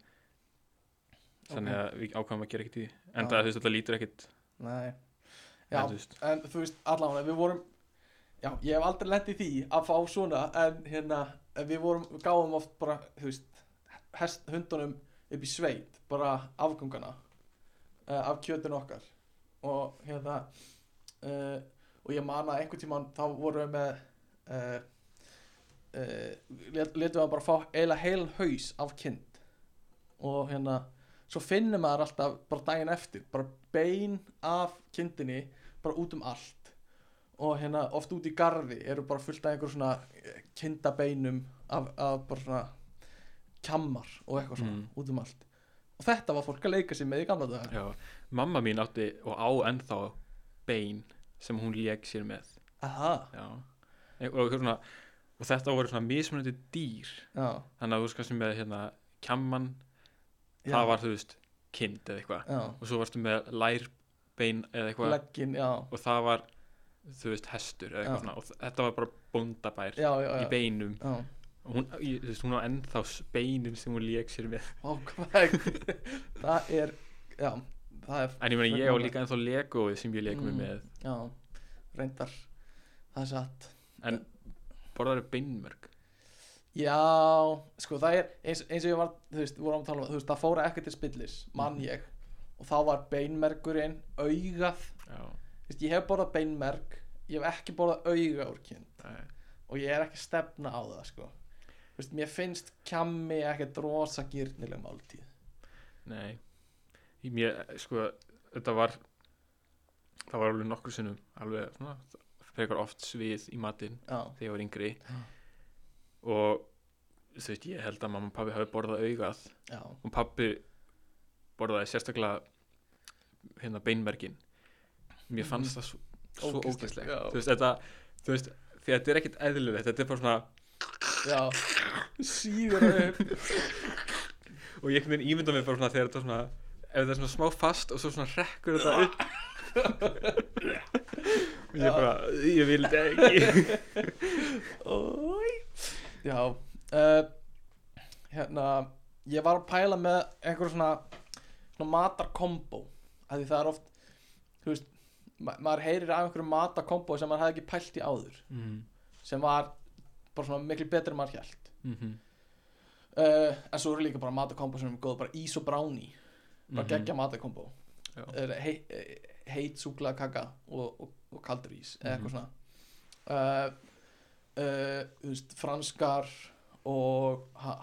Speaker 2: þannig
Speaker 1: Ok.
Speaker 2: að við ákvæmum að gera ekkert í því en
Speaker 1: Já.
Speaker 2: það, þú veist, það lítur ekkert
Speaker 1: nei já,
Speaker 2: en, þú veist,
Speaker 1: en þú veist, allavega við vorum já, ég hef aldrei lent í því að fá svona en hérna, en við vorum við gáum oft bara, þú veist hest, hundunum upp í sveit bara afgangana uh, af kjötun okkar og hérna uh, og ég man að einhvern tímann þá vorum við með uh, uh, let, letum við að bara fá eiginlega heilan haus af kind og hérna svo finnum maður alltaf bara daginn eftir bara bein af kindinni bara út um allt og hérna oft út í garði eru bara fullt af einhver svona eh, kindabeinum af, af bara svona kjammar og eitthvað svona
Speaker 2: Mm.
Speaker 1: út um allt og þetta var fólk að leika sér með í gamla dagar
Speaker 2: já, Mamma mín átti og á ennþá bein sem hún lék sér með
Speaker 1: aha,
Speaker 2: já. E- og, og, svona, og þetta voru svona mismunandi dýr
Speaker 1: já,
Speaker 2: þannig að þú veist kannski með hérna kjamman,
Speaker 1: já
Speaker 2: það var þú veist kind eða eitthvað
Speaker 1: já,
Speaker 2: og svo varstu með lærbein eða eitthvað
Speaker 1: leggin, já
Speaker 2: og það var þú veist hestur eða
Speaker 1: Já.
Speaker 2: eitthvað svona og þ- þetta var bara bóndabær
Speaker 1: já, já,
Speaker 2: í
Speaker 1: já,
Speaker 2: beinum
Speaker 1: já.
Speaker 2: og hún, ég, þú veist, hún á ennþá s- beinin sem hún lék sér með
Speaker 1: Ó, hvað, það er, já, það er,
Speaker 2: en ég meina
Speaker 1: Sveitin
Speaker 2: ég á
Speaker 1: okkar.
Speaker 2: líka ennþá legóið sem ég lék mig
Speaker 1: Mm.
Speaker 2: með
Speaker 1: já, reyndar, það er satt.
Speaker 2: en borðar er beinmörg
Speaker 1: Já, sko, það er, eins, eins og ég var, þú veist, vorum að tala um, þú veist, það fóra ekki til spillis, mann
Speaker 2: Mhm.
Speaker 1: ég, og þá var beinmergurinn augað,
Speaker 2: já,
Speaker 1: þú veist, ég hef borðað beinmerg, ég hef ekki borðað auga úr kyn
Speaker 2: nei,
Speaker 1: og ég er ekki að stefna á það, sko. Þú veist, mér finnst kjammi ekkert rosa gyrnileg máltíð.
Speaker 2: nei. Í Mér, sko, þetta var það var alveg nokkur sinnum alveg svona, frekar oft svið í matinn
Speaker 1: Já,
Speaker 2: þegar ég var yngri
Speaker 1: Já.
Speaker 2: og þú veist, ég held að mamma og pabbi hafi borðað augað
Speaker 1: já,
Speaker 2: og pabbi borðaði sérstaklega hérna beinmerkin mér fannst það svo, svo
Speaker 1: Ógeðslegt,
Speaker 2: ógæslega
Speaker 1: já.
Speaker 2: þú veist, þetta, þú veist, því að þetta er ekkit eðlilegt þetta er bara svona,
Speaker 1: já, sígur það upp.
Speaker 2: og ég einhvern veginn ímynda mér bara svona þegar þetta er svona ef þetta er svona smá fast og svo svona rekkur þetta upp og ég bara, ég vil þetta ekki
Speaker 1: Ói. Já uh, Hérna Ég var að pæla með einhver svona, svona matarkombo af Því það er oft Þú veist
Speaker 2: Mhm,
Speaker 1: ma maður heyrir af einhverju matarkombo sem maður hafði ekki pælt í áður
Speaker 2: mm.
Speaker 1: sem var bara svona miklu betri en maður hjælt
Speaker 2: mm -hmm.
Speaker 1: uh, en svo eru líka bara matakombo sem er góð bara ís og brownie, bara mm -hmm. geggja matakombo
Speaker 2: Mhm. Já.
Speaker 1: Er hei- eh, heit súkla kaka og, og, og kaldur ís eða eitthvað
Speaker 2: Mhm.
Speaker 1: svona uh, uh, þú veist, franskar og ha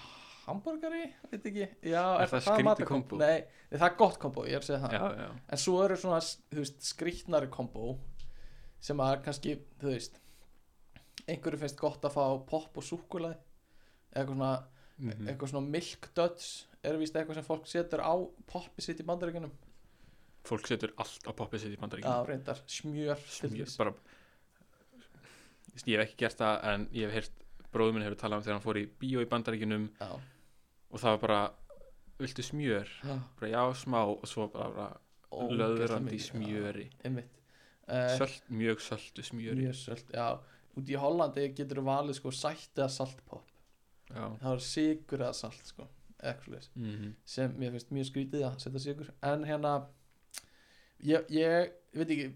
Speaker 1: hamburgari, veit ekki já,
Speaker 2: Er það skrítið
Speaker 1: matarkombó?
Speaker 2: kombó?
Speaker 1: Nei, nei, það er gott kombo, ég er að segja það
Speaker 2: já, já,
Speaker 1: en svo eru svona, þú veist, skrýtnari kombo sem að kannski, þú veist einhverju finnst gott að fá popp og súkkulaði eða eitthvað svona,
Speaker 2: mm -hmm.
Speaker 1: eitthvað svona milk duds er víst eitthvað sem fólk setur á poppi sitt í bandaríkunum
Speaker 2: fólk setur allt á poppið sitt í
Speaker 1: já,
Speaker 2: bandaríkjum
Speaker 1: reyndar, smjör, til
Speaker 2: ég,
Speaker 1: dæmis.
Speaker 2: bara, ég hef ekki gert það en ég hef heyrt bróður minn hefur talað um þegar hann fór í bíó í bandaríkjunum
Speaker 1: já,
Speaker 2: og það var bara viltu smjör,
Speaker 1: já,
Speaker 2: bara já smá og svo bara, bara
Speaker 1: ógeðslega
Speaker 2: löðrandi
Speaker 1: mikið,
Speaker 2: smjöri
Speaker 1: já, einmitt uh,
Speaker 2: Sölt, mjög söltu smjöri
Speaker 1: mjög sölt, já út í Hollandi getur þú valið sko sætt eða saltpopp
Speaker 2: já,
Speaker 1: það er sigur eða salt sko, actually
Speaker 2: mm
Speaker 1: sem mér finnst mjög skrítið að setja sigur en hérna ég, ég veit ekki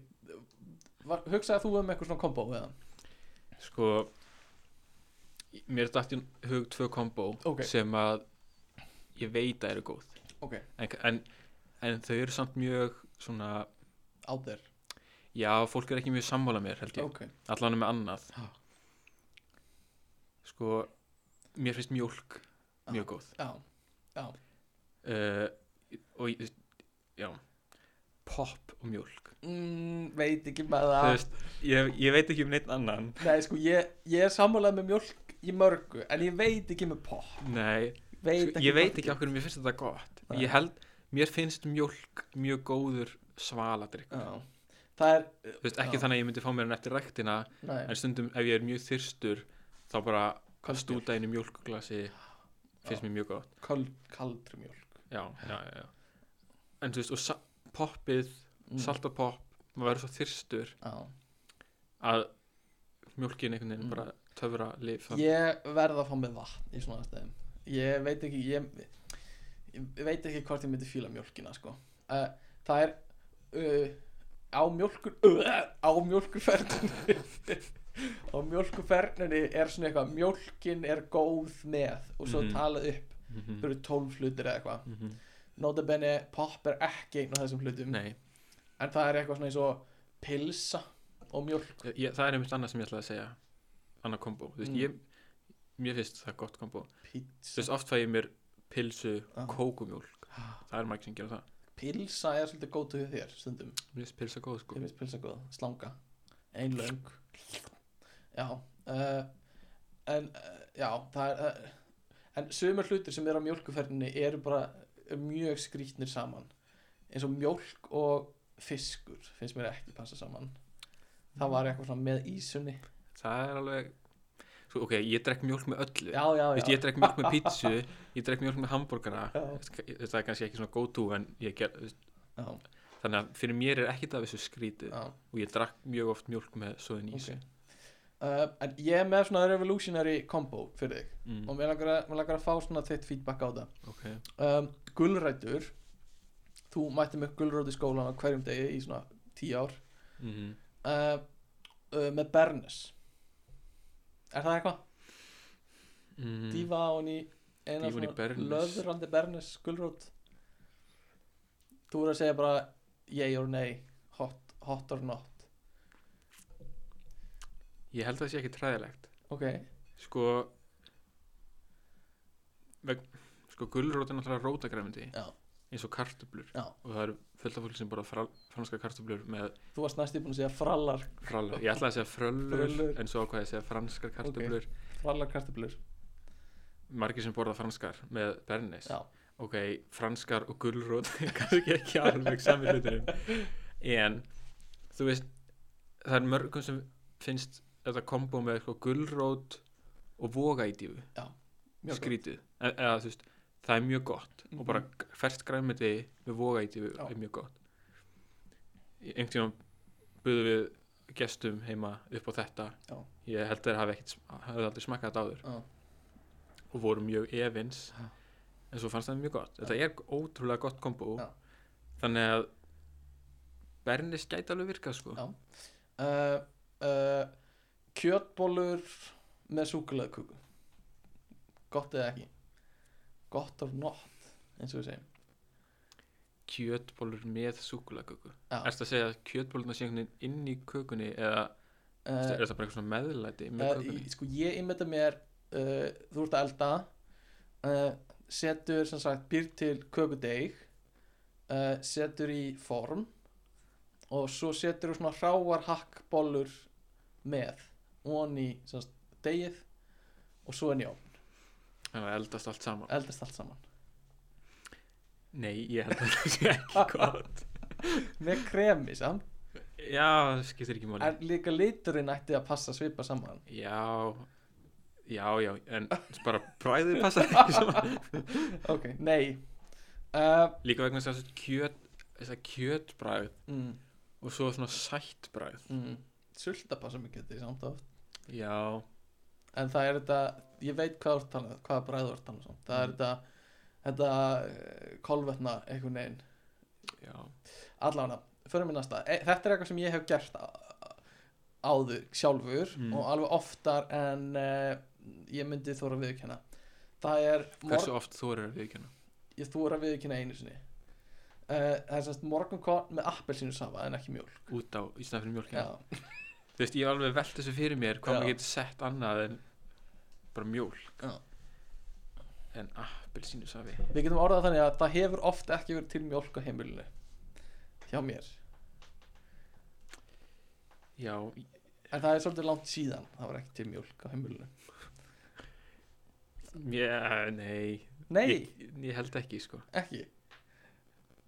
Speaker 1: var, hugsaði þú um eitthvað svona kombo eða
Speaker 2: sko mér er dætt í hug tvö kombo
Speaker 1: Ok.
Speaker 2: sem að ég veit að eru góð
Speaker 1: ok,
Speaker 2: en, en, en þau eru samt mjög svona,
Speaker 1: á þér,
Speaker 2: já fólk er ekki mjög sammála mér held ég,
Speaker 1: ok
Speaker 2: allan með annað
Speaker 1: Já.
Speaker 2: sko mér finnst mjólk
Speaker 1: Ah.
Speaker 2: mjög góð
Speaker 1: já,
Speaker 2: uh, og ég- já pop og mjólk
Speaker 1: mm, veit ekki með
Speaker 2: Þú
Speaker 1: það
Speaker 2: veist, ég, ég veit ekki um neitt annan
Speaker 1: nei sko, ég, ég er sammálað með mjölk í mörgu, en ég veit ekki með pop
Speaker 2: Nei,
Speaker 1: veit
Speaker 2: sko,
Speaker 1: ekki
Speaker 2: ég veit
Speaker 1: mörgu.
Speaker 2: ekki okkur mér finnst þetta gott
Speaker 1: Nei.
Speaker 2: Ég held, mér finnst mjólk mjög góður svaladrykk
Speaker 1: já. það er, eh,
Speaker 2: Þú veist, ekki
Speaker 1: Já.
Speaker 2: þannig að ég myndi fá mér hann eftir rektina
Speaker 1: nei,
Speaker 2: En stundum ef ég er mjög þyrstur Þá bara
Speaker 1: Köld
Speaker 2: stúta einu mjólkglasi Finnst mér mjög gott
Speaker 1: kald, kaldri mjölk
Speaker 2: Já, já, já, já En þú veist, og sa- poppið,
Speaker 1: Mm,
Speaker 2: salt og popp Maður verður svo þyrstur
Speaker 1: já.
Speaker 2: að mjólkin einhvern veginn
Speaker 1: Mm.
Speaker 2: bara töfra lif það-
Speaker 1: ég verð að fá með vatn í svona aðstæðum ég veit ekki ég, ég veit ekki hvort ég myndi fíla mjólkina sko. uh, það er uh, á mjólkur uh, á mjólkurferninni á mjólkurferninni er svona eitthvað mjólkin er góð með og svo
Speaker 2: Mhm.
Speaker 1: talað upp
Speaker 2: Mhm,
Speaker 1: þau eru tólf hlutir eða eitthvað
Speaker 2: mhm.
Speaker 1: notabene pop er ekki einn af þessum hlutum
Speaker 2: Nei,
Speaker 1: en það er eitthvað svona eins og pilsa og mjólk
Speaker 2: ég, það er einmitt annað sem ég ætlaði að segja annað kombo, þú veist,
Speaker 1: Mm.
Speaker 2: ég mér finnst það gott kombo, þú
Speaker 1: pizza
Speaker 2: veist, oft fæ ég mér pilsu,
Speaker 1: Ah.
Speaker 2: kókumjólk það er margir sem gera það,
Speaker 1: pilsa er svolítið góð til þér stundum
Speaker 2: mér finnst pilsa góð
Speaker 1: Ég
Speaker 2: sko,
Speaker 1: finnst pilsa góð, slanga Ein löng Já uh, En uh, já, það er uh, En sumar hlutir sem eru á mjólkuferðinni eru bara mjög skrýtnir saman eins og mjólk og fiskur finnst mér ekki passa saman það var eitthvað svona með ísunni
Speaker 2: það er alveg sko, ok, ég drekk mjólk með öllu
Speaker 1: Já, já,
Speaker 2: þú
Speaker 1: já,
Speaker 2: veist, ég drekk mjólk með pítsu ég drekk mjólk með hambúrgara
Speaker 1: já,
Speaker 2: það er kannski ekki svona go to en ég ger, þú veist,
Speaker 1: já,
Speaker 2: þannig að fyrir mér er ekkit af þessu skrítið
Speaker 1: já
Speaker 2: og ég drakk mjög oft mjólk með svoðin ís
Speaker 1: okay. uh, En ég er með svona revolutionary combo fyrir þig
Speaker 2: mm,
Speaker 1: og mér langar, að, mér langar að fá svona þitt feedback á það
Speaker 2: ok,
Speaker 1: um, gulrætur þú mætti með gulrætu í skólan á hverjum degi í svona tíu ár
Speaker 2: mm,
Speaker 1: uh, uh, með Bernes er það eitthvað?
Speaker 2: mm,
Speaker 1: Dífa á henni eina
Speaker 2: Dýfa ofan í Bernes.
Speaker 1: löðrandi Bernes gulræt þú voru að segja bara yay or nay hot, hot or not
Speaker 2: Mhm. ég held að það sé ekki træðilegt
Speaker 1: ok,
Speaker 2: sko veg, sko gulrót er náttúrulega rótagræmindi
Speaker 1: Já.
Speaker 2: eins og kartöblur
Speaker 1: Já.
Speaker 2: og það eru fullt af fólk sem bara fral, franska kartöblur með
Speaker 1: þú varst næstu búin að segja frallar
Speaker 2: frallur, ég ætlaði að segja fröllur
Speaker 1: Fröllur.
Speaker 2: en svo ákvæði að segja franskar kartöblur
Speaker 1: frallar kartablur
Speaker 2: margir sem borða franskar með bernis
Speaker 1: já,
Speaker 2: ok, franskar og gulrót er kannski ekki alveg sami hluturum en þú veist það er mörgum sem finnst þetta kombo með sko, gulrót og vogaítífu
Speaker 1: mjög gott. Mhm.
Speaker 2: skrítið e eða þú veist það er mjög gott og bara fært græmiti með vogaíti
Speaker 1: Já.
Speaker 2: er mjög gott Í- einhvern tímann buðum við gestum heima upp á þetta
Speaker 1: Já.
Speaker 2: ég held þeir hafi ekkit sm- hafði aldrei smakkað þetta áður
Speaker 1: Já.
Speaker 2: og voru mjög evins
Speaker 1: Já.
Speaker 2: en svo fannst það mjög gott þetta er ótrúlega gott kombo
Speaker 1: Já.
Speaker 2: þannig að Bernis gæti alveg virkað sko
Speaker 1: Já. uh, uh, kjötbólur Eh, með súkuleðkuku gott eða ekki gott or not eins og við segjum
Speaker 2: kjötbólur með súkulaköku
Speaker 1: Já.
Speaker 2: Ertu að segja að kjötbólurna sé einhvern veginn inn í kökunni eða er
Speaker 1: Eh,
Speaker 2: það bara eitthvað svona meðlæti með
Speaker 1: Eh,
Speaker 2: kökunni?
Speaker 1: í- sko ég immynda mér uh, þú ert að elda uh, setur sem sagt býr til kökudeig uh, setur í form og svo setur þú svona hráar hakkbollur með von í sem sagt, deigið og svo inn í ofn,
Speaker 2: Það eldast allt saman
Speaker 1: eldast allt saman
Speaker 2: Nei, ég held að það sé ekki gott
Speaker 1: með kremi samt,
Speaker 2: Já, það skiptir ekki máli
Speaker 1: en líka liturinn ætti að passa svipa saman
Speaker 2: Já, já, já en bara bræðið passar ekki saman
Speaker 1: ok, nei uh,
Speaker 2: Líka vegna þess að kjöt þess að kjötbræð
Speaker 1: mm,
Speaker 2: og svo svona sættbræð
Speaker 1: mm, sulta passa mikið þetta samt oft
Speaker 2: Já,
Speaker 1: en það er þetta, ég veit hvað þú ert talað hvað bræður þú ert talað um það er
Speaker 2: Mm.
Speaker 1: þetta, þetta eh, kolvetna einhvern veginn,
Speaker 2: já
Speaker 1: allavega förum við næsta, e, þetta er eitthvað sem ég hef gert á- áður sjálfur
Speaker 2: Mm.
Speaker 1: og alveg oftar en uh, ég myndi þóra viðkjanna það er,
Speaker 2: Hversu oft þú eru við ekki hana?
Speaker 1: ég þóra viðkjanna einu sinni uh, það er semst morgunkorn með appelsínu safa en ekki mjólk
Speaker 2: Út á, í stæðan fyrir mjólkina
Speaker 1: Já.
Speaker 2: Þú veist, ég hef alveg velt þessu fyrir mér hvað
Speaker 1: Já.
Speaker 2: maður getur sett annað en bara mjólk
Speaker 1: Já.
Speaker 2: en appelsínu safi
Speaker 1: við getum orðað þannig að það hefur oft ekki verið til mjólk á heimilinu hjá mér
Speaker 2: Já,
Speaker 1: En það er svolítið langt síðan Það var ekki til mjólk á heimilinu
Speaker 2: já, nei
Speaker 1: Nei,
Speaker 2: ég, ég held ekki, sko
Speaker 1: ekki
Speaker 2: Ég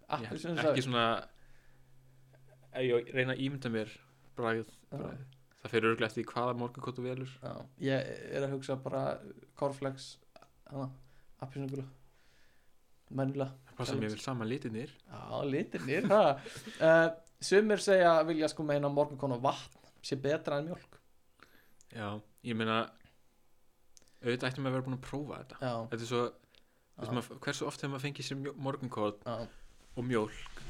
Speaker 2: held,
Speaker 1: Appelsínu
Speaker 2: Ekki svona ef ég reyna að ímynda mér bragð, bragð. Það fyrir örglega eftir því hvaða morgunkot þú velur
Speaker 1: Já, ég er að hugsa bara Corflex Appelsínu gula Mennilega
Speaker 2: Það passa mér vel saman litinir
Speaker 1: Já, litinir uh, Sumir segja vilja sko meina morgunkona vatn sé betra en mjólk
Speaker 2: Já, ég meina auðvitað ættum að vera búin að prófa þetta
Speaker 1: Já,
Speaker 2: Þetta er svo, þú veist,
Speaker 1: já,
Speaker 2: maður, hversu oft hefur maður fengið sér morgunkot
Speaker 1: já.
Speaker 2: og mjólk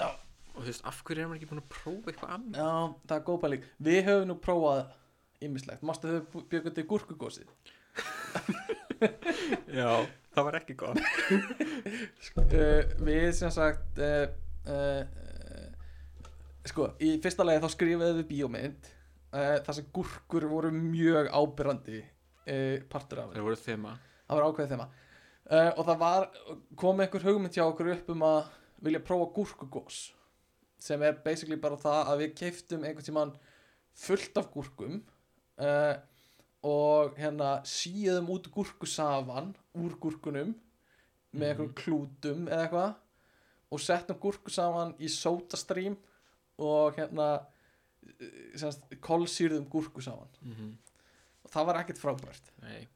Speaker 1: Já.
Speaker 2: og þú veist, af hverju er maður ekki búin að prófa eitthvað annað
Speaker 1: já það er góð pæling Við höfum nú prófað ymmislegt Mástu þau bjögum til gúrkugósið
Speaker 2: Já, það var ekki gott
Speaker 1: uh, við sem sagt uh, uh, uh, sko, í fyrsta lagi þá skrifaði við bíómynd uh, þar sem gúrkur voru mjög ábyrrandi uh, partur af
Speaker 2: Það
Speaker 1: henni
Speaker 2: voru þema
Speaker 1: það var ákveðið þema uh, og það var, kom einhver hugmynd hjá okkur upp um að vilja prófa gúrkugós sem er basically bara það að við keiftum einhvern tímann fullt af gúrkum uh, og hérna síðum út gúrkusafan úr gúrkunum með
Speaker 2: Mhm.
Speaker 1: einhverjum klútum eða eitthvað og settum gúrkusafan í sótastrím og hérna eh, sem sagt, kolsýrðum gúrkusafan og það var ekkert frábært
Speaker 2: Mhm. Nei,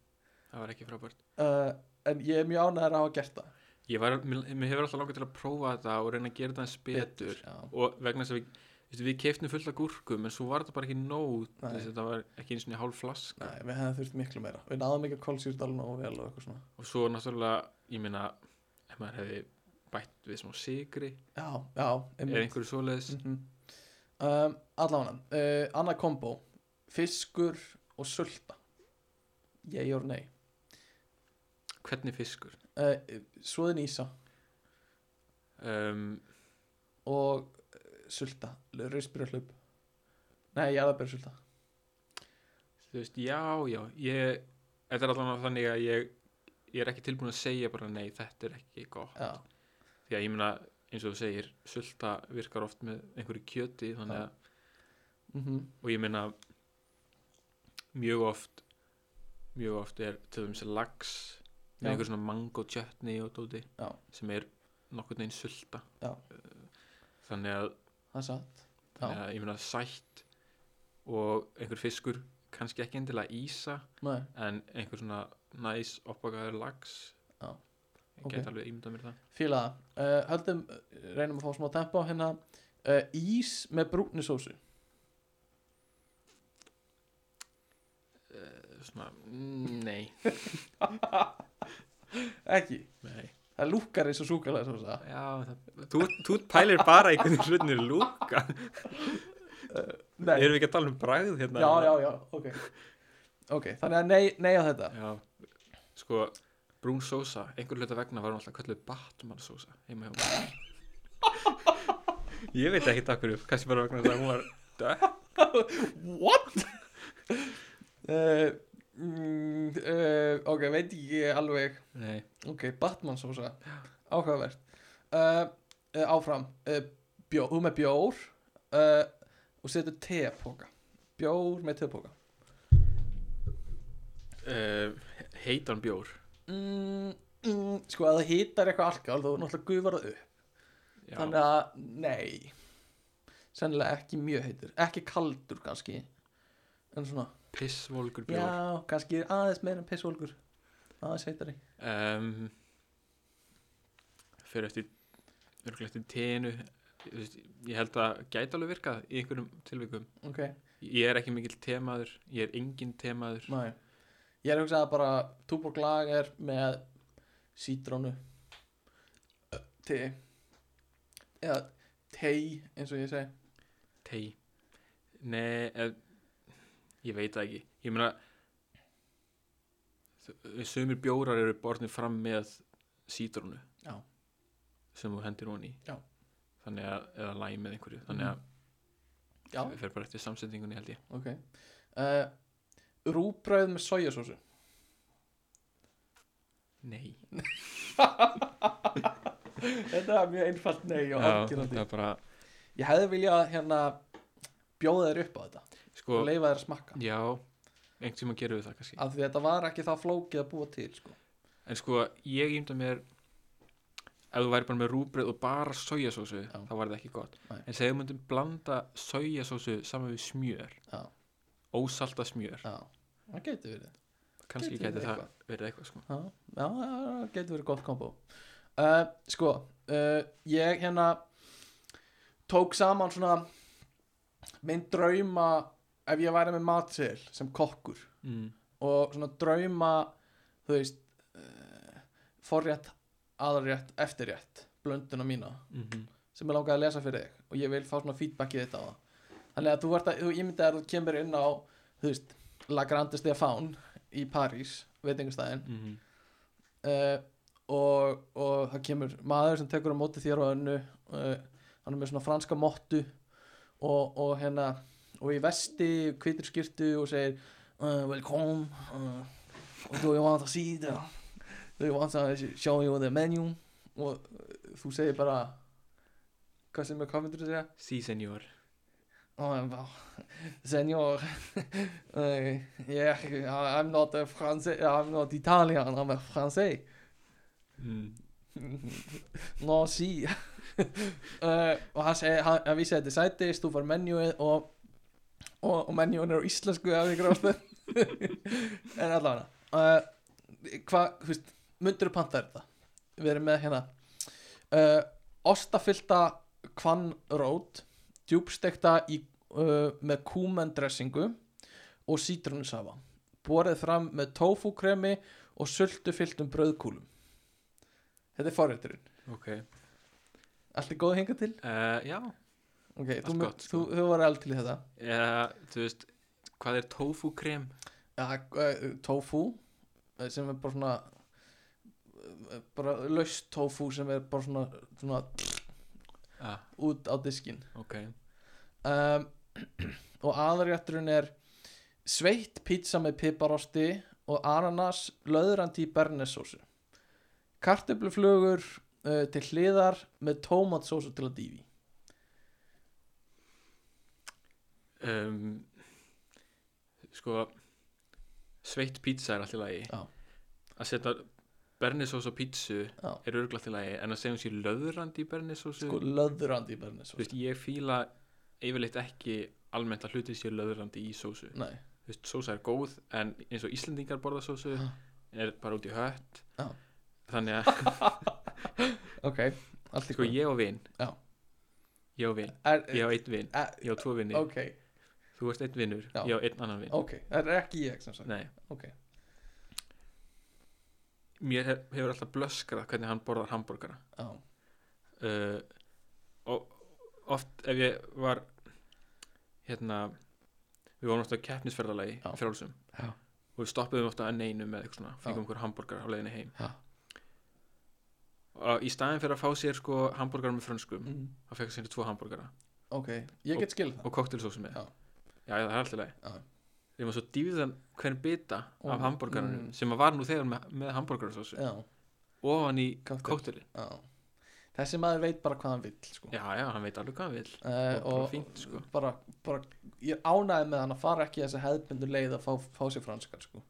Speaker 2: það var ekki frábært
Speaker 1: uh, en ég er mjög ánæður að hafa gert það
Speaker 2: Ég var, mér, mér hefur alltaf langað til að prófa þetta og reyna að gera þetta eins betur
Speaker 1: já,
Speaker 2: og vegna þess að við, við, við keiftum fullt af gúrkum en svo var þetta bara ekki nóg til
Speaker 1: Nei.
Speaker 2: þess að þetta var ekki eins og niður hálf flaska
Speaker 1: nei, við hefðum þurft miklu meira við náðum ekki að kólsýrt alveg nógu vel og eitthvað svona
Speaker 2: og svo náttúrulega, ég meina ef maður hefði bætt við smá sigri
Speaker 1: já, já,
Speaker 2: eða einhverju svoleiðis
Speaker 1: mm um, allána, uh, annað kombo fiskur og sulta ég og nei
Speaker 2: Hvernig fiskur?
Speaker 1: uh, svoðin ísa
Speaker 2: Um,
Speaker 1: og uh, sulta, rauðspyrjarhlaup nei, jarðabæri sulta
Speaker 2: þú veist, já, já ég, þetta er allavega þannig að ég ég er ekki tilbúin að segja bara nei, þetta er ekki gott
Speaker 1: já,
Speaker 2: því að ég meina eins og þú segir sulta virkar oft með einhverju kjöti þannig
Speaker 1: Já.
Speaker 2: að,
Speaker 1: mm
Speaker 2: og ég meina mjög oft mjög oft er til dæmis lax
Speaker 1: Já.
Speaker 2: með einhver svona mango chutney og dóti
Speaker 1: Já.
Speaker 2: sem er nokkurn veginn sulta Eh,
Speaker 1: Já.
Speaker 2: þannig að,
Speaker 1: það er satt
Speaker 2: þannig
Speaker 1: já,
Speaker 2: að ég meina sætt og einhver fiskur kannski ekki endilega ísa
Speaker 1: nei,
Speaker 2: en einhver svona næs oppakaður lax
Speaker 1: Já.
Speaker 2: ég
Speaker 1: Ok.
Speaker 2: get alveg ímyndað mér það
Speaker 1: fíla það uh, höldum, eh, reynum að fá smá tempo hérna uh, ís með brúni sósu
Speaker 2: Eh, svona, mm, nei,
Speaker 1: ekki,
Speaker 2: nei.
Speaker 1: það lúkar eins og súkulega sósa
Speaker 2: Já, það, þú, þú pælir bara í hvernig hlutinir lúka
Speaker 1: nei,
Speaker 2: Erum við ekki að tala um bragð hérna?
Speaker 1: já, já, já, ok ok, þannig að nei, nei á þetta
Speaker 2: Já, sko Brún Sosa, einhver hluta vegna var hún alltaf kallið Batman Sosa heima hjá mér. Ég veit ekki takk fyrir, kannski bara vegna þess að hún var dökk.
Speaker 1: What? uh, mm, uh, ok, veit ekki alveg
Speaker 2: Nei,
Speaker 1: Ok, Batman sósa Áhugavert uh, uh, Áfram uh, bjó, Þú með bjór uh, Og setur tepoka Bjór með tepoka
Speaker 2: uh, heitan bjór
Speaker 1: mm, mm, Sko, að það hýtar eitthvað alkohol Þú náttúrulega gufar það upp
Speaker 2: Já,
Speaker 1: Þannig að, nei Sennilega ekki mjög heitur Ekki kaldur kannski En svona,
Speaker 2: pissvolgur bjór
Speaker 1: já, kannski aðeins meira en pissvolgur Aðeins heitari
Speaker 2: um, Fyrir eftir örgulegt eftir tenu Þú veist, Ég held að gæti alveg virkað í einhverjum tilvikum
Speaker 1: Ok,
Speaker 2: Ég er ekki mikill temaður, ég er engin temaður
Speaker 1: næ Ég er að hugsa að bara túborg lager með sítrónu ö, te eða tei eins og ég segi
Speaker 2: Tei Nei, ef, ég veit það ekki Ég meina þ- eh, Sumir bjórar eru borðnir fram með sítrónu
Speaker 1: Já.
Speaker 2: sem þú hendir hún í
Speaker 1: Já. Mhm.
Speaker 2: þannig að, eða læmi með einhverju þannig að
Speaker 1: Já,
Speaker 2: við fer bara eftir samsetningunni held ég
Speaker 1: ok uh, Rúbröð með sojasósu
Speaker 2: Nei,
Speaker 1: Þetta er mjög einfalt nei og
Speaker 2: það
Speaker 1: afgjörandi
Speaker 2: er bara
Speaker 1: Ég hefði viljað hérna bjóða þér upp á þetta
Speaker 2: sko,
Speaker 1: og leifa þér að smakka
Speaker 2: já, einhvern tíma gerum við það kannski
Speaker 1: af því að þetta var ekki það flókið að búa til sko.
Speaker 2: En sko, ég ímda mér ef þú væri bara með rúbröð og bara sojasósu,
Speaker 1: Já.
Speaker 2: þá var það ekki gott
Speaker 1: Nei.
Speaker 2: en segðu myndum blanda sojasósu saman við smjör
Speaker 1: Já.
Speaker 2: ósalta smjör,
Speaker 1: Já, það getur verið
Speaker 2: kannski
Speaker 1: Getur
Speaker 2: gæti
Speaker 1: verið
Speaker 2: það
Speaker 1: eitthvað.
Speaker 2: verið eitthvað sko
Speaker 1: Já, já, já, getur verið gott kombo uh, Sko, uh, ég hérna tók saman svona minn drauma ef ég væri með matseðil sem kokkur
Speaker 2: mm.
Speaker 1: og svona drauma þú veist uh, forrétt, aðrétt, eftirrétt blönduna mína
Speaker 2: Mm
Speaker 1: sem ég langaði að lesa fyrir þig og ég vil fá svona feedback í þetta á það þannig að þú ert að, þú ímyndið að þú kemur inn á þú veist, La Grande Stéphane í París, veitingastæðin uh, og, og það kemur maður sem tekur á móti þér og önnu uh, hann er með svona franska mottu og, og hérna og í vesti, hvítur skyrtu og segir uh, welcome uh, do you want to see the do you want to show you the menu og uh, þú segir bara hvað sem er hvað myndir þú segja
Speaker 2: Sí, senjór
Speaker 1: Oh, well, senor, uh, yeah, I'm not a Francais, I'm not Italian, I'm a Francais.
Speaker 2: mm.
Speaker 1: Nó, sí uh, Og hann, segi, hann, hann vísi þetta í sætis Þú far menjúið og, og, og menjúin er á íslensku af því grástu En allavega uh, Hvað, þú veist Mundur panta er þetta Við erum með hérna uh, Ostafyllta kvannrót Djúbstekta í, uh, með kúmendressingu Og sítrunusafa Borið fram með tófúkremi Og sultu fylltum brauðkúlum Þetta er forrétturinn
Speaker 2: Ok,
Speaker 1: Allt er góð hinga til
Speaker 2: uh, já
Speaker 1: Ok, þú,
Speaker 2: Allt
Speaker 1: gott,
Speaker 2: gott, sko.
Speaker 1: þú, þú var alveg til í þetta
Speaker 2: uh, Þú veist, hvað er tofu krem?
Speaker 1: ja, uh, Tofu eh, sem er bara svona eh, bara laust tofu sem er bara svona, svona
Speaker 2: Ah,
Speaker 1: út á diskin
Speaker 2: ok,
Speaker 1: um, og aðarjætturinn er sveitt pizza með piparosti og ananas löðrandi í bernesósu kartöfluflugur uh, til hliðar með tómatsósu til að dýfi
Speaker 2: um, sko sveitt pizza er allt í lagi
Speaker 1: Já.
Speaker 2: að setja bernisós á pizzu
Speaker 1: Já.
Speaker 2: er örgla allt í lagi en að segja hún sér löðrandi í bernisósu
Speaker 1: sko löðrandi í
Speaker 2: þú veist
Speaker 1: bernesósu
Speaker 2: ég fíla yfirleitt ekki almennt að hluti sér löðrandi í sósu
Speaker 1: Nei,
Speaker 2: þú veist sósa er góð en eins og Íslendingar borða sósu
Speaker 1: Já.
Speaker 2: er bara út í hött
Speaker 1: Já.
Speaker 2: þannig að
Speaker 1: ok, allt er
Speaker 2: sko ég og vin
Speaker 1: Já.
Speaker 2: ég og vin
Speaker 1: er,
Speaker 2: ég og einn vin
Speaker 1: Eh,
Speaker 2: ég og tvo vinni
Speaker 1: ok,
Speaker 2: þú ert einn vinnur
Speaker 1: Já.
Speaker 2: ég og einn annan vin
Speaker 1: ok, það er ekki ég sem sagt
Speaker 2: Nei.
Speaker 1: Ok.
Speaker 2: Mér hef, hefur alltaf blöskrað hvernig hann borðar hambúrgara.
Speaker 1: Já,
Speaker 2: Uh, og oft ef ég var, hérna, við vorum alltaf keppnisferðalagi
Speaker 1: Já.
Speaker 2: frálsum
Speaker 1: Já.
Speaker 2: og við stoppuðum ofta að neinu með eitthvað svona
Speaker 1: Já.
Speaker 2: fengum okkur hambúrgar á leiðinni heim
Speaker 1: Já.
Speaker 2: og í staðin fyrir að fá sér sko hambúrgar með frönskum
Speaker 1: mm.
Speaker 2: þá fekk sér tvo hambúrgara
Speaker 1: ok, ég get skil það
Speaker 2: og koktelsósu með
Speaker 1: Já.
Speaker 2: já, það er alltaf leið
Speaker 1: Já.
Speaker 2: ég maður svo dýfðan hvern bita
Speaker 1: Ó,
Speaker 2: af hambúrgaranum
Speaker 1: mm.
Speaker 2: sem að var nú þegar með, með hambúrgarasósu
Speaker 1: já,
Speaker 2: ofan í
Speaker 1: Kokteil.
Speaker 2: koktelin
Speaker 1: já. þessi maður veit bara hvað hann vill sko.
Speaker 2: já, já, hann veit alveg hvað hann vil
Speaker 1: uh,
Speaker 2: og bara fínt sko
Speaker 1: bara, bara ég er ánægð með hann að fara ekki þessi hefðbundu leið að fá, fá sér franskar sko.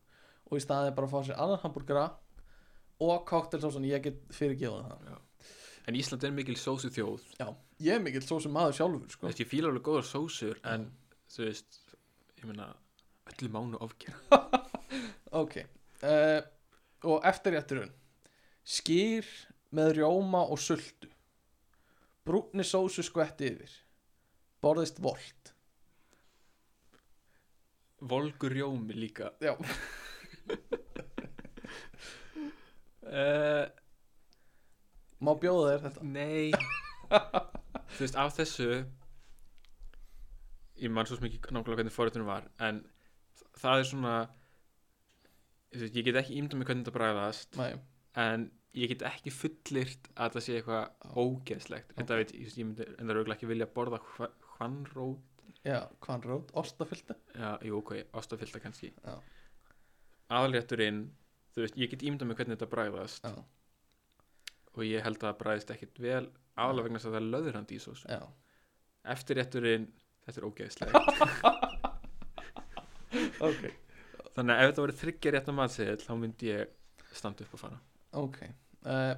Speaker 1: og í staðið bara að fá sér annan hambúrgara og koktelsósan, ég get fyrirgefað það
Speaker 2: en Ísland er mikil sósu þjóð
Speaker 1: ég er mikill svo sem maður sjálfur
Speaker 2: Þú
Speaker 1: sko.
Speaker 2: veist, ég fíla alveg góðar sósur en þú veist, ég meina öllu mánu ofgera
Speaker 1: ok uh, og eftir rétturinn skýr með rjóma og sultu brúni sósu skvetti yfir borðist volt
Speaker 2: volgur rjómi líka
Speaker 1: já,
Speaker 2: uh,
Speaker 1: má bjóða þér þetta
Speaker 2: nei þú veist, af þessu ég man svo sem ekki nákvæmlega hvernig forréttunum var en þ- það er svona þú veist, ég get ekki ímda með hvernig þetta bræðast
Speaker 1: Nei,
Speaker 2: en ég get ekki fullirt að það sé
Speaker 1: Já.
Speaker 2: eitthvað ógeðslegt þetta veit, ég, ég myndi en það er ekki vilja borða hva, hvanró
Speaker 1: já, hvaðan rót, ostafylta
Speaker 2: Já, jú, ok, ástafylta kannski
Speaker 1: Já.
Speaker 2: Aðalrétturinn, þú veist, ég get ímyndað með hvernig þetta bræðast
Speaker 1: Já.
Speaker 2: og ég held að það bræðist ekkit vel aðalega vegna þess að það er löðurandi í sósu
Speaker 1: já,
Speaker 2: Eftirrétturinn, þetta er ógeðslegt
Speaker 1: ok
Speaker 2: Þannig að ef þetta voru þryggja rétta matseðil þá myndi ég standa upp og fara
Speaker 1: Ok, uh,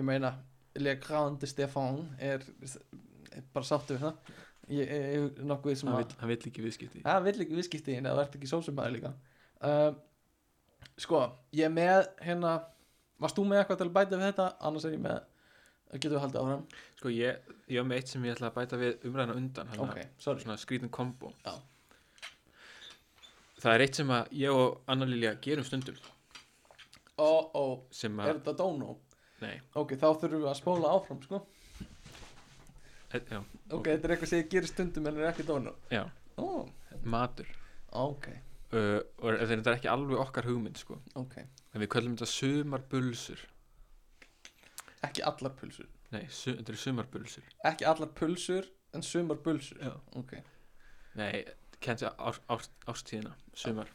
Speaker 1: ég meina Le Grand de Stéphane er, er bara sáttu við það ég ég- ég er nokkuð sem
Speaker 2: Hann
Speaker 1: að
Speaker 2: vill, hann vill ekki viðskipti
Speaker 1: það vill ekki viðskiptiðin eða verður ekki sósumæður líka uh, sko, ég er með hérna, varst þú með eitthvað til að bæta við þetta annars er ég með, getum við haldið áfram
Speaker 2: Sko, ég, ég var með eitt sem ég ætla að bæta við umræðan undan þannig að-
Speaker 1: ok, sorry
Speaker 2: svona skrítin kombo
Speaker 1: Já.
Speaker 2: Það er eitt sem að ég og Anna Lilja gerum stundum
Speaker 1: ó, ó,
Speaker 2: sem
Speaker 1: er
Speaker 2: að,
Speaker 1: þetta dónó?
Speaker 2: nei,
Speaker 1: ok, þá þurfum við að spóla áfram sko.
Speaker 2: e- já,
Speaker 1: ok, þetta er eitthvað sem ég gerir stundum en er ekki dónó
Speaker 2: já
Speaker 1: ó,
Speaker 2: matur
Speaker 1: ok,
Speaker 2: uh, og þetta er reyndar ekki alveg okkar hugmynd sko.
Speaker 1: ok
Speaker 2: en við köllum þetta sumarbulsur
Speaker 1: ekki allar pulsur
Speaker 2: nei, su þetta eru sumarbulsur
Speaker 1: ekki allar pulsur en sumar pulsur
Speaker 2: Já.
Speaker 1: ok,
Speaker 2: nei, kennt ég á, á, ástíðina sumar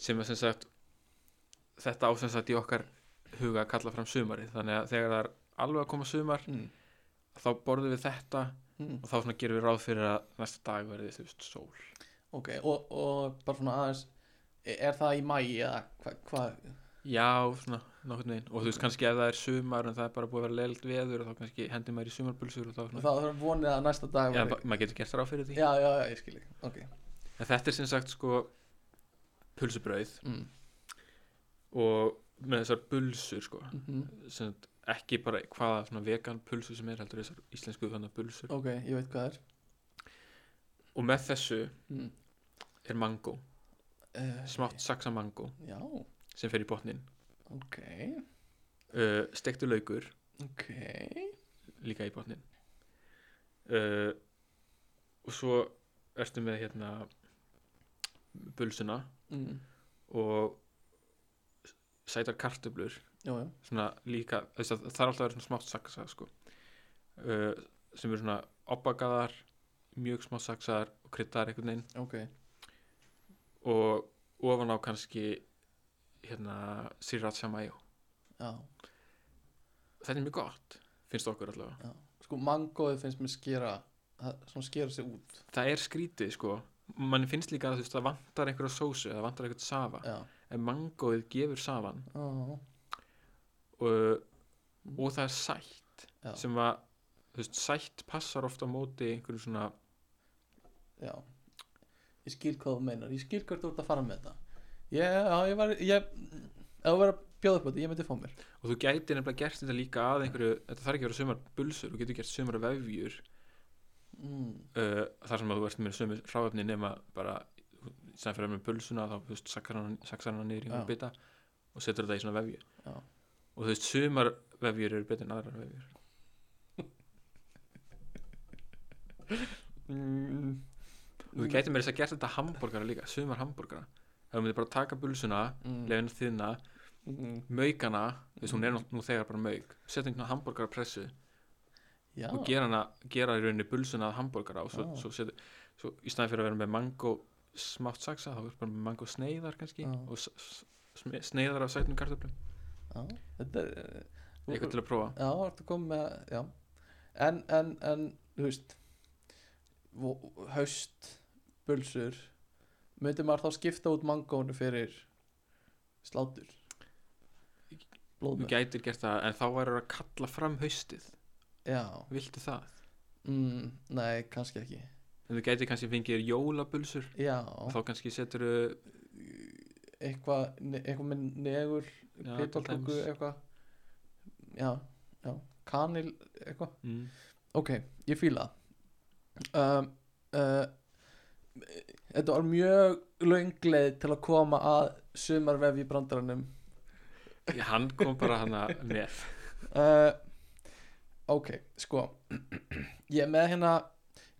Speaker 2: sem er sem sagt þetta á sem sagt í okkar huga að kalla fram sumari þannig að þegar það er alveg að koma sumar
Speaker 1: mm.
Speaker 2: þá borðum við þetta
Speaker 1: Mm.
Speaker 2: og þá svona gerum við ráð fyrir að næsta dag verði þú veist sól
Speaker 1: ok og, og bara svona aðeins e- er það í mæ eða hvað hva,
Speaker 2: já, svona nokkurn veginn og þú veist kannski ef það er sumar en það er bara búið að vera leild veður og þá kannski hendur maður í sumarbulsur og þá
Speaker 1: þá
Speaker 2: svona
Speaker 1: þarf vonið að næsta dag
Speaker 2: Já,
Speaker 1: verði-
Speaker 2: ma- maður getur gert ráð fyrir því
Speaker 1: já, já, já, ég skil ekki ok,
Speaker 2: En þetta er sem sagt sko pulsubrauð
Speaker 1: mm.
Speaker 2: og með þessar bulsur sko
Speaker 1: Mm
Speaker 2: sem sagt, ekki bara hvaða svona vegan pulsu sem er heldur þessar íslensku þannig bulsur
Speaker 1: ok, ég veit hvað það er
Speaker 2: og með þessu
Speaker 1: mm.
Speaker 2: er mango,
Speaker 1: uh,
Speaker 2: smátt saksa mango
Speaker 1: já,
Speaker 2: sem fer í botnin
Speaker 1: ok
Speaker 2: uh, stektu laukur
Speaker 1: ok,
Speaker 2: líka í botnin uh, og svo ertu með hérna bulsuna
Speaker 1: mm.
Speaker 2: og s- sætar kartöblur
Speaker 1: já, já,
Speaker 2: svona líka þú veist, að það er alltaf að vera svona smátt saksa sko. uh, sem eru svona opbakaðar, mjög smátt saksaðar og kryddaðar einhvern veginn
Speaker 1: ok
Speaker 2: og ofan á kannski hérna sriracha mayo
Speaker 1: já,
Speaker 2: þetta er mjög gott, finnst okkur allavega
Speaker 1: já sko, mangóið finnst mér skera það- svona skera sig út
Speaker 2: það er skrítið sko mann finnst líka að þú veist það vantar einhverja sósu það vantar einhvern safa,
Speaker 1: já,
Speaker 2: en mangóið gefur safan
Speaker 1: oh.
Speaker 2: og, og það er sætt
Speaker 1: Já.
Speaker 2: sem að þú veist, sætt passar ofta á móti einhverju svona
Speaker 1: Já Ég skil hvað þú meinar, ég skil hvert þú ert að fara með þetta Ég, já, ég var ég, Ef þú verður að bjóða upp á þetta, ég myndi fá mér
Speaker 2: og þú gæti nefnilega gert þetta líka að einhverju, þetta þarf ekki að vera sumar bulsur þú getur gert sumar vefjur
Speaker 1: mm,
Speaker 2: uh, þar sem að þú ert með sumar ráöfni nema bara sem fyrir með bulsuna þá þú veist, saxar hana, saxar hana niður
Speaker 1: Já.
Speaker 2: í einhverju bita og setur þetta í svona vefju
Speaker 1: Já.
Speaker 2: og þú veist sumar vefjur eru betur en aðrar vefjur
Speaker 1: mm,
Speaker 2: Mm. og þú gæti með þess að gert þetta hambúrgara líka sumar hambúrgara ef þú myndir bara taka bulsuna
Speaker 1: mm.
Speaker 2: leiðin að þinna,
Speaker 1: mm.
Speaker 2: maukana þú veist, hún er nú, nú þegar bara mauk setja einhvern hambúrgarapressu
Speaker 1: Já,
Speaker 2: og gera hana, gera í rauninni bulsuna að hambúrgara og svo,
Speaker 1: Já.
Speaker 2: svo, setja, svo í staðin fyrir að vera með mango smátt saksa, þá er bara með mango sneiðar kannski
Speaker 1: Já.
Speaker 2: og s- s- sme- sneiðar af sætnum kartöflum,
Speaker 1: já Þetta eh, er
Speaker 2: eitthvað til að prófa
Speaker 1: Já, ertu komið með, já En, en, en, þú veist vo- Haust Bulsur Myndi maður þá skipta út mangónu fyrir Slátur
Speaker 2: þú
Speaker 1: Blóðmör
Speaker 2: gætir gert það, en þá væri að kalla fram haustið,
Speaker 1: Já,
Speaker 2: viltu það
Speaker 1: mm, nei, kannski ekki
Speaker 2: en þú gætir kannski fengið jólabulsur
Speaker 1: Já,
Speaker 2: og þá kannski setur þau
Speaker 1: eitthvað ne- eitthvað með negur
Speaker 2: Já,
Speaker 1: Pitorkuku,
Speaker 2: til dæmis.
Speaker 1: eitthvað Já, já, kanil Eitthvað
Speaker 2: mm,
Speaker 1: Ok, ég fíla það. um, uh, Þetta var mjög löngleið til að koma að sumarvefi brandaranum
Speaker 2: Ég- hann kom bara hana með
Speaker 1: uh, Ok, sko Ég er með hérna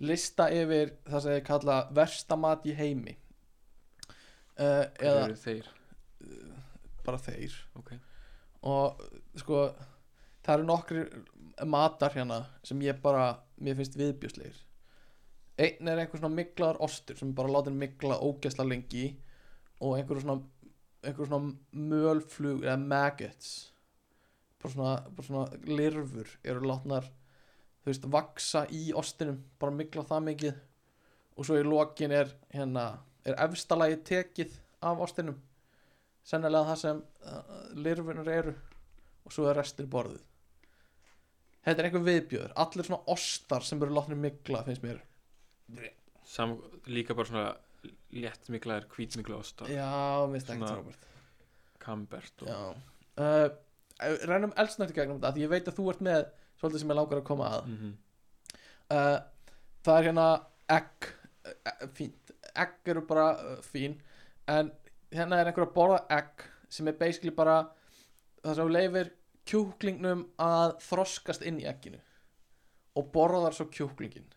Speaker 1: lista yfir það sem ég kalla versta mat í heimi uh,
Speaker 2: Hver
Speaker 1: eða
Speaker 2: eru þeir
Speaker 1: bara þeir
Speaker 2: Ok.
Speaker 1: og sko það eru nokkri matar hérna sem ég bara, mér finnst viðbjörslegir einn er einhver svona miklaður ostur sem er bara látin mikla ógæsla lengi í og einhver svona einhver svona mölflug eða maggots bara svona, bara svona lirfur eru látnar þú veist, vaksa í ostinum bara mikla það mikið og svo í lokin er hérna er efstalagi tekið af ostinum sennilega það sem uh, lirfunur eru og svo er restin borðið þetta er einhver viðbjöður allir svona ostar sem eru látnir mikla finnst mér
Speaker 2: Sam, líka bara svona léttmiklaðir, hvítmikla osta
Speaker 1: já, minnst ekki
Speaker 2: Svona-
Speaker 1: trábært
Speaker 2: kambert og
Speaker 1: já uh, rennum elsnætti gegnum þetta af því ég veit að þú ert með svolítið sem ég langar að koma að
Speaker 2: mm
Speaker 1: uh, það er hérna egg, eh, fínt egg eru bara uh, fín en hérna er einhver að borða egg sem er basically bara það sem leifir kjúklingnum að þroskast inn í egginu og borðar svo kjúklingin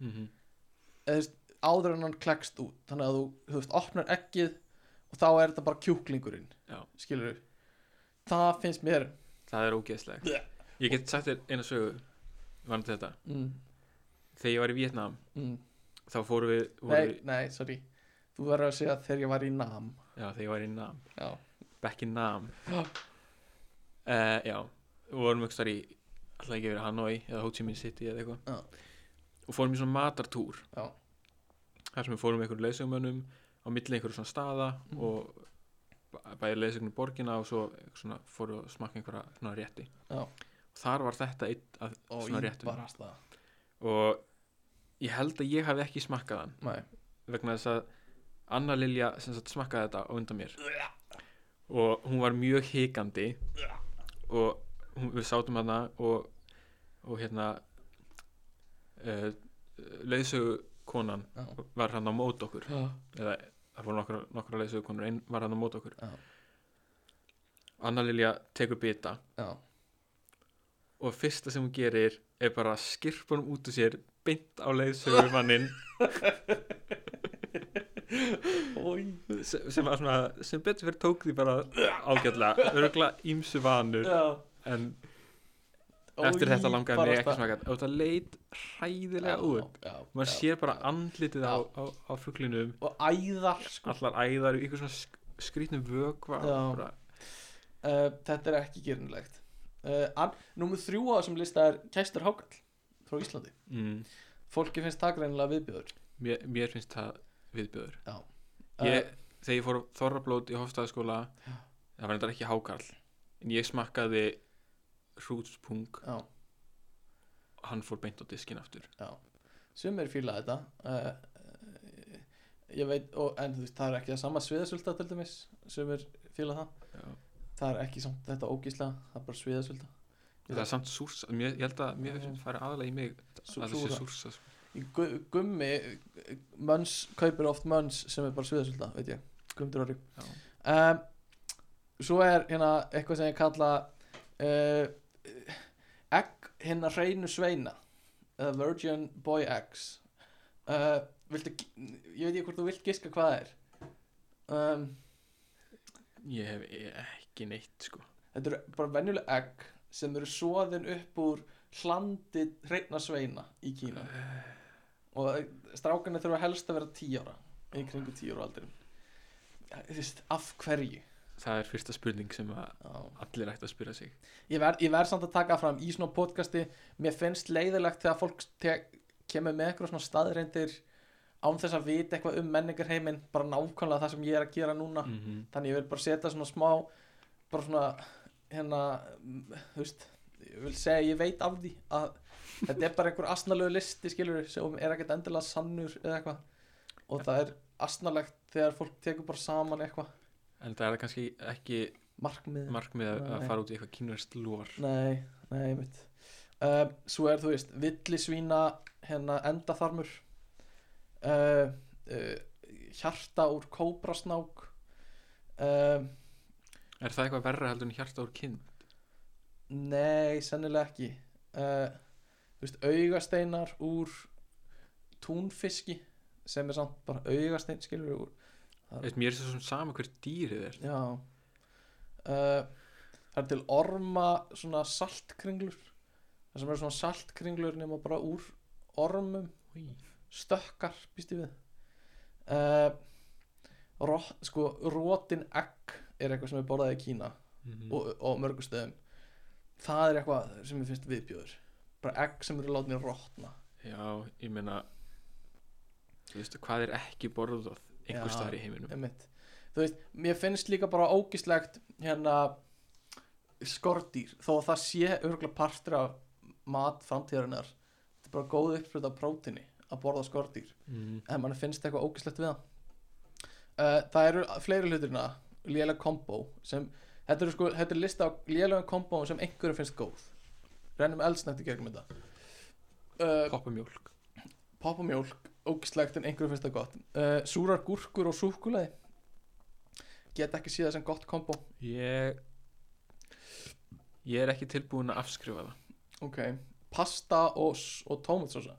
Speaker 2: mhm.
Speaker 1: eða þú veist, áður en hann klekst út þannig að þú, þú veist, opnar eggið og þá er þetta bara kjúklingurinn
Speaker 2: Já.
Speaker 1: skilur það finnst mér
Speaker 2: það er ógeðslegt
Speaker 1: Blech.
Speaker 2: ég get sagt þér eina sögu varnum þetta,
Speaker 1: mm,
Speaker 2: þegar ég var í Vietnam
Speaker 1: mm.
Speaker 2: þá fórum við, vorum
Speaker 1: nei,
Speaker 2: við
Speaker 1: nei, sorry þú verður að segja þegar ég var í nam
Speaker 2: já, þegar ég var í Nam,
Speaker 1: já,
Speaker 2: back in Nam
Speaker 1: Já.
Speaker 2: uh, já, við vorum ekki starf í alltaf ekki verið Hanoi eða Ho Chi Minh City eða eitthvað
Speaker 1: Já.
Speaker 2: og fórum í svona matartúr
Speaker 1: Já.
Speaker 2: þar sem við fórum með einhverjum leysugmönnum á milli einhverjum svona staða
Speaker 1: Mhm.
Speaker 2: og bæ- bæði leysugnum borgina og svo svona, fórum við að smakka einhverja svona rétti
Speaker 1: Já.
Speaker 2: þar var þetta eitt að,
Speaker 1: og
Speaker 2: svona
Speaker 1: ég
Speaker 2: réttum
Speaker 1: barast það
Speaker 2: og ég held að ég hafi ekki smakkað hann
Speaker 1: Nei.
Speaker 2: vegna þess að Anna Lilja sem sagt smakkaði þetta á undan mér og hún var mjög hikandi og hún, við sátum hana og, og hérna uh, leysögu konan
Speaker 1: Já.
Speaker 2: var hann á mót okkur
Speaker 1: Já.
Speaker 2: eða það voru nokkra, nokkra leysögu konur einn var hann á mót okkur
Speaker 1: Já.
Speaker 2: Anna Lilja tekur bita
Speaker 1: Já.
Speaker 2: og fyrsta sem hún gerir er bara að skirpa hann út úr sér beint á leysögu mannin sem, sem, var svona, sem betur fyrir tók því bara ágætlega örgla ímsu vanur
Speaker 1: Já.
Speaker 2: en
Speaker 1: Ó,
Speaker 2: eftir þetta
Speaker 1: ég
Speaker 2: langaði mig
Speaker 1: barast
Speaker 2: ekki
Speaker 1: það.
Speaker 2: smaka og það leit hræðilega út
Speaker 1: Já, já,
Speaker 2: maður
Speaker 1: já.
Speaker 2: sér bara andlitið á,
Speaker 1: Já.
Speaker 2: á, á fuglinum
Speaker 1: og æðar sko.
Speaker 2: allar æðar, ykkur svona sk- skrýtnum vökva
Speaker 1: Já.
Speaker 2: bara,
Speaker 1: uh, þetta er ekki gerinlegt uh, Númer þrjú á þessum lista er Kæstur Hákall frá Íslandi
Speaker 2: mm,
Speaker 1: Fólki finnst það greinilega viðbjöður
Speaker 2: mér, mér finnst það viðbjöður
Speaker 1: Já. Uh, Eh.
Speaker 2: ég, þegar ég fór á þorrablót í Hofstaðaskóla það var þetta ekki hákarl en ég smakkaði hrútspung
Speaker 1: Já,
Speaker 2: hann fór beint á diskin aftur
Speaker 1: já Sumir fíla þetta uh, uh, Ég veit, og, en þú veist, það er ekki það sama sviðasölda til dæmis Sumir fíla það
Speaker 2: Já.
Speaker 1: Það er ekki samt þetta ógísla Það er bara sviðasölda
Speaker 2: Það er samt súrsa, mér, ég held að mér
Speaker 1: Já.
Speaker 2: færi aðalega í mig
Speaker 1: Sú-
Speaker 2: að það sé
Speaker 1: súra.
Speaker 2: súrsa sko.
Speaker 1: Í gu- Gummi, mönns, kaupir oft mönns sem er bara sviðasölda, veit ég, gumdur orri.
Speaker 2: Já.
Speaker 1: Um, svo er hérna eitthvað sem ég kalla uh, egg hérna hreinu sveina, uh, virgin boy eggs. Eh, Uh, viltu, ég veit ekki hvort þú vilt giska hvað það er. Um,
Speaker 2: ég hef ekki neitt sko
Speaker 1: Þetta eru bara venjuleg egg sem eru soðin upp úr hlandi hreina sveina í Kína og strákarnir þurfa helst að vera 10 ára í kringu 10 ára aldrei Þú veist, af hverju
Speaker 2: það er fyrsta spurning sem að
Speaker 1: Já.
Speaker 2: allir ætti að spyrja sig
Speaker 1: Ég verð ver samt að taka fram í svona podcasti Mér finnst leiðilegt þegar fólk te- kemur með eitthvað svona staðreindir án þess að vita eitthvað um menningarheiminn bara nákvæmlega það sem ég er að gera núna
Speaker 2: mm -hmm.
Speaker 1: þannig ég vil bara setja svona smá bara svona hérna, mm, þú veist ég vil segja að ég veit af því að þetta er bara einhver asnalegu listi skilur sem er ekkert endilega sannur eða eitthvað og það er asnalegt þegar fólk tekur bara saman eitthvað
Speaker 2: en það er kannski ekki
Speaker 1: markmið
Speaker 2: markmið að, að
Speaker 1: Nei.
Speaker 2: fara út í eitthvað kínverst lór
Speaker 1: Nei, nei, einmitt uh, Svo er, þú veist, villisvína hérna endaþarmur uh, uh, hjarta úr kóbrasnák uh,
Speaker 2: er það eitthvað verra heldur en hjarta úr kinn
Speaker 1: Nei, sennilega ekki uh, Þú veist, augasteinar úr túnfiski sem er samt bara augastein skilur við úr
Speaker 2: Veist, mér er svo sem sama hver dýrið er
Speaker 1: Já uh, Eh, Það er til orma svona saltkringlur það sem eru svona saltkringlur nema bara úr ormum
Speaker 2: Í.
Speaker 1: stökkar, býst ég við uh, rot, sko, rótin egg er eitthvað sem er borðað í Kína
Speaker 2: Mhm.
Speaker 1: og, og á mörgum stöðum það er eitthvað sem ég finnst viðbjóður bara egg sem eru látni rótna
Speaker 2: já, ég meina þú veist, hvað er ekki borðað einhver
Speaker 1: Já.
Speaker 2: staðar í heiminum
Speaker 1: einmitt. þú veist, mér finnst líka bara ógislegt hérna skordýr, þó að það sé örgulega partur af mat framtíðarinnar þetta er bara góð uppsprut af prótini að borða skordýr
Speaker 2: mm.
Speaker 1: en mann finnst eitthvað ógislegt við það uh, það eru fleiri hluturina lélega kombo sem þetta eru sko, þetta er lista á lélega kombo sem einhverjum finnst góð rennum eldsnætti gegnum þetta uh,
Speaker 2: poppamjólk
Speaker 1: poppamjólk ógislegt en einhverjum finnst það gott uh, súrar gúrkur og súkulaði get ekki síða sem gott kombo
Speaker 2: ég ég er ekki tilbúin að afskrifa það
Speaker 1: ok, pasta og, s- og tómatsósa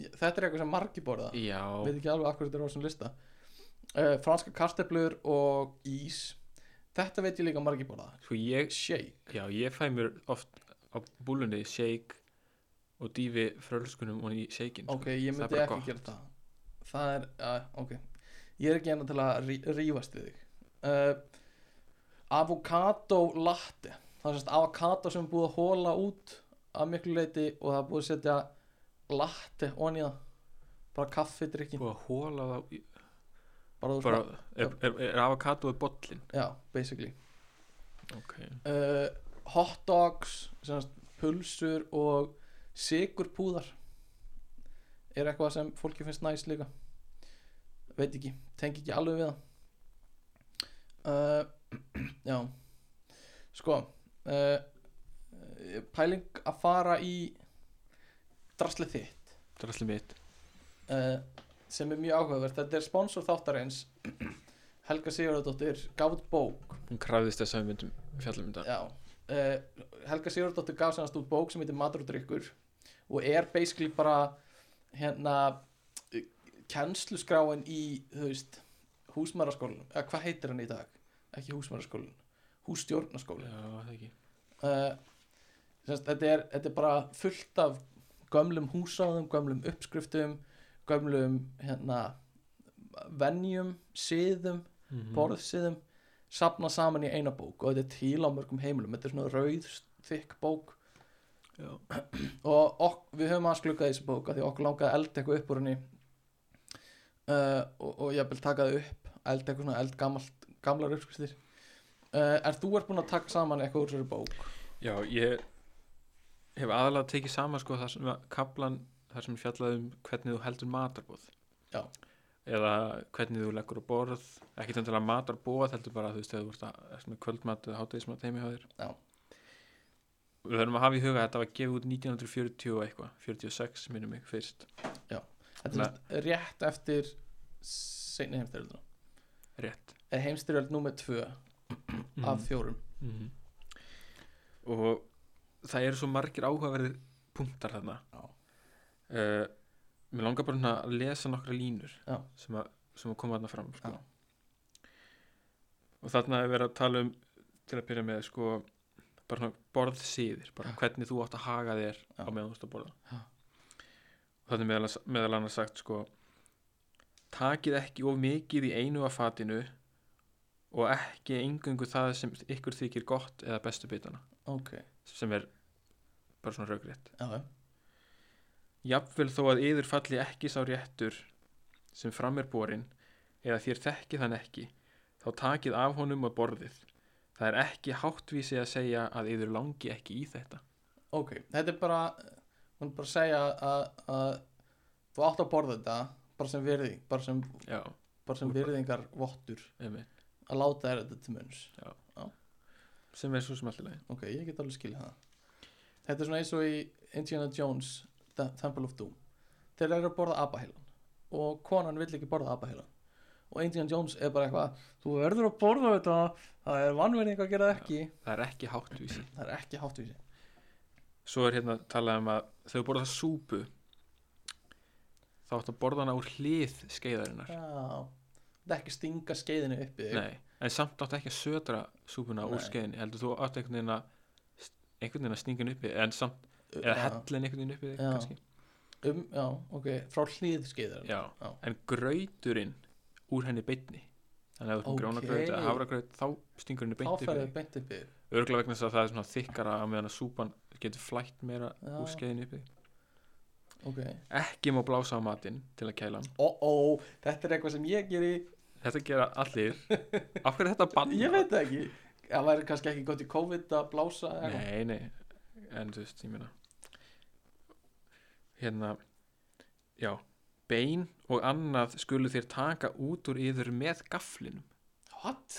Speaker 1: Ég- þetta er eitthvað sem margir borða
Speaker 2: já,
Speaker 1: veit ekki alveg akkur þetta er á þessum lista uh, franska karteflur og ís þetta veit ég líka margir borða
Speaker 2: sko ég
Speaker 1: shake,
Speaker 2: já, ég fæ mér oft á búlunni shake og dýfi frölskunum og í shakein sko.
Speaker 1: ok, ég
Speaker 2: Það er
Speaker 1: myndi
Speaker 2: bara
Speaker 1: ekki
Speaker 2: gott.
Speaker 1: gera það það er, uh, ok ég er ekki enn til að rí, rífast við þig uh, avocado latte það er sérst avocado sem er búið að hóla út að miklu leiti og það er búið að setja latte onni það bara kaffidrykkin
Speaker 2: búið að hóla það í-
Speaker 1: bara, þú
Speaker 2: bara,
Speaker 1: svona-
Speaker 2: er, er, er avokado eða bollin
Speaker 1: já, basically
Speaker 2: ok,
Speaker 1: uh, hot dogs semast, pulsur og sigurpúðar er eitthvað sem fólki finnst næst líka veit ekki, tengi ekki alveg við það uh, já sko uh, pæling að fara í draslið þitt
Speaker 2: það er allir mitt
Speaker 1: uh, sem er mjög áhugavert þetta er sponsor þáttarins Helga Sigurðardóttir gaf út bók
Speaker 2: hún krafðist þess að við myndum fjallum þetta
Speaker 1: Já, uh, Helga Sigurðardóttir gaf sannast út bók sem heitir Matur og drykkur og er basically bara hérna eh, kennsluskráin í, þú veist húsmaraskólan, eða hvað heitir hann í dag? Ekki húsmaraskólan, hússtjórnaskólan
Speaker 2: já, það ekki
Speaker 1: uh, semst, þetta, er, þetta er bara fullt af gömlum húsáðum, gömlum uppskriftum gömlum hérna venjum, siðum
Speaker 2: Mhm.
Speaker 1: borðsiðum safna saman í eina bók og þetta er til á mörgum heimilum þetta er svona rauð, þykk bók
Speaker 2: Já.
Speaker 1: og ok, við höfum að skluggað þessu bók af því okkur langaði að elda eitthvað upp úr henni uh, og, og ég vil taka það upp elda eitthvað svona eld gamalt, gamlar uppskristir uh, er þú ert búin að taka saman eitthvað úr þessari bók
Speaker 2: Já, ég hef aðalega tekið saman sko þar sem að kaplan þar sem fjallaði um hvernig þú heldur matarbóð
Speaker 1: Já.
Speaker 2: eða hvernig þú leggur á borð ekki töndilega matarbóð heldur bara þú veist þegar þú ert að ert með kvöldmat eða hátegismat heimi hjá þér
Speaker 1: Já.
Speaker 2: Við verðum að hafa í huga að þetta var gefið út 1940 og eitthvað 46 minnum mig fyrst
Speaker 1: þetta er semst rétt eftir seinni heimstyrjölduna
Speaker 2: rétt
Speaker 1: eða heimstyrjöld númer 2 af fjórum
Speaker 2: Mhm. og það eru svo margir áhugaverðir punktar þarna
Speaker 1: Já.
Speaker 2: uh, mér langar bara svona að lesa nokkra línur
Speaker 1: Já.
Speaker 2: sem að, sem að koma þarna fram sko. og þarna er verið að tala um til að byrja með sko bara svona borðsýðir, bara
Speaker 1: Já.
Speaker 2: hvernig þú átt að haga þér
Speaker 1: Já.
Speaker 2: á meðan þú ert að borða
Speaker 1: Já.
Speaker 2: og þarna er meðal, meðal annars sagt sko takið ekki of mikið í einu af fatinu og ekki engungu það sem ykkur þykir gott eða bestu bitana
Speaker 1: ok,
Speaker 2: sem er bara svona raugrétt
Speaker 1: já, já,
Speaker 2: jafnvel þó að yður falli ekki sá réttur sem fram er borin eða þér þekkið hann ekki þá takið af honum að borðið það er ekki háttvísi að segja að yður langi ekki í þetta
Speaker 1: ok þetta er bara, hún er bara að segja að, að þú átt að borða þetta bara sem virðing bara sem,
Speaker 2: já,
Speaker 1: bara sem
Speaker 2: Þú-
Speaker 1: virðingar vottur
Speaker 2: emi,
Speaker 1: að láta þér þetta til munns
Speaker 2: sem er svo sem allir leið
Speaker 1: ok, ég get alveg skilja það þetta er svona eins og í Indiana Jones Tem- Temple of Doom þeir eru að borða abaheilan og konan vill ekki borða abaheilan og Indiana Jones er bara eitthvað þú verður að borða þetta það er vannverðing að gera það ekki
Speaker 2: það er ekki háttvísi
Speaker 1: það er ekki háttvísi
Speaker 2: svo er hérna talað um að þegar þú borða það súpu þá áttu að borða hana úr hlið skeiðarinnar
Speaker 1: já, það er ekki að stinga skeiðinu uppi þig.
Speaker 2: Nei, en samt áttu ekki að södra súpuna úr
Speaker 1: Nei.
Speaker 2: skeiðinni heldur þú áttu einhvern veginn að einhvern veginn að stinga henni uppi en samt eða
Speaker 1: Já,
Speaker 2: hellin einhvern veginn upp í þig
Speaker 1: Já.
Speaker 2: kannski
Speaker 1: um, já, ok, frá hlið skeiðarinn
Speaker 2: já.
Speaker 1: Já.
Speaker 2: en grauturinn úr henni beinni þannig að þú
Speaker 1: Ok.
Speaker 2: okay. grána graut eða hafra graut þá stingur henni
Speaker 1: þá
Speaker 2: beint upp í
Speaker 1: ferðu
Speaker 2: þig
Speaker 1: beint uppi þig.
Speaker 2: örgulega vegna þess að það er svona þykkara á meðan að súpan getur flætt meira
Speaker 1: Já.
Speaker 2: úr skeiðinni upp í þig
Speaker 1: ok,
Speaker 2: ekki má blása á matinn til að kæla hann
Speaker 1: ó ó, þetta er eitthvað sem ég geri
Speaker 2: þetta gera allir af hverju er þetta bann
Speaker 1: ég veit það ekki það væri kannski ekki gott í COVID að blása eða eitthvað.
Speaker 2: nei, nei, en þú veist, ég meina hérna já, bein og annað skulu þér taka út úr yður með gaflinum
Speaker 1: what?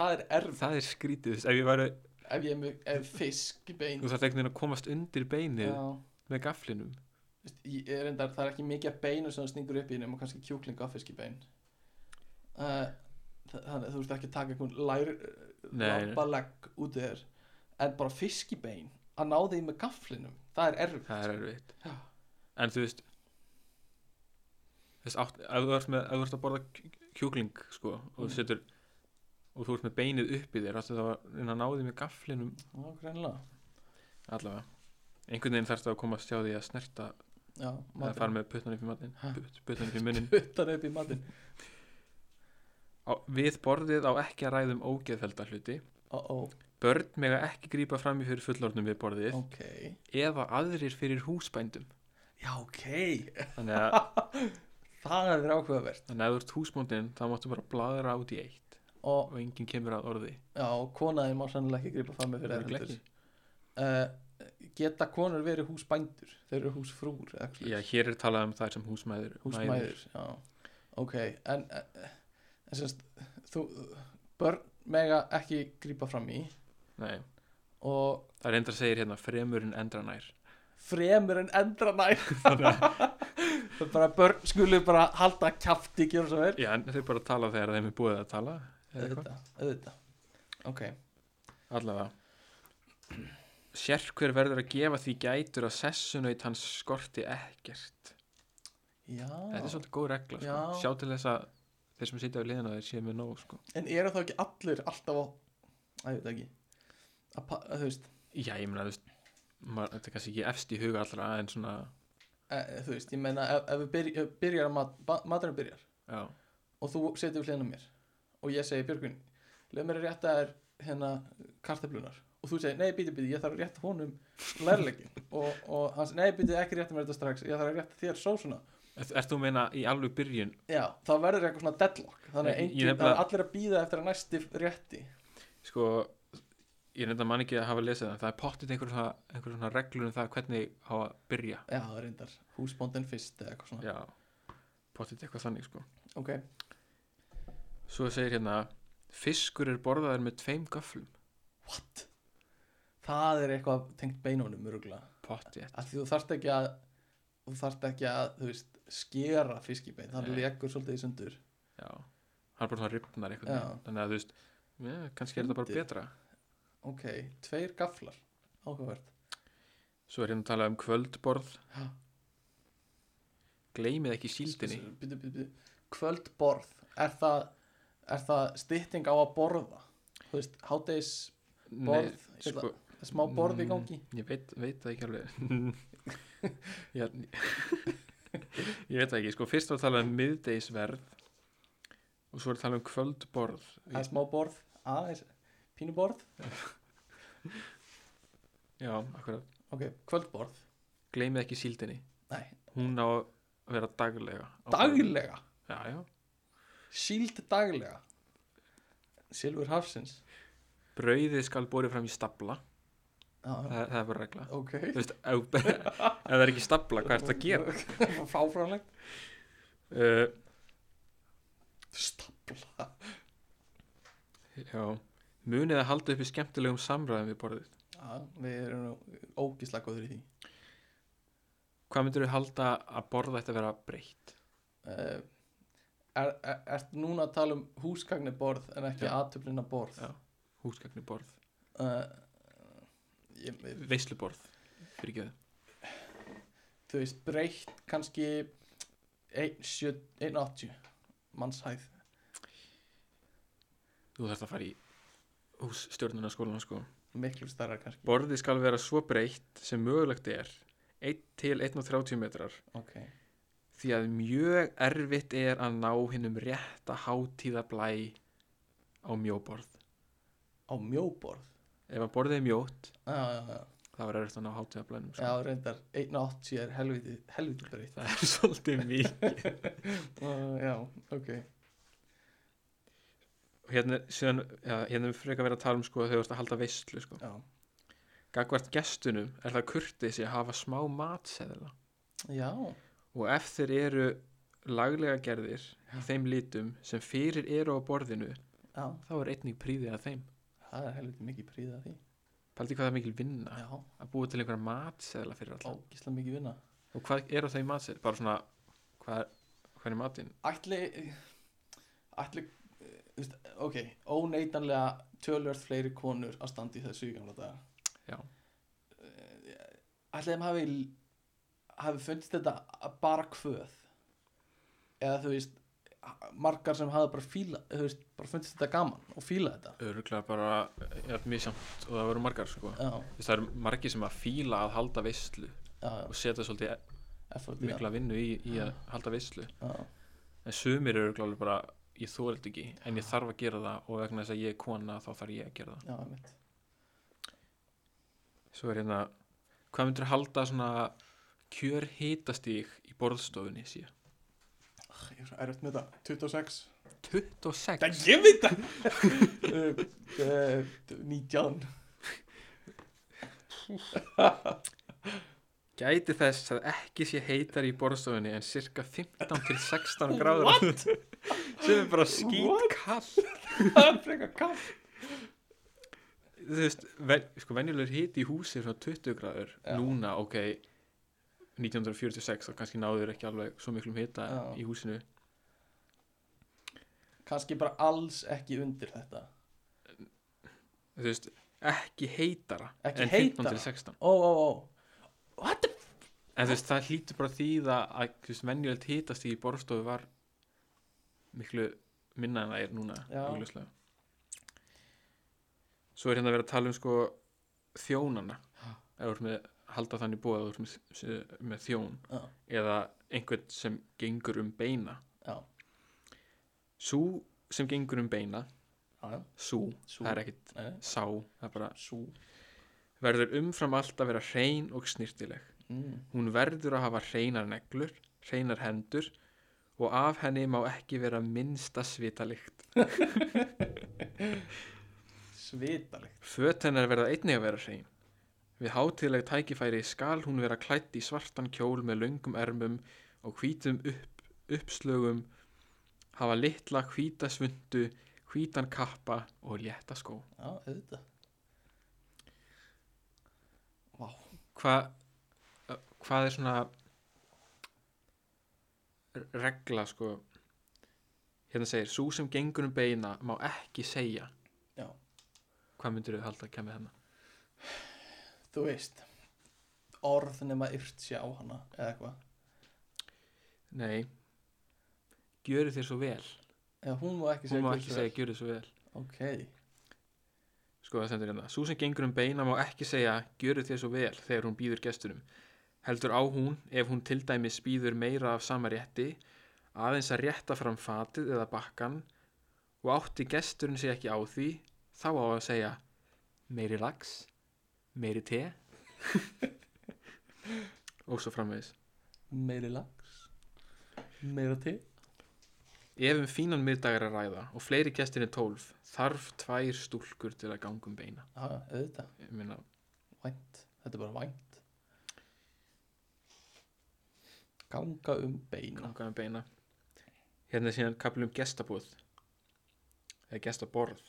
Speaker 1: það er erf
Speaker 2: það er skrítið, þú veist, ef ég væri
Speaker 1: ef ég er með ef fisk í bein
Speaker 2: þú þarf einhvern veginn að komast undir beinið
Speaker 1: já,
Speaker 2: með gaflinum
Speaker 1: veist, ég er endar, það er ekki mikið af beinu sem það stingur upp í nema kannski kjúkling og fisk í bein uh, þannig að þú veist ekki að taka einhvern lær
Speaker 2: Nei, nei.
Speaker 1: lambalegg út í þér en bara fisk í bein að ná því með gaflinum það er erfitt
Speaker 2: það er erfitt
Speaker 1: Já.
Speaker 2: en þú veist þú veist, átt, ef þú ert með ef þú ert að borða kj- kjúkling sko, og þú
Speaker 1: Mm.
Speaker 2: setur og þú ert með beinið upp í þér áttu þá að reyna að ná því með gaflinum
Speaker 1: Já, greinilega
Speaker 2: allavega einhvern veginn þarf það að komast hjá því að snerta
Speaker 1: Já,
Speaker 2: eða fara með puttan upp í matinn
Speaker 1: Ha?
Speaker 2: put, puttan upp í munnin
Speaker 1: Puttan upp í matinn
Speaker 2: á, við borðið á ekki að ræðum ógeðfelda hluti
Speaker 1: Ó, ó,
Speaker 2: börn mega ekki grípa fram í fyrir fullornum við borðið
Speaker 1: ok
Speaker 2: eða aðrir fyrir húsbændum
Speaker 1: Já, ok
Speaker 2: þannig að
Speaker 1: Það er ákveðavert
Speaker 2: Þannig að ef þú ert húsbóndin þá máttu bara bladra út í eitt
Speaker 1: Og
Speaker 2: og enginn kemur að orði
Speaker 1: já, konaðin má sannlega ekki gripa fram með fyrir
Speaker 2: Örugglega
Speaker 1: erlendur uh, Geta konur verið húsbændur Þeir eru húsfrúr eða eitthvað
Speaker 2: Já, hér er talað um þær sem húsmæður mæður.
Speaker 1: Húsmæður, já Ok, en, en, en semst, þú, Börn mega ekki grípa fram í
Speaker 2: Nei,
Speaker 1: Og
Speaker 2: það er enda segir hérna fremur en endra nær
Speaker 1: fremur en endra nær Það er bara að börn skulu bara halda kjafti, gera svo vel
Speaker 2: Já, en þau bara tala þegar þeim er búið að tala eða eitthvað.
Speaker 1: auðvitað, auðvitað ok,
Speaker 2: Allavega Sérhver verður að gefa því gætur að sessunaut hans skorti ekkert
Speaker 1: já
Speaker 2: Þetta er svolítið góð regla sko.
Speaker 1: Já.
Speaker 2: Sjá til þess að þeir sem sitja á liðina þeir séu með nóg sko.
Speaker 1: en eru þá ekki allir alltaf á að ég veit ekki að, pa- að þú veist,
Speaker 2: Já, ég meina, þú veist maður- Þetta er kannski ekki efst í huga allra en svona,
Speaker 1: e, þú veist, ég meina ef, ef við byrj, ef byrjar að mat, ba- maturinn byrjar
Speaker 2: já,
Speaker 1: og þú setur við hliðina á mér og ég segi Björgvin, leið mér að rétta þér hérna kartaflunar og þú segir, nei, býti, býti, ég þarf að rétta honum lærleikin og, og hans, nei, býti, ekki rétta mér þetta strax ég þarf að rétta þér sósuna
Speaker 2: Er, ert þú að meina í alveg byrjun
Speaker 1: já, þá verður eitthvað svona deadlock þannig að
Speaker 2: Ég- ég
Speaker 1: engin, það
Speaker 2: nefnilega-
Speaker 1: er allir að býða eftir að næsti rétti
Speaker 2: sko, ég reynda mann ekki að hafa lesið það, það er pottið einhver svona, einhver svona reglur um það hvernig á að byrja
Speaker 1: Já, það er reyndar húsbóndin fyrst eða eitthvað svona
Speaker 2: já, pottið eitthvað þannig sko
Speaker 1: Ok,
Speaker 2: svo segir hérna, fiskur er borðaður með tveim göflum,
Speaker 1: what? Það er eitthvað tengt beinunum örugla
Speaker 2: pottið
Speaker 1: að því þú þarft ekki að þú þarft ekki að, þú veist, skera fiskibein þannig
Speaker 2: Nei.
Speaker 1: legur svolítið í sundur
Speaker 2: já, hann bara svona ripnar
Speaker 1: Já.
Speaker 2: einhvern veginn, þannig að þú veist ja, kannski er þetta bara
Speaker 1: Fyndið.
Speaker 2: betra
Speaker 1: Ok, tveir gaflar Áhugavert
Speaker 2: svo er hérna að tala um kvöldborð
Speaker 1: Já.
Speaker 2: gleymið ekki síldinni
Speaker 1: Sko, Bíddu, bíddu, bíddu. Kvöldborð, er það er það stytting á að borða þú veist, hátegis borð ég ætla-
Speaker 2: sko,
Speaker 1: smá borð í
Speaker 2: mm,
Speaker 1: gangi
Speaker 2: Ég veit, veit það ekki alveg ég, ég veit það ekki, sko fyrst var að tala um miðdeisverð og svo var að tala um kvöldborð
Speaker 1: það er smá borð, aðeins pínuborð,
Speaker 2: Já, akkurat
Speaker 1: ok, kvöldborð
Speaker 2: Gleymið ekki síldinni
Speaker 1: nei,
Speaker 2: Hún á að vera daglega á borðinu.
Speaker 1: daglega
Speaker 2: Já, já
Speaker 1: síld daglega Silfur Hafsins
Speaker 2: Brauðið skal borið fram í stafla
Speaker 1: Já,
Speaker 2: Það, það er bara regla
Speaker 1: ok
Speaker 2: Þú veist, ef, ef það er ekki stafla, hvað er þetta að gera?
Speaker 1: fáfránlegt
Speaker 2: Uh,
Speaker 1: stapla
Speaker 2: já Munið að halda upp í skemmtilegum samræðum við borðið
Speaker 1: já, við erum nú ógislega góður í því
Speaker 2: Hvað myndir við halda að borða þetta vera breytt?
Speaker 1: uh, er, er, ert núna að tala um húsgagniborð en ekki
Speaker 2: Já.
Speaker 1: aðtöflina borð
Speaker 2: Já. Húsgagniborð,
Speaker 1: uh, ég, ég-
Speaker 2: veisluborð fyrir gjöðu
Speaker 1: þú veist breytt kannski 1,70 1,80 mannshæð
Speaker 2: Þú þarft að fara í hús stjórnunarskólan sko
Speaker 1: miklu starra kannski
Speaker 2: Borðið skal vera svo breytt sem mögulegt er 1 til 1,30 metrar
Speaker 1: ok,
Speaker 2: því að mjög erfitt er að ná hinnum rétta hátíðablæ á mjóborð
Speaker 1: á mjóborð
Speaker 2: Ef að borðið er mjótt
Speaker 1: já, já, já,
Speaker 2: það var erfitt að ná hátíðablænum
Speaker 1: já
Speaker 2: sko.
Speaker 1: reyndar 1,80 er helviti, helviti breytt
Speaker 2: Það er svolítið mikið
Speaker 1: uh, já, ok
Speaker 2: Og hérna, síðan, já, hérna er frekar verið að tala um sko að þau vorst að halda veistlu sko
Speaker 1: já,
Speaker 2: Gagvart gestunum er það kurteisi að hafa smá matseðla
Speaker 1: já.
Speaker 2: og ef þeir eru laglega gerðir í þeim litum sem fyrir eru á borðinu
Speaker 1: já.
Speaker 2: þá er einnig príðið að þeim
Speaker 1: það er helviti mikið príða því
Speaker 2: Paldi hvað það er mikil vinna
Speaker 1: já,
Speaker 2: að búa til einhverja matseðla fyrir alltaf
Speaker 1: ógislega mikið vinna
Speaker 2: og hvað er á þeim matseðla? Bara svona, hvað, hvað er matinn?
Speaker 1: ætli ætli þú veist, ok, óneitanlega tölvörð fleiri konur að standa í þessu í gamla daga
Speaker 2: Já.
Speaker 1: Eh, ætli þeim hafi hafi fundist þetta að bara kvöð eða þú veist margar sem hafi bara fíla þú veist, bara fundist þetta gaman og fíla þetta
Speaker 2: Öruglega bara, já, mjög samt og það voru margar sko
Speaker 1: já,
Speaker 2: Þess, það eru margir sem að fíla að halda veistlu
Speaker 1: já,
Speaker 2: og setja svolítið
Speaker 1: já effort í það.
Speaker 2: mikla vinnu í, í að halda veistlu
Speaker 1: já,
Speaker 2: en sumir eru glálega bara ég þóra þetta ekki, en ég þarf að gera það og vegna þess að ég er kona þá þarf ég að gera
Speaker 1: já, einmitt.
Speaker 2: það svo er hérna, hvað myndir halda svona kjör hitastíg í borðstofunni sé
Speaker 1: Ugh, ég er svo erfitt með þetta 26
Speaker 2: 26,
Speaker 1: það ég veit það uh, uh, 19
Speaker 2: gæti þess að ekki sé heitar í borðstofunni en cirka 15 til 16 gráður What? sem er bara skýt
Speaker 1: það er frekar kall
Speaker 2: þú veist, ven, sko venjulegur hiti í húsi er svona 20 gráður
Speaker 1: Já.
Speaker 2: núna, ok 1946 þá kannski náður ekki alveg svo miklum hita
Speaker 1: Já.
Speaker 2: í húsinu
Speaker 1: kannski bara alls ekki undir þetta
Speaker 2: þú veist, ekki heitara
Speaker 1: Ekki
Speaker 2: en 15
Speaker 1: heitara?
Speaker 2: til 16
Speaker 1: ó, ó, ó what the f
Speaker 2: en þú veist, það hlýtur bara því það að þú veist, venjulegt hitast í borðstofu var miklu minna en það er núna
Speaker 1: Já.
Speaker 2: augljóslega. svo er hérna að vera að tala um sko þjónana
Speaker 1: Já.
Speaker 2: ef þú ert með halda þannig búið að þú ert með, með þjón
Speaker 1: já,
Speaker 2: eða einhvern sem gengur um beina
Speaker 1: já,
Speaker 2: sú sem gengur um beina
Speaker 1: já, já.
Speaker 2: sú,
Speaker 1: Sú.
Speaker 2: það er ekkit
Speaker 1: Nei,
Speaker 2: sá það er bara,
Speaker 1: sú
Speaker 2: verður umfram allt að vera hrein og snirtileg
Speaker 1: mm.
Speaker 2: Hún verður að hafa hreinar neglur, hreinar hendur og af henni má ekki vera minnsta svitalikt.
Speaker 1: svitalegt
Speaker 2: Föt hennar verða einnig að vera hrein. Við hátiðleg tækifæri skal hún vera klætt í svartan kjól með löngum ermum og hvítum upp, uppslögum, hafa litla hvíta svundu, hvítan kappa og létta skó.
Speaker 1: já, auðvitað vá,
Speaker 2: Hva, uh, hvað er svona r- regla sko hérna segir, svo sem gengur um beina má ekki segja
Speaker 1: Já.
Speaker 2: hvað myndir þau halda að kemja hérna
Speaker 1: þú veist orð nema yrt sé á hana eða eitthvað
Speaker 2: nei, gjöru þér svo vel
Speaker 1: eða hún má ekki
Speaker 2: hún
Speaker 1: segja
Speaker 2: má
Speaker 1: gjörðu
Speaker 2: ekki
Speaker 1: svo
Speaker 2: segja gjörðu svo vel
Speaker 1: vel. ok,
Speaker 2: sko það stendur hérna sú sem gengur um beina má ekki segja gjörðu þér svo vel þegar hún býður gestunum heldur á hún ef hún til dæmis býður meira af sama rétti aðeins að rétta fram fatið eða bakkan og átti gesturinn sig ekki á því þá á að segja meiri lags meiri te og svo framvegis
Speaker 1: meiri lags meira til
Speaker 2: Ef um fínan middag er að ræða og fleiri gestir en tólf þarf tvær stúlkur til að ganga um beina.
Speaker 1: já, já, auðvitað,
Speaker 2: Ég Meina,
Speaker 1: vænt þetta er bara vænt ganga um beina
Speaker 2: ganga um beina. Hérna er síðan kapil um gestabúð eða gestaborð.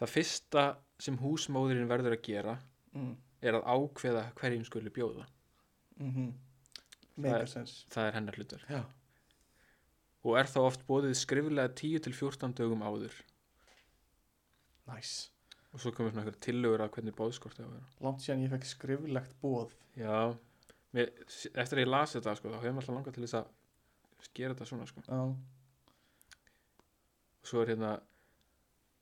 Speaker 2: Það fyrsta sem húsmóðurinn verður að gera
Speaker 1: mm.
Speaker 2: er að ákveða hverjum skuli bjóða.
Speaker 1: mm -hmm.
Speaker 2: Það er-
Speaker 1: megasens
Speaker 2: Það er hennar hlutur.
Speaker 1: já,
Speaker 2: Og er þá oft bóðið skriflega 10-14 dögum áður.
Speaker 1: næs
Speaker 2: Og svo komum við svona einhverja tillögur að hvernig bóðskort það vera.
Speaker 1: langt síðan ég fekk skriflegt bóð
Speaker 2: Já, mér, eftir að ég las þetta sko, þá hefum alltaf langað til þess að gera þetta svona sko.
Speaker 1: já,
Speaker 2: Svo er hérna,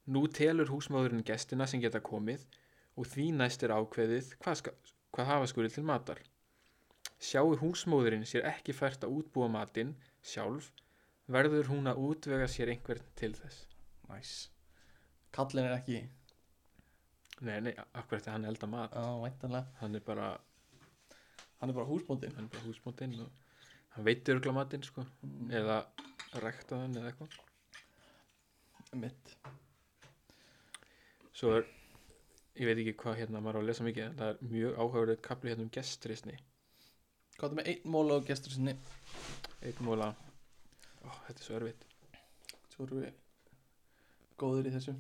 Speaker 2: nú telur húsmaðurinn gestina sem geta komið og því næst er ákveðið hvað, ska, hvað hafa skuril til matar. Sjáu húsmóðurinn sér ekki fært að útbúa matinn sjálf, verður hún að útvega sér einhvern til þess.
Speaker 1: næs kallin er ekki
Speaker 2: Nei, nei, akkur eftir hann að elda mat.
Speaker 1: já, væntanlega
Speaker 2: Hann er bara,
Speaker 1: hann er bara húsbóndin
Speaker 2: hann er bara húsmóðinn og hann veitir örgla matinn sko,
Speaker 1: Mm.
Speaker 2: eða rækta hann eða eitthvað.
Speaker 1: mitt
Speaker 2: Svo er, ég veit ekki hvað hérna maður á að lesa mikið, en það er mjög áhugaverið kapli hérna um gestrisni.
Speaker 1: hvað er með einn móla og gestur sinni
Speaker 2: Einn múla, ó, þetta er svo erfitt.
Speaker 1: svo erum við góðir í þessu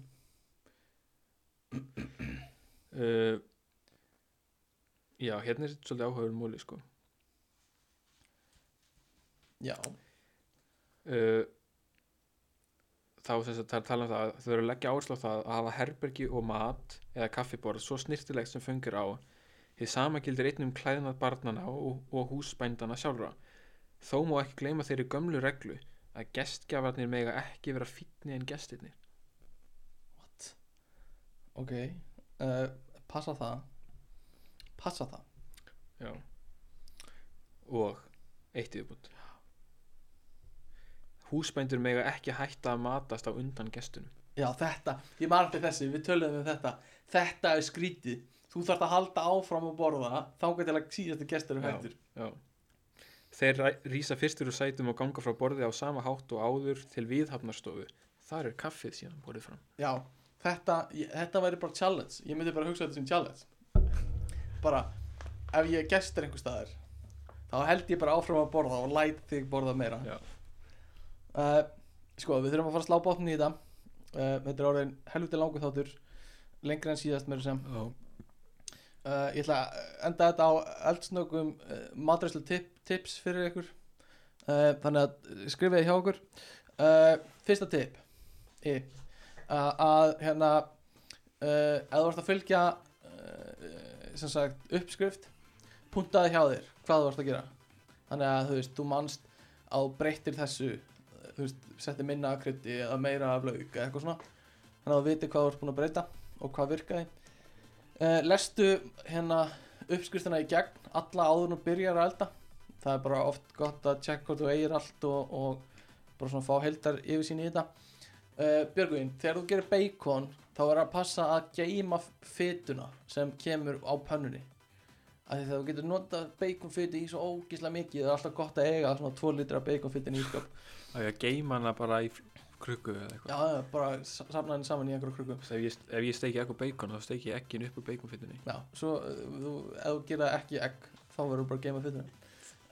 Speaker 2: Uh, já, hérna er svolítið áhugaverið múli, sko.
Speaker 1: já,
Speaker 2: Uh, þá þess að það er tala um það, að þau eru að leggja áherslu á það að hafa herbergi og mat eða kaffiborð svo snirtilegt sem fengir á. Því sama gildir einnig um klæðnað barnana og, og húsbændana sjálfra. Þó má ekki gleyma þeirri gömlu reglu að gestgjafarnir mega ekki vera fínni en gestirnir.
Speaker 1: what ok uh, passa það passa það
Speaker 2: Já Og eitt yfirbútt Húsbændur mega ekki hætta að matast á undan gestunum
Speaker 1: Já, þetta, ég man eftir þessu, við töluðum um þetta Þetta er skrítið Þú þarft að halda áfram að borða Þangað til að síðastu gestur er
Speaker 2: Já.
Speaker 1: hættur
Speaker 2: Já Þeir ræ- rísa fyrstur úr sætum og ganga frá borði á sama hátt og áður til viðhafnarstofu Þar er kaffið síðan borðið fram
Speaker 1: Já, þetta, ég, þetta væri bara challenge Ég myndi bara hugsa þetta sem challenge Bara, ef ég er gestur einhver staðar Þá held ég bara áfram að borða Og læt þig borða meira
Speaker 2: Já.
Speaker 1: uh, Sko, við þurfum að fara að slá bátnum í þetta uh, Þetta er orðin helviti langur þáttur Lengri en síðast meira sem
Speaker 2: Já
Speaker 1: uh, ég ætla að enda þetta á eldsnöggum uh, matræslu tip, tips fyrir ykkur uh, þannig að skrifaði hjá okkur uh, fyrsta tip er að, að hérna uh, eða þú vart að fylgja uh, sem sagt uppskrift puntaði hjá þér hvað þú vart að gera þannig að þú veist, þú manst á breytir þessu uh, þú veist, setti minna af krytti eða meira af lauk eða eitthvað svona þannig að þú viti hvað þú ert búin að breyta og hvað virkaði Uh, lestu hérna uppskriftina í gegn alla áður og byrjar að elda það er bara oft gott að tjekka hvort þú eigir allt og, og bara svona fá heildar yfir sín í þetta uh, Björgvin, þegar þú gerir bacon þá er að passa að geima fytuna sem kemur á pönnunni af því þegar þú getur notað baconfytu í svo ógíslega mikið það er alltaf gott að eiga svona 2 litra baconfytin í ískap
Speaker 2: Það er að geima hana bara í fl- krukku eða eitthvað
Speaker 1: já, já, bara sa- safna henni saman í einhverju kruku
Speaker 2: Ef ég, ef ég steiki ekkur beikon þá steiki ég ekkin upp úr beikonfittinni
Speaker 1: Já, svo uh, þú, ef þú gera ekki egg þá verður bara að geima fytuna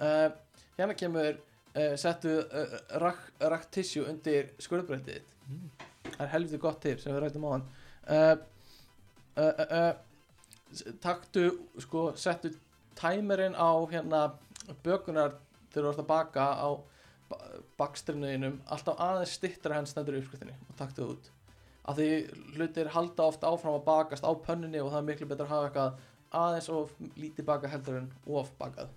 Speaker 1: uh, Hérna kemur uh, settu uh, rak, raktissu undir skurðbreytið þitt
Speaker 2: Mm.
Speaker 1: Það er helviti gott tip sem við rættum á hann uh, uh, uh, uh, s- Taktu, sko, settu tæmerinn á hérna bökunar þegar þú ert að baka á bakstrinnuðinum alltaf aðeins stittra henn stendur í uppskriftinni og taktu það út af því hlutir halda oft áfram að bakast á pönnunni og það er miklu betra að hafa eitthvað aðeins of lítið baka heldur eh, en of bakað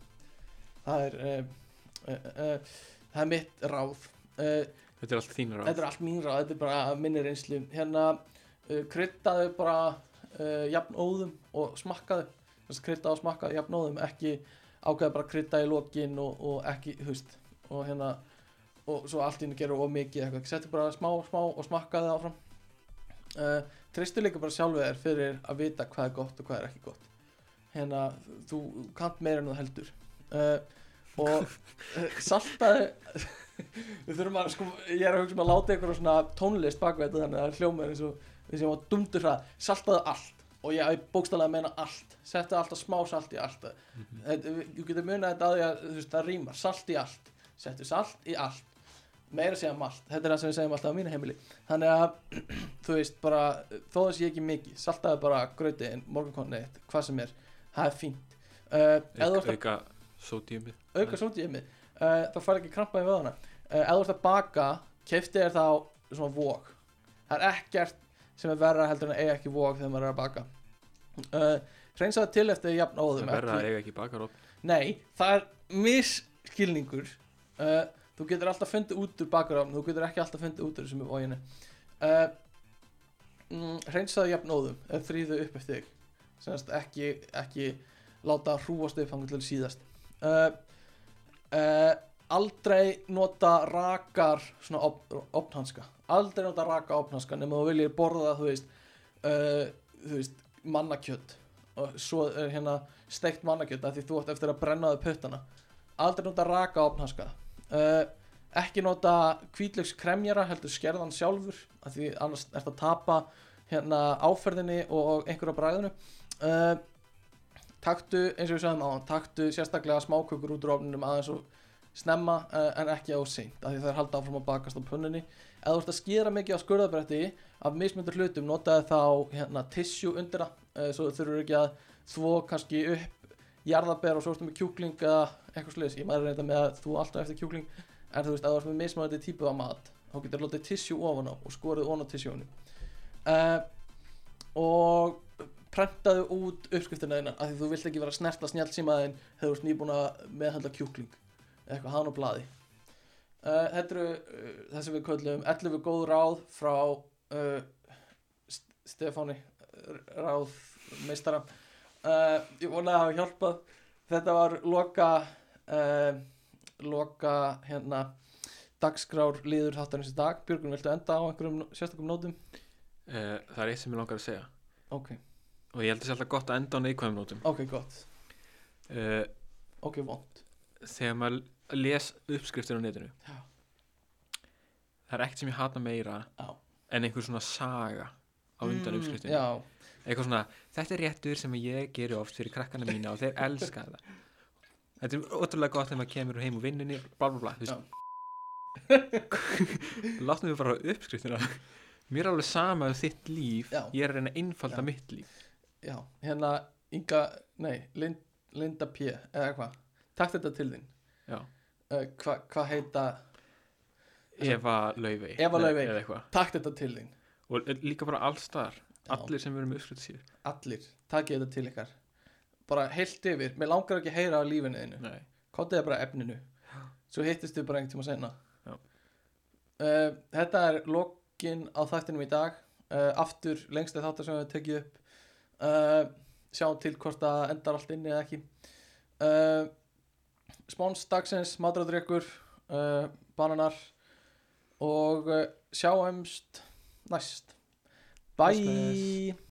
Speaker 1: það eh, er uh, uh, uh, það er mitt ráð uh,
Speaker 2: Þetta er allt þín ráð
Speaker 1: þetta er allt mín ráð, þetta er bara minni reynslu hérna, uh, kryddaðu bara uh, jafnóðum og smakkaðu þess að kryddaðu og smakkaðu jafnóðum ekki ákveða bara að krydda í lokin og, og ekki, þú veist og hérna, og svo allt í henni gerur of mikið eitthvað, settu bara smá, smá og smakkaðu áfram uh, treystu líka bara sjálfu þér fyrir að vita hvað er gott og hvað er ekki gott hérna, þú kant meira en þú heldur uh, og uh, saltaðu við þurfum að, sko, ég er að hugsa um að láta ykkur á svona tónlist bakveg þetta þannig að það hljóma eins og við sem á dumdur hrað saltaðu allt og ég, ég bókstallega meina allt settu alltaf smá salt í allt þetta, þú getur munið þetta að því að þú veist, það rýmar salt í allt, settu salt í allt meira segja malt, þetta er það sem við segjum alltaf á mínu heimili, þannig að þú veist, bara, þó það sé ekki mikið saltaðu bara grötiðin, morgunkonni hvað sem er, það er fínt uh, eða þú ert að
Speaker 2: Auka sódíumið
Speaker 1: auka sódíumið uh, þá fær ekki krampa í vöðana uh, ef þú ert að baka, keifti þér þá svona vók það er ekkert sem er verra heldur en að eiga ekki vók þegar maður er að baka uh, reynsaðu til eftir jafn
Speaker 2: Það
Speaker 1: óðum
Speaker 2: er verða að eiga ekki bakarofn
Speaker 1: nei, það er misskilningur uh, þú getur alltaf fundið út úr bakarofn þú getur ekki alltaf fundið út úr þessum vóginu uh, mm, reynsaðu jafn óðum eða þrýðu upp eftir þig Sennast ekki, ekki láta hrúast upp hangur til síðast uh, uh, aldrei nota rakar svona op- opnhanska aldrei nota raka opnhanska nema þú viljir borða þú veist, uh, þú veist mannakjöt og svo er hérna steikt mannakjöt af því þú átt eftir að brenna þau puttana aldrei nota raka opnhanska uh, ekki nota hvítlöks kremjara heldur skerðan sjálfur af því annars ert að tapa hérna áferðinni og einhverja bræðinu uh, taktu, eins og við sagðum á taktu sérstaklega smákökur út úr ofninum aðeins og snemma eh, en ekki á seint af því það er halda áfram að bakast á pönnunni eða þú ert að skera mikið á skurðabrætti af mismundur hlutum, notaði þá hérna, tissue undir það, eh, svo þurfur ekki að þvó kannski upp jarðabær og svo ertu með kjúkling eða eitthvað sliðis, ég maður reynda með að þú alltaf eftir kjúkling en þú veist, að þú ert með mismunandi típu af mat þá getur lotið tissue ofan á og skorið ofan á tissjónu uh, og prentaðu út uppskriftina þína af því þú vilt ekki vera að snerta snjálfsímaðin þegar þú ert nýbúin að meðhandla kjúkling eða eitthvað hann á blaði uh, þetta eru uh, það sem við köllum 11 góð ráð frá uh, St- Stefáni uh, ráð meistara uh, ég vona að hafa hjálpað þetta var loka uh, loka hérna dagskrár liður þáttarins í dag Björgun, viltu enda á einhverjum sérstakum nótum?
Speaker 2: Eh, Það er eitt sem ég langar að segja
Speaker 1: Ok,
Speaker 2: Og ég held þessi alltaf gott að enda á neikvæðum nótum
Speaker 1: ok, gott,
Speaker 2: uh,
Speaker 1: ok, vond
Speaker 2: Þegar maður les uppskriftir á netinu
Speaker 1: Já.
Speaker 2: Það er ekkert sem ég hata meira
Speaker 1: Já.
Speaker 2: En einhver svona saga á undan mm, uppskriftin
Speaker 1: Já,
Speaker 2: Eitthvað svona, þetta er réttur sem ég geri oft fyrir krakkana mína og þeir elska það Þetta er ótrúlega gott þegar maður kemur heim úr vinnunni bla bla bla, þú
Speaker 1: Já.
Speaker 2: veist Láttum við bara á uppskriftina Mér er alveg sama um þitt líf
Speaker 1: Já.
Speaker 2: Ég er að reyna að einfalda
Speaker 1: Já.
Speaker 2: mitt líf
Speaker 1: já, hérna Inga, nei, Lind, Linda P eða hvað, takk þetta til þín
Speaker 2: Já.
Speaker 1: uh, hvað hva heita Þessa-
Speaker 2: Eva Laufey
Speaker 1: Eva Laufey.
Speaker 2: eða eitthvað.
Speaker 1: takk þetta til þín,
Speaker 2: Og líka bara allstar
Speaker 1: Já.
Speaker 2: Allir sem eru með uppskrift síður
Speaker 1: allir takkið þetta til ykkar bara heilt yfir, mér langar ekki að heyra á lífinu þínu
Speaker 2: Nei.
Speaker 1: kontið það bara efninu svo hittist þið bara einhvern tíma senna
Speaker 2: Já.
Speaker 1: uh, þetta er lokin á þættinum í dag uh, aftur lengst er þáttar sem við tekið upp uh, sjáum til hvort það endar allt inni eða ekki uh, spóns dagsins matradrykkur uh, bananar og uh, sjáumst næst bye
Speaker 2: Bless, bless.